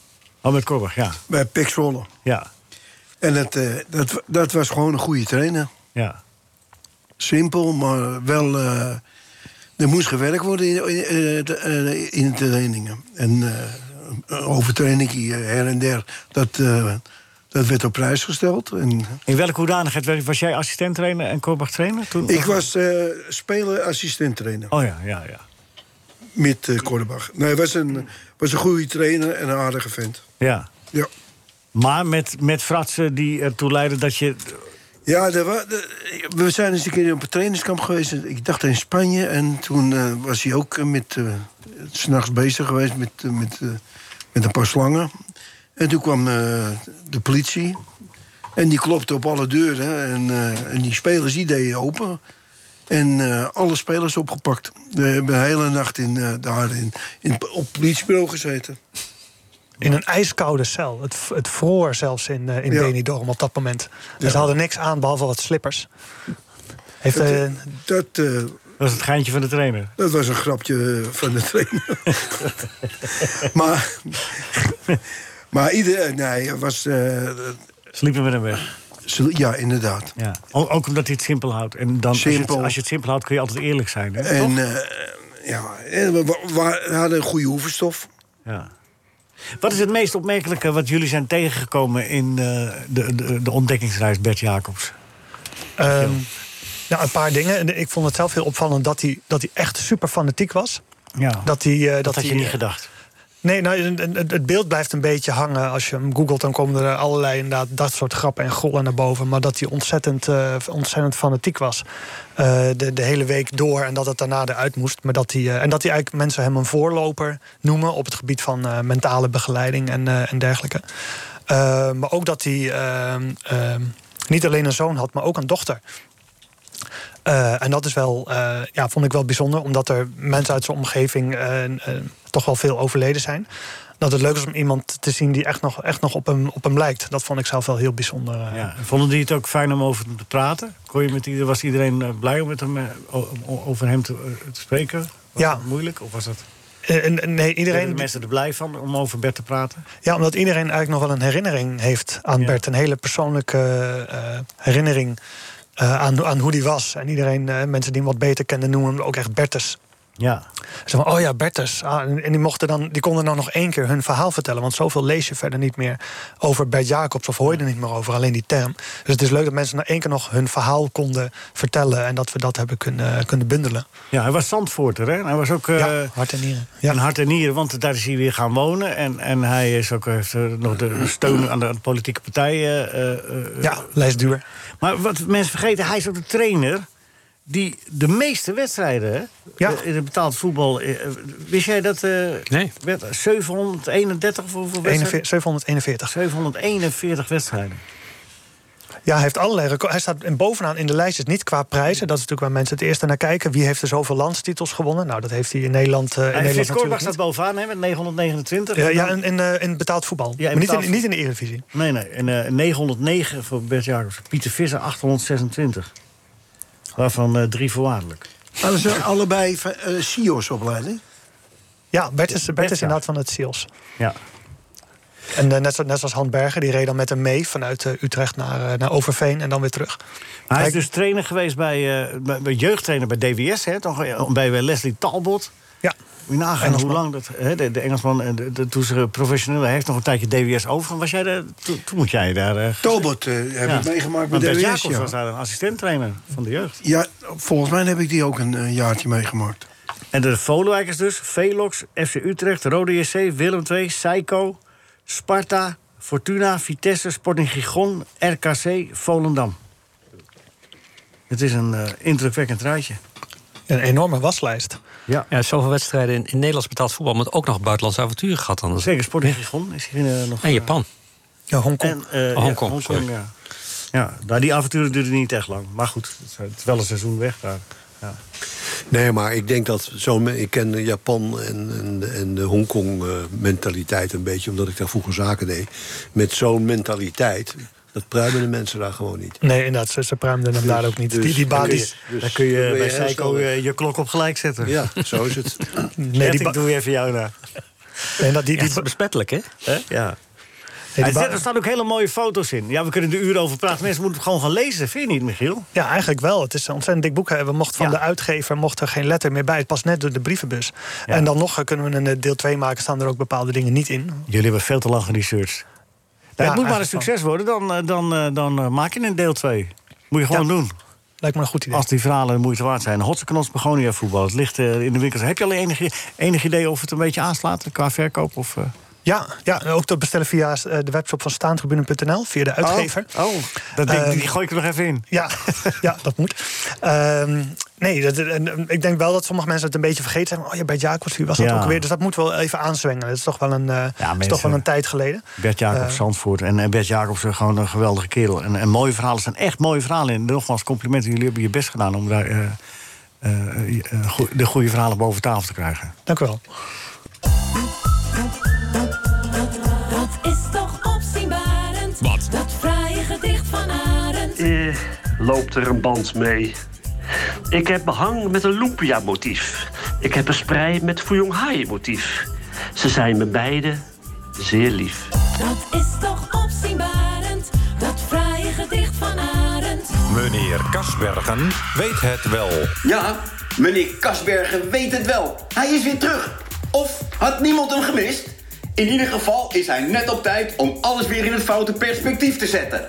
Speaker 3: Oh, met Korbach, ja.
Speaker 4: Bij Pek Zwolle.
Speaker 3: Ja.
Speaker 4: En dat, eh, dat, dat was gewoon een goede trainer.
Speaker 3: Ja.
Speaker 4: Simpel, maar wel... eh, er moest gewerkt worden in, in, eh, de- eh, in de trainingen. En eh overtraining hier, her en der, dat, eh, dat werd op prijs gesteld. En
Speaker 3: In welke hoedanigheid werd- was jij assistent trainer en Korbach trainer? Toen,
Speaker 4: ik was eh speler assistent trainer.
Speaker 3: Oh ja, ja, ja.
Speaker 4: Met eh Korbach. Nee, hij was een, was een goede trainer en een aardige vent.
Speaker 3: Ja.
Speaker 4: Ja.
Speaker 3: Maar met, met fratsen die ertoe leiden dat je...
Speaker 4: Ja, er wa- er- we zijn eens een keer op een trainingskamp geweest. Ik dacht in Spanje. En toen eh, was hij ook eh, met, eh, 's s'nachts bezig geweest met, eh, met, eh, met een paar slangen. En toen kwam eh, de politie. En die klopte op alle deuren. En, eh, en die spelers die deden open. En eh, alle spelers opgepakt. We hebben de hele nacht in, eh, daar in, in, op het politiebureau gezeten.
Speaker 14: in een ijskoude cel. Het, v- het vroor zelfs in, eh, in
Speaker 4: Ja.
Speaker 14: Benidorm op dat moment. En
Speaker 4: Ja.
Speaker 14: ze hadden niks aan, behalve wat slippers. Heeft,
Speaker 4: dat,
Speaker 14: eh,
Speaker 4: eh, dat, eh,
Speaker 3: Dat is het geintje van de trainer.
Speaker 4: dat was een grapje eh, van de trainer. maar, maar iedereen, nee, het was... eh,
Speaker 3: Sliepen met hem weg.
Speaker 4: Ja, inderdaad.
Speaker 3: Ja. O- Ook omdat hij het simpel houdt. En dan, als, je
Speaker 4: Simpel.
Speaker 3: het, als je het simpel houdt, kun je altijd eerlijk zijn. Hè?
Speaker 4: En
Speaker 3: Toch?
Speaker 4: eh, ja, en we, we- we hadden een goede oefenstof.
Speaker 3: Ja. Wat is het meest opmerkelijke wat jullie zijn tegengekomen in eh, de, de, de ontdekkingsreis Bert Jacobs?
Speaker 14: Ehm, nou, een paar dingen. En Ik vond het zelf heel opvallend dat hij, dat hij echt super fanatiek was.
Speaker 3: Ja.
Speaker 14: Dat, hij, eh, dat,
Speaker 3: had
Speaker 14: hij,
Speaker 3: je niet
Speaker 14: eh,
Speaker 3: gedacht.
Speaker 14: Nee, nou, en- en- het beeld blijft een beetje hangen. Als je hem googelt, dan komen er allerlei inderdaad, dat soort grappen en gollen naar boven. Maar dat hij ontzettend, eh, ontzettend fanatiek was. eh, de, de hele week door en dat het daarna eruit moest. Maar dat hij, eh, en dat hij eigenlijk mensen hem een voorloper noemen op het gebied van eh, mentale begeleiding en, eh, en dergelijke. Eh, maar ook dat hij ehm, ehm, niet alleen een zoon had, maar ook een dochter. Eh, en dat is wel, eh, ja, vond ik wel bijzonder, omdat er mensen uit zijn omgeving eh, eh, toch wel veel overleden zijn. Dat het leuk is om iemand te zien die echt nog, echt nog op, hem, op hem lijkt. Dat vond ik zelf wel heel bijzonder. eh.
Speaker 3: Ja. En Vonden die het ook fijn om over hem te praten? Kon je met ieder, was iedereen eh, blij om met hem, eh, o- o- over hem te, eh, te spreken? Was
Speaker 14: Ja.
Speaker 3: dat moeilijk? Of was dat...
Speaker 14: Eh, en- en nee,
Speaker 3: Werden
Speaker 14: iedereen,
Speaker 3: de mensen er blij van om over Bert te praten?
Speaker 14: Ja, omdat iedereen eigenlijk nog wel een herinnering heeft aan Bert. Een hele persoonlijke eh, herinnering eh, aan, aan hoe die was. En iedereen, eh, mensen die hem wat beter kenden, noemen hem ook echt Bertus.
Speaker 3: Ja.
Speaker 14: Ze van, oh ja, Bertus. Ah, en en die, mochten dan, die konden dan nog één keer hun verhaal vertellen. Want zoveel lees je verder niet meer over Bert Jacobs. Of hoor je er niet meer over, alleen die term. Dus het is leuk dat mensen nou één keer nog hun verhaal konden vertellen. En dat we dat hebben kunnen, kunnen bundelen.
Speaker 3: Ja, hij was Zandvoorter, hè? En Hij was ook eh,
Speaker 14: Hart en nieren.
Speaker 3: een hart en nieren, want daar is hij weer gaan wonen. En, en hij is ook, heeft eh, nog de steun aan de, aan de politieke partijen. eh,
Speaker 14: ja, lijst duur.
Speaker 3: Maar wat mensen vergeten, hij is ook de trainer... die de meeste wedstrijden hè, eh, in het betaald voetbal... eh, wist jij dat? eh,
Speaker 14: Nee.
Speaker 3: werd 731 voor, voor
Speaker 14: eh,
Speaker 3: wedstrijden?
Speaker 14: 741.
Speaker 3: 741 wedstrijden.
Speaker 14: Ja, hij heeft allerlei records. Hij staat in- bovenaan in de lijst, is niet qua prijzen. Dat is natuurlijk waar mensen het eerst naar kijken. Wie heeft er zoveel landstitels gewonnen? Nou, dat heeft hij in Nederland, eh in
Speaker 3: en Frits
Speaker 14: Nederland
Speaker 3: Korbach
Speaker 14: natuurlijk
Speaker 3: staat
Speaker 14: niet.
Speaker 3: bovenaan hè, met 929.
Speaker 14: Ja,
Speaker 3: En
Speaker 14: ja,
Speaker 3: dan-
Speaker 14: in, in, eh, in betaald voetbal.
Speaker 3: Ja, in
Speaker 14: maar niet,
Speaker 3: betaald
Speaker 14: in, niet in de Eredivisie.
Speaker 3: Nee, nee. En eh, 909 voor Bert Jacobs. Pieter Visser 826. Waarvan eh, drie voorwaardelijk.
Speaker 4: Hadden ze allebei eh, CIO's-opleiding?
Speaker 14: Ja, Bert is, Bert
Speaker 4: Bert,
Speaker 14: is
Speaker 4: ja.
Speaker 14: inderdaad van het SEALS.
Speaker 3: Ja.
Speaker 14: En eh, net, zo- net zoals Han Berger, die reed dan met hem mee vanuit eh, Utrecht naar, eh, naar Overveen en dan weer terug.
Speaker 3: Maar hij is
Speaker 14: Hij-
Speaker 3: dus trainer geweest bij, eh, bij, bij jeugdtrainer bij DWS, hè? Toch, eh, bij eh, Leslie Talbot.
Speaker 14: Ja.
Speaker 3: Moet je nagaan hoe
Speaker 14: Engelsman.
Speaker 3: lang dat. Hè, de, de Engelsman, eh, de, de, toen ze professioneel hij heeft nog een tijdje DWS over. Was jij daar, toen, toen moet jij daar. eh
Speaker 4: Talbot eh, heb
Speaker 3: ja.
Speaker 4: ik meegemaakt bij
Speaker 3: Maar Bert
Speaker 4: DWS,
Speaker 3: Jacobs
Speaker 4: ja.
Speaker 3: was daar een assistenttrainer van de jeugd.
Speaker 4: Ja, volgens mij heb ik die ook een eh, jaartje meegemaakt.
Speaker 3: En de Volwijkers dus, Velox, FC Utrecht, Rode JC, Willem II, Seiko, Sparta, Fortuna, Vitesse, Sporting Gigon, RKC, Volendam. Het is een eh, indrukwekkend rijtje.
Speaker 14: Een enorme waslijst.
Speaker 3: Ja.
Speaker 11: ja, zoveel wedstrijden in, in Nederlands betaald voetbal... maar ook nog buitenlandse avonturen gehad dan.
Speaker 3: Zeker, Sporting Gigon is hier eh, nog...
Speaker 11: En Japan.
Speaker 14: Ja, Hongkong.
Speaker 3: En, eh,
Speaker 11: Oh, Hongkong,
Speaker 3: ja,
Speaker 11: sorry.
Speaker 3: ja. Ja, nou, die avonturen duurden niet echt lang. Maar goed, het is- het is wel een seizoen weg daar. Ja.
Speaker 5: Nee, maar ik denk dat zo'n... men- Ik ken Japan en, en, en de Hongkong-mentaliteit een beetje... omdat ik daar vroeger zaken deed. Met zo'n mentaliteit, dat pruimen de mensen daar gewoon niet.
Speaker 14: Nee, inderdaad, ze, ze pruimden hem daar ook niet.
Speaker 5: dus-
Speaker 14: die die
Speaker 5: dan kun
Speaker 14: basis.
Speaker 5: je- dus
Speaker 3: Dan kun je
Speaker 5: dan ben
Speaker 3: bij
Speaker 5: heel
Speaker 3: Seiko
Speaker 5: snel weg.
Speaker 3: eh, je klok op gelijk zetten.
Speaker 5: Ja, zo is het.
Speaker 14: Nee, die ba-
Speaker 3: ik doe even jou nou. na.
Speaker 14: nee, dat, die, die,
Speaker 11: besmettelijk, hè?
Speaker 3: Hè? Ja.
Speaker 14: die
Speaker 3: En
Speaker 14: ba-
Speaker 3: er staan ook hele mooie foto's in. Ja, we kunnen er uren over praten. Mensen moeten het gewoon gaan lezen, vind je niet, Michiel?
Speaker 14: Ja, eigenlijk wel. Het is een ontzettend dik boek. We mochten van
Speaker 3: Ja.
Speaker 14: de uitgever mocht er geen letter meer bij. Het past net door de brievenbus.
Speaker 3: Ja.
Speaker 14: En dan nog eh, kunnen we een eh, deel 2 maken. Staan er ook bepaalde dingen niet in.
Speaker 3: Jullie hebben veel te lang geresearched. Nou, het moet maar een
Speaker 14: eigenlijk
Speaker 3: succes worden, dan, eh, dan, eh, dan eh, maak je een deel 2. Moet je gewoon
Speaker 14: Ja.
Speaker 3: doen.
Speaker 14: Lijkt me een goed idee.
Speaker 3: Als die verhalen de moeite waard zijn. Hotseknots begonia voetbal. Het ligt eh, in de winkels. Heb je al enig, enig idee of het een beetje aanslaat qua verkoop? Of, eh?
Speaker 14: Ja, ja, en ook te bestellen via eh, de webshop van staantribune.nl. Via de uitgever.
Speaker 3: Oh, dat ding,
Speaker 14: Ehm,
Speaker 3: die gooi ik er nog even in.
Speaker 14: Ja, ja, dat moet. Ehm, nee, dat, en, en ik denk wel dat sommige mensen het een beetje vergeten zijn. Oh ja, bij Jacobs, wie was dat
Speaker 3: Ja.
Speaker 14: ook weer? Dus dat moet wel even aanzwengelen. Dat is toch wel een, eh, is toch
Speaker 3: mensen-
Speaker 14: wel een tijd geleden.
Speaker 3: Bert Jacobs,
Speaker 14: Eh,
Speaker 3: Zandvoort. En eh, Bert Jacobs, eh, gewoon een geweldige kerel. En, en mooie verhalen zijn echt mooie verhalen. En nogmaals, complimenten. Jullie hebben je best gedaan om daar eh, eh, eh, goe- de goede verhalen boven tafel te krijgen.
Speaker 14: Dank u wel.
Speaker 15: loopt er een band mee. Ik heb behang met een lumpia-motief. Ik heb een sprei met Fuyonghai-motief. Ze zijn me beide zeer lief.
Speaker 9: Dat is toch opzienbarend, dat fraaie gedicht van Arend.
Speaker 16: Meneer Kasbergen weet het wel.
Speaker 17: Ja, meneer Kasbergen weet het wel. Hij is weer terug. Of had niemand hem gemist? In ieder geval is hij net op tijd om alles weer in het foute perspectief te zetten.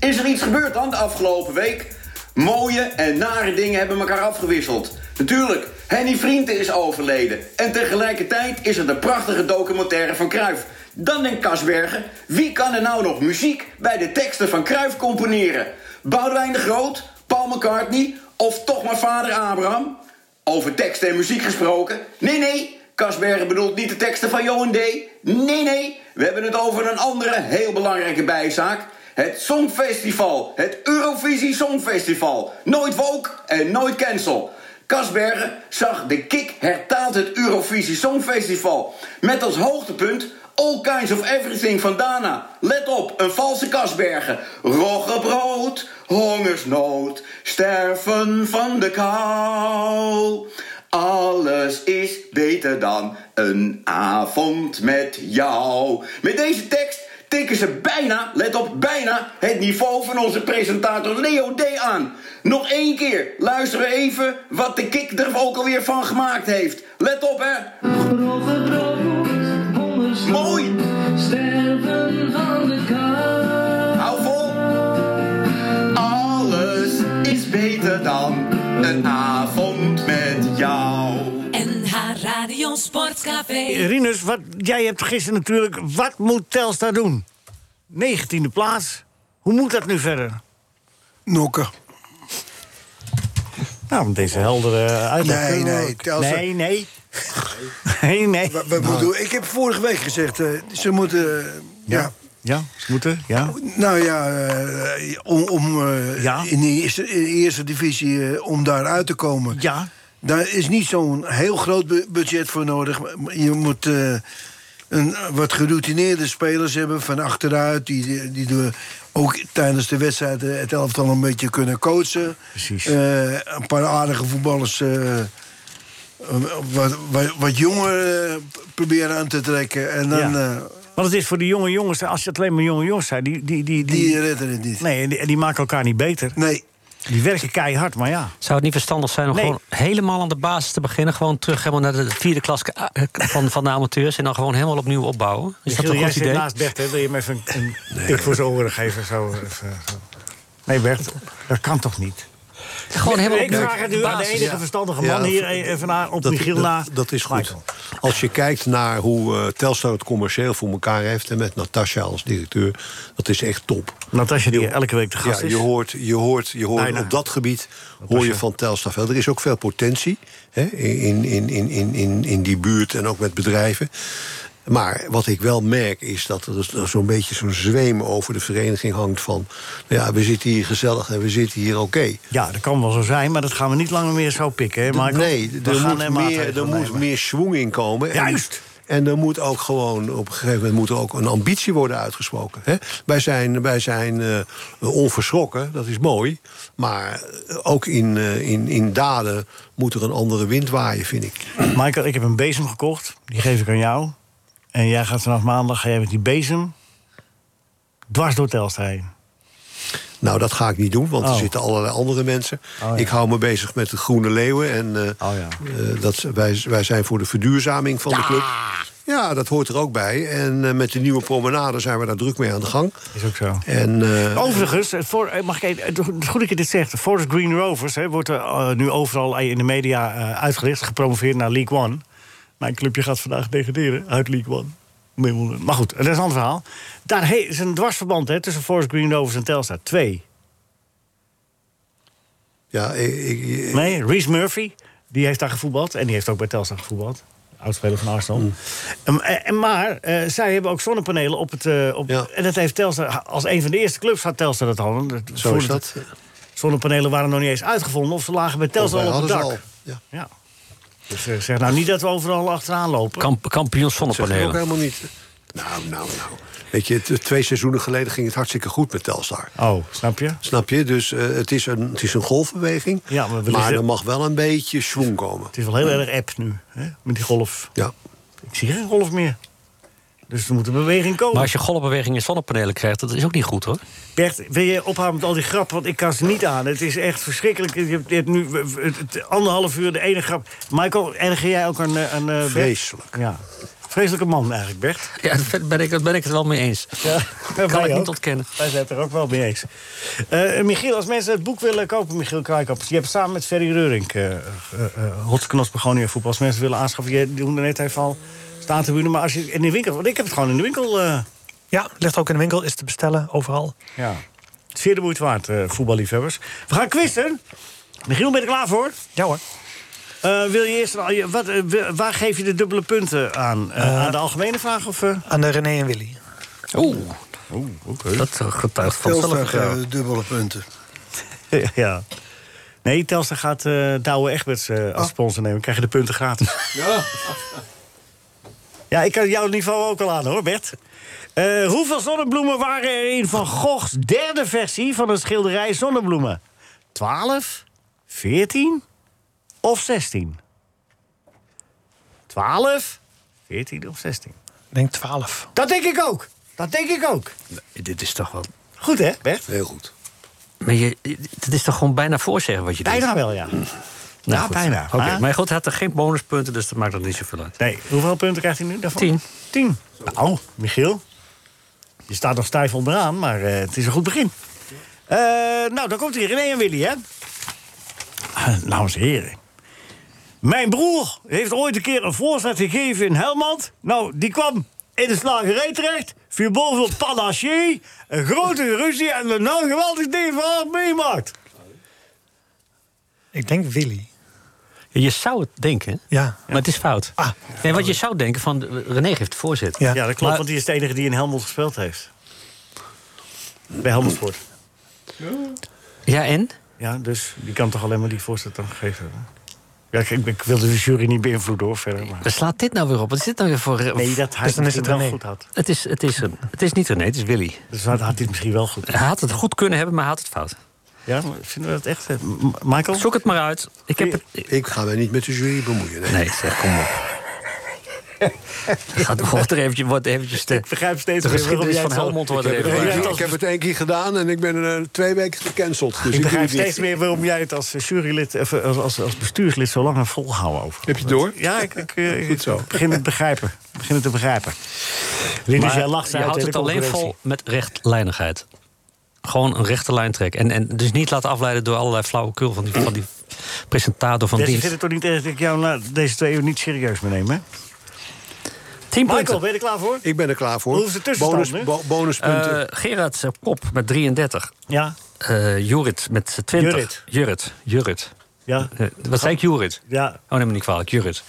Speaker 17: Is er iets gebeurd dan de afgelopen week? Mooie en nare dingen hebben elkaar afgewisseld. Natuurlijk, Henny Vrienden is overleden. En tegelijkertijd is er de prachtige documentaire van Cruijff. Dan denkt Kasbergen, wie kan er nou nog muziek bij de teksten van Cruijff componeren? Boudewijn de Groot, Paul McCartney of toch maar vader Abraham? Over teksten en muziek gesproken. Nee, nee, Kasbergen bedoelt niet de teksten van Johan D. Nee, nee, we hebben het over een andere heel belangrijke bijzaak. Het Songfestival, het Eurovisie Songfestival. Nooit woke en nooit cancel. Kasbergen zag de kick hertaalt het Eurovisie Songfestival. Met als hoogtepunt All Kinds of Everything van Dana. Let op, een valse Kasbergen. Roggebrood, hongersnood, sterven van de kou. Alles is beter dan een avond met jou. Met deze tekst tikken ze bijna, let op, bijna het niveau van onze presentator Leo D aan. Nog één keer, luister even wat de kick er ook alweer van gemaakt heeft. Let op, hè. Mooi.
Speaker 9: Sterven van de kou.
Speaker 17: Hou vol. Alles is beter dan een avond met jou.
Speaker 9: NH Radio Sportcafé.
Speaker 3: Rinus, wat, jij hebt gisteren natuurlijk... Wat moet Telstar doen? 19e plaats. Hoe moet dat nu verder?
Speaker 4: Nokken.
Speaker 3: Nou, met deze heldere eh, uitleg.
Speaker 4: Nee,
Speaker 3: kunnen we
Speaker 4: nee,
Speaker 3: ook-
Speaker 4: Telstar-
Speaker 3: Nee, nee. Nou. Nee, nee.
Speaker 4: Wat, wat moet doen? Ik heb vorige week gezegd, eh, ze moeten... eh, ja.
Speaker 3: Ja, ze moeten, ja.
Speaker 4: Nou ja, eh, om, om eh, in de eerste, in de eerste divisie eh, om daar uit te komen.
Speaker 3: Ja.
Speaker 4: Daar is niet zo'n heel groot bu- budget voor nodig. Maar Je moet eh, een, wat geroutineerde spelers hebben van achteruit. Die, die, die door- ook tijdens de wedstrijd eh, het elftal een beetje kunnen coachen.
Speaker 3: Precies.
Speaker 4: Eh, een paar aardige voetballers. eh, wat, wat, wat jonger eh, proberen aan te trekken. En dan,
Speaker 3: Ja.
Speaker 4: eh,
Speaker 3: Want het is voor de jonge jongens, als je het alleen maar jonge jongens zijn, die, die, die, die,
Speaker 4: redden het niet.
Speaker 3: Nee, en die, en die maken elkaar niet beter.
Speaker 4: Nee.
Speaker 3: Die werken keihard, maar ja.
Speaker 11: Zou het niet verstandig zijn om
Speaker 3: Nee.
Speaker 11: gewoon helemaal aan de basis te beginnen? Gewoon terug helemaal naar de vierde klas eh, van, van de amateurs... en dan gewoon helemaal opnieuw opbouwen? Is dat
Speaker 3: Michiel,
Speaker 11: een
Speaker 3: jij
Speaker 11: goed
Speaker 3: zit
Speaker 11: idee?
Speaker 3: naast Bert, hè? wil je hem even een, een tik voor zijn oren geven? Zo, even, zo. Nee, Bert, dat kan toch niet?
Speaker 11: Gewoon helemaal
Speaker 3: Ik
Speaker 11: op-
Speaker 3: vraag het nu aan de
Speaker 11: basis.
Speaker 3: enige verstandige man
Speaker 5: Ja,
Speaker 3: hier eh, van haar op Michiel
Speaker 5: dat,
Speaker 3: na.
Speaker 5: Dat is goed. Als je kijkt naar hoe eh, Telstar het commercieel voor elkaar heeft... en met Natasja als directeur, dat is echt top.
Speaker 3: Natasja die elke week te gast
Speaker 5: ja,
Speaker 3: is.
Speaker 5: Je hoort, je hoort, je hoort
Speaker 3: Bijna.
Speaker 5: op dat gebied hoor je van Telstar veel. Er is ook veel potentie hè, in, in, in, in, in, in die buurt en ook met bedrijven. Maar wat ik wel merk is dat er zo- zo'n beetje zo'n zweem over de vereniging hangt van... nou ja, we zitten hier gezellig en we zitten hier oké.
Speaker 3: Ja, dat kan wel zo zijn, maar dat gaan we niet langer meer zo pikken. Hè, Michael?
Speaker 5: Nee,
Speaker 3: We
Speaker 5: er
Speaker 3: gaan
Speaker 5: moet,
Speaker 3: er
Speaker 5: meer, er
Speaker 3: maatregelen
Speaker 5: moet
Speaker 3: nemen.
Speaker 5: meer schwung in komen. Juist! En, er moet ook gewoon, op een gegeven moment moet er ook een ambitie worden uitgesproken. Hè? Wij zijn, wij zijn eh, onverschrokken, dat is mooi. Maar ook in, eh, in, in daden moet er een andere wind waaien, vind ik.
Speaker 3: Michael, ik heb een bezem gekocht. Die geef ik aan jou. En jij gaat vanaf maandag, ga jij met die bezem dwars door Telstra heen.
Speaker 5: Nou, dat ga ik niet doen, want
Speaker 3: Oh.
Speaker 5: er zitten allerlei andere mensen. Ik hou me bezig met de Groene Leeuwen. En
Speaker 3: Oh,
Speaker 5: eh, eh, dat, wij, wij zijn voor de verduurzaming van de club. Ja, dat hoort er ook bij. En eh, met de nieuwe promenade zijn we daar druk mee aan de gang.
Speaker 3: Is ook zo.
Speaker 5: En, eh,
Speaker 3: Overigens, eh, voor, eh, mag ik even, het is goed dat je dit zegt. Forest Green Rovers hè, wordt er, eh, nu overal in de media eh, uitgelicht, gepromoveerd naar League One. Mijn clubje gaat vandaag degraderen uit League One. Miljoenen. Maar goed, dat is een ander verhaal. Daar he- is een dwarsverband hè, tussen Forest Green Rovers en Telstar. Twee.
Speaker 5: Ja, ik, ik-
Speaker 3: Nee, Reese Murphy, die heeft daar gevoetbald. En die heeft ook bij Telstar gevoetbald. Oudspeler van Arsenal.
Speaker 5: Mm.
Speaker 3: En, en, maar eh, zij hebben ook zonnepanelen op het... eh, op, En dat heeft Telstar... Als een van de eerste clubs had Telstar dat al. Dat-
Speaker 5: Zo
Speaker 3: voor
Speaker 5: is
Speaker 3: het-
Speaker 5: dat.
Speaker 3: Zonnepanelen waren nog niet eens uitgevonden... of ze lagen bij Telstar
Speaker 5: Of Oh, wij
Speaker 3: al op het dak.
Speaker 5: hadden ze Ja.
Speaker 3: Dus eh, zeg nou niet dat we overal achteraan lopen.
Speaker 11: Kamp, kampioen
Speaker 5: Dat zeg ik ook
Speaker 11: zonnepanelen.
Speaker 5: helemaal niet. Nou, nou, nou. Weet je, het- twee seizoenen geleden ging het hartstikke goed met Telstar.
Speaker 3: Oh, snap je?
Speaker 5: Snap je? Dus eh, het, is een, het is een golfbeweging.
Speaker 3: Ja, maar, wellicht-
Speaker 5: maar er mag wel een beetje schwung komen.
Speaker 3: Het is wel heel erg app nu, hè? met die golf.
Speaker 5: Ja.
Speaker 3: Ik zie geen golf meer. Dus er moet een beweging komen.
Speaker 11: Maar als je golfbeweging in zonnepanelen krijgt, dat is ook niet goed hoor.
Speaker 3: Bert, wil je ophouden met al die grappen? Want ik kan ze niet aan. Het is echt verschrikkelijk. Je hebt dit nu w- w- het- het anderhalf uur de ene grap. Michael, erger jij ook een, een eh, Bert?
Speaker 5: Vreselijk.
Speaker 3: Ja. Vreselijke man eigenlijk, Bert.
Speaker 11: Ja, daar ben ik, daar ben ik het wel mee eens.
Speaker 3: Ja, dat
Speaker 11: kan ik niet ontkennen.
Speaker 3: Wij zijn het er ook wel mee eens. Eh, Michiel, als mensen het boek willen kopen, Michiel Kruikappers... je hebt samen met Ferry Reurink eh eh eh, Hotsknos Begonia voetbal. Als mensen willen aanschaffen, je doen er net even al staantribune. Maar als je in de winkel... Want ik heb het gewoon in de winkel... eh,
Speaker 14: Ja, ligt ook in de winkel, is te bestellen, overal.
Speaker 3: ja. Zeer de moeite waard, eh, voetballiefhebbers. We gaan quizzen. Michiel, ben je er klaar voor?
Speaker 14: Ja hoor.
Speaker 3: wil je eerst... al je- Wat, eh, wa- waar geef je de dubbele punten aan? Eh, aan de algemene vraag of... eh?
Speaker 14: Aan de René en Willy.
Speaker 11: Oeh.
Speaker 3: Oeh, oké.
Speaker 11: Dat getuigt
Speaker 4: Telstar eh, dubbele punten.
Speaker 3: ja. Nee, Telstar gaat eh Douwe Egberts eh,
Speaker 4: Oh.
Speaker 3: als sponsor nemen. Krijg je de punten gratis.
Speaker 8: Ja.
Speaker 3: ja, ik kan jouw niveau ook al aan hoor, Bert. Eh, hoeveel zonnebloemen waren er in Van Goghs derde versie van een schilderij Zonnebloemen? 12, 14 of 16? 12, 14 of 16?
Speaker 14: Ik denk 12.
Speaker 3: Dat denk ik ook. Dat denk ik ook.
Speaker 11: Dit is toch wel...
Speaker 3: Goed hè, Bert?
Speaker 5: Heel goed.
Speaker 11: Maar je, het is toch gewoon bijna voorzeggen wat je doet?
Speaker 3: Bijna wel, ja.
Speaker 11: Nou,
Speaker 3: ja,
Speaker 11: goed.
Speaker 3: bijna.
Speaker 11: Oké,
Speaker 3: Maar-
Speaker 11: Maar goed, hij had er geen bonuspunten, dus dat maakt dat niet zoveel uit.
Speaker 3: Nee, hoeveel punten krijgt hij nu daarvan?
Speaker 11: Tien.
Speaker 3: Tien. Nou, Michiel. Je staat nog stijf onderaan, maar eh, het is een goed begin. Eh, nou, dan komt hier René en Willy, hè? Eh, Dames en heren. Mijn broer heeft ooit een keer een voorzet gegeven in Helmond. Nou, die kwam in de slagerij terecht. Viel bovenop Panaché. Een grote ruzie en een nou geweldig ding van haar meemaakt.
Speaker 14: Ik denk Willy.
Speaker 11: Je zou het denken,
Speaker 14: Ja.
Speaker 11: maar het is fout. nee, wat je zou denken van eh, René geeft de voorzet.
Speaker 3: Ah. Ja, dat klopt,
Speaker 11: Maar-
Speaker 3: want die is de enige die in Helmond gespeeld heeft. Bij Helmond Sport.
Speaker 11: Ja, en?
Speaker 3: Ja, dus die kan toch alleen maar die voorzet dan gegeven hebben? Ja, ik, ik, ik wilde de jury niet beïnvloeden hoor, verder. Maar...
Speaker 11: Waar slaat dit nou weer op? Wat is dit nou weer voor... eh,
Speaker 3: Nee, dat hij
Speaker 11: Dus dan is
Speaker 3: het
Speaker 11: het
Speaker 3: wel
Speaker 11: René.
Speaker 3: goed had.
Speaker 11: Het is, het, is, een- het is niet René, het is Willy.
Speaker 3: Dus had hij het misschien wel goed.
Speaker 11: Hij had het goed kunnen hebben, maar hij had het fout.
Speaker 3: Ja, maar vinden we dat echt? eh, M- Michael?
Speaker 11: Zoek het maar uit. Ik, heb het...
Speaker 5: Ik ga mij niet met de jury bemoeien. Nee,
Speaker 11: zeg, kom op. Gaat, wordt er eventjes, wordt eventjes de, ik
Speaker 3: begrijp steeds
Speaker 11: de
Speaker 3: meer waarom
Speaker 11: geschiedenis
Speaker 3: jij
Speaker 11: van
Speaker 3: het zo-
Speaker 11: Helmond wordt er
Speaker 3: Ik heb
Speaker 11: even
Speaker 3: het-
Speaker 11: bij.
Speaker 3: Ja,
Speaker 5: Ik heb het één keer gedaan en ik ben er eh, twee weken gecanceld. Dus
Speaker 3: ik begrijp
Speaker 5: doe het niet.
Speaker 3: steeds meer waarom jij het als eh, jurylid, of eh, als, als, als bestuurslid zo lang hebt volgehouden over.
Speaker 5: Heb je het door?
Speaker 3: Ja, ik, ik, eh,
Speaker 5: Goed zo.
Speaker 3: ik begin het begrijpen. Ik begin het te begrijpen. Linus,
Speaker 11: Maar
Speaker 3: jij lacht
Speaker 11: je
Speaker 3: uit, hè,
Speaker 11: houdt
Speaker 3: de
Speaker 11: het alleen
Speaker 3: concurrentie.
Speaker 11: vol met rechtlijnigheid. Gewoon een rechte lijn trekken. En, en dus niet laten afleiden door allerlei flauwekul van die, van die presentator van
Speaker 3: Jesse,
Speaker 11: dienst.
Speaker 3: vindt het toch niet erg dat ik jou na deze twee uur niet serieus meeneem, hè?
Speaker 11: Tien
Speaker 3: Michael,
Speaker 11: punten.
Speaker 3: ben je er klaar voor?
Speaker 5: Ik ben er klaar voor.
Speaker 3: Hoe is de tussenstand nu?
Speaker 5: bo- bonuspunten.
Speaker 11: Eh, Gerard eh, Pop met 33.
Speaker 3: Ja,
Speaker 11: Eh Jurit met 20.
Speaker 3: Jurit.
Speaker 11: Jurit. Jurit.
Speaker 3: ja,
Speaker 11: Eh, wat zei ik? Jurit.
Speaker 3: ja.
Speaker 11: Oh, neem me niet kwalijk. Jurit.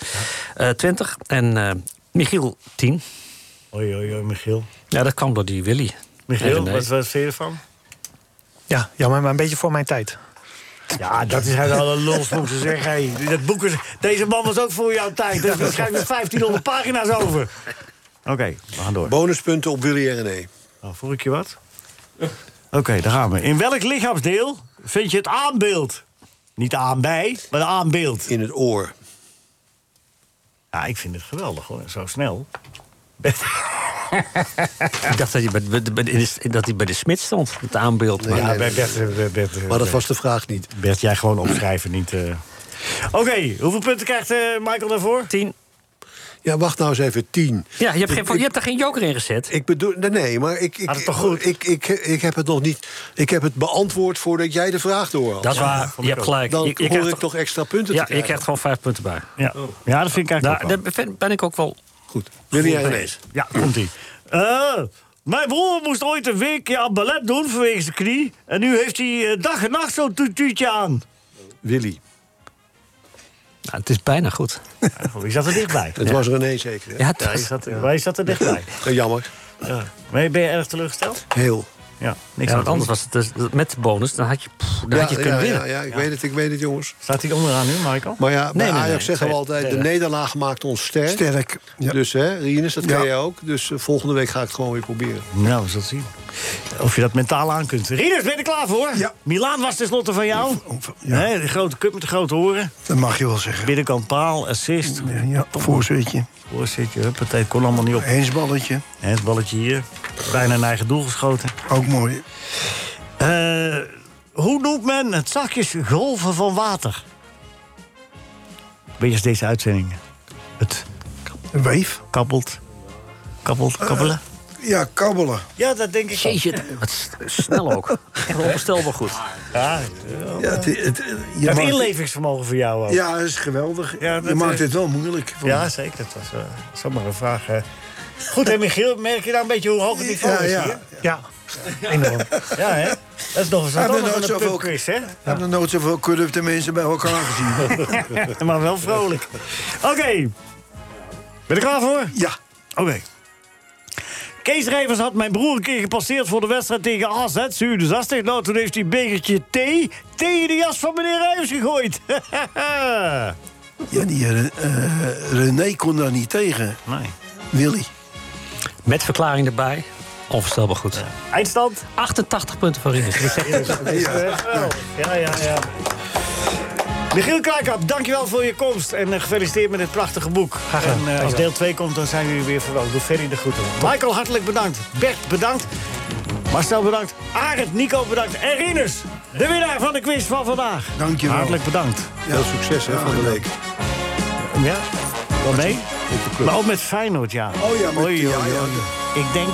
Speaker 11: Eh 20. En eh, Michiel 10.
Speaker 3: Oei, oei, oei, Michiel.
Speaker 11: Ja, dat kwam door die Willy.
Speaker 3: Michiel,
Speaker 11: En René.
Speaker 3: wat, wat vind je ervan?
Speaker 14: Ja, jammer, maar een beetje voor mijn tijd.
Speaker 3: Ja, Ah, dat is hij wel een lul moeten zeggen. Hey, dat boek is, deze man was ook voor jouw tijd. Dus we schrijven 1500 pagina's over. Oké, we gaan door.
Speaker 5: Bonuspunten op Willy E. en René.
Speaker 3: Nou, voel ik je wat? Oké, daar gaan we. In welk lichaamsdeel vind je het aanbeeld? Niet aan bij, maar de aanbeeld.
Speaker 5: In het oor.
Speaker 3: Ja, ik vind het geweldig hoor, zo snel.
Speaker 11: Ik dacht dat hij bij, bij- bij- in de- dat hij bij de smid stond. Het aanbeeld. Maar
Speaker 3: Ja, Bert, Bert, Bert, Bert,
Speaker 5: Maar dat was de vraag niet.
Speaker 3: Bert, jij gewoon opschrijven, niet... eh. Oké, hoeveel punten krijgt eh, Michael daarvoor?
Speaker 11: 10.
Speaker 5: Ja, wacht nou eens even. Tien.
Speaker 11: Ja, je hebt, geen,
Speaker 5: Ik-
Speaker 11: je hebt daar geen joker in gezet.
Speaker 5: Ik bedoel, nee, nee maar ik, ik,
Speaker 3: Had het Ah, toch goed?
Speaker 5: Ik, ik, ik heb het nog niet. Ik heb het beantwoord voordat jij de vraag door had.
Speaker 11: Dat is waar.
Speaker 3: vond
Speaker 11: Je
Speaker 3: ik
Speaker 11: hebt
Speaker 3: ook.
Speaker 11: gelijk.
Speaker 5: Dan
Speaker 11: je, je
Speaker 5: hoor
Speaker 11: krijgt
Speaker 5: ik
Speaker 11: toch-
Speaker 5: toch extra punten
Speaker 11: ja,
Speaker 5: te
Speaker 11: je
Speaker 5: krijgen.
Speaker 11: krijgt gewoon vijf punten bij.
Speaker 3: Ja, ja dat vind ik eigenlijk ook
Speaker 11: Daar,
Speaker 3: wel.
Speaker 11: daar ben- ben ik ook wel.
Speaker 5: Goed. Willy E. en René.
Speaker 3: Ja, komt ie. mijn broer moest ooit een weekje aan ballet doen vanwege zijn knie. En nu heeft hij eh, dag en nacht zo'n tutuutje aan.
Speaker 5: Willy.
Speaker 11: Nou, het is bijna goed.
Speaker 3: Wie zat Oh, er dichtbij?
Speaker 5: Het was René zeker. hè?
Speaker 11: Ja,
Speaker 3: Ja,
Speaker 11: dat
Speaker 3: je zat, er- wij zat er dichtbij.
Speaker 5: Eh, Jammer.
Speaker 3: Ja. Maar ben je erg teleurgesteld?
Speaker 5: Heel.
Speaker 3: Ja,
Speaker 11: Niks want anders was het dus met de bonus, dan had je, pff, dan had je het kunnen
Speaker 5: ja,
Speaker 11: winnen.
Speaker 5: ja, ik weet het, ik weet het, jongens.
Speaker 3: Staat hij onderaan nu, Michael?
Speaker 5: Maar ja, bij
Speaker 11: Nee, nee,
Speaker 5: Ajax
Speaker 11: nee.
Speaker 5: zeggen we
Speaker 11: Tweede.
Speaker 5: altijd... de
Speaker 11: Tweede.
Speaker 5: nederlaag maakt ons sterk.
Speaker 4: Sterk.
Speaker 5: Dus hè, Rinus, dat
Speaker 3: Ja.
Speaker 5: ken jij ook. Dus eh, volgende week ga ik het gewoon weer proberen.
Speaker 3: Nou, we zullen zien. Of je dat mentaal aan kunt. Rieders, ben je er klaar voor? Ja. Milaan was tenslotte van jou. Nee, de grote cup met de grote horen.
Speaker 4: Dat mag je wel zeggen.
Speaker 3: Binnenkant paal, assist.
Speaker 4: Ja, voorzetje.
Speaker 3: Voorzitje, huppatee, kon allemaal niet op.
Speaker 4: Eens balletje.
Speaker 3: Eens balletje hier. Bijna een eigen doel geschoten. Eh,
Speaker 4: Ook mooi.
Speaker 3: hoe noemt men het zakjes golven van water? Wegens deze uitzending. Het...
Speaker 4: Een weef?
Speaker 3: Kabbelt. Kabbelt, kabbelen.
Speaker 4: Ja, kabbelen.
Speaker 3: Eh, ja, dat denk ik
Speaker 11: Jeetje, wat snel ook. Echt onvoorstelbaar goed.
Speaker 3: Ja,
Speaker 4: het, het,
Speaker 3: Het inlevingsvermogen voor jou ook.
Speaker 4: Ja, dat is geweldig.
Speaker 3: Ja,
Speaker 4: je
Speaker 3: dat,
Speaker 4: maakt
Speaker 3: eh,
Speaker 4: het wel moeilijk. voor
Speaker 3: Ja,
Speaker 4: me.
Speaker 3: zeker. Dat was eh, zomaar een vraag. eh. Goed, hè, Michiel? Merk je nou een beetje hoe hoog het niveau
Speaker 4: Ja,
Speaker 3: is
Speaker 4: ja.
Speaker 3: hier?
Speaker 14: Ja,
Speaker 3: enorm. Ja, hè? Dat is nog eens
Speaker 4: We hebben
Speaker 3: wat anders
Speaker 4: er nooit
Speaker 3: dan een
Speaker 4: zoveel-
Speaker 3: pubquiz, hè?
Speaker 4: We hebben nog nooit zoveel corrupte mensen bij elkaar gezien.
Speaker 3: maar wel vrolijk. Oké. Ben je er klaar voor?
Speaker 4: Ja.
Speaker 3: Oké. Kees Rijvers had mijn broer een keer gepasseerd voor de wedstrijd tegen AZ. 67. Nou, toen heeft hij een bekertje thee tegen de jas van meneer Rijvers gegooid.
Speaker 4: Ja, die eh, eh, René kon daar niet tegen.
Speaker 3: Nee.
Speaker 4: Willy.
Speaker 11: Met verklaring erbij. Onvoorstelbaar goed.
Speaker 3: Eindstand?
Speaker 11: 88 punten voor Rinus. Dat zegt
Speaker 3: Ja, ja, ja. ja. Michiel Kruikap, dankjewel voor je komst. En eh, gefeliciteerd met het prachtige boek. En eh, als deel 2 komt, dan zijn jullie weer verwelkomd. Doe Ferry de groeten. Michael, hartelijk bedankt. Bert, bedankt. Marcel, bedankt. Arend, Nico, bedankt. En Rinus, de winnaar van de quiz van vandaag.
Speaker 4: Dankjewel.
Speaker 3: Hartelijk bedankt.
Speaker 5: Veel succes hè, van de week.
Speaker 3: Ja, wel mee? Maar ook met Feyenoord, ja.
Speaker 4: Oh ja, met-
Speaker 3: Oei,
Speaker 4: ja,
Speaker 3: oei,
Speaker 4: ja,
Speaker 3: oei. Ik denk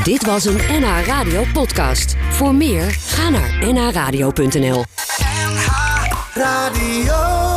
Speaker 3: 4-0.
Speaker 1: Dit was een NH Radio podcast. Voor meer, ga naar nhradio.nl.
Speaker 9: Radio.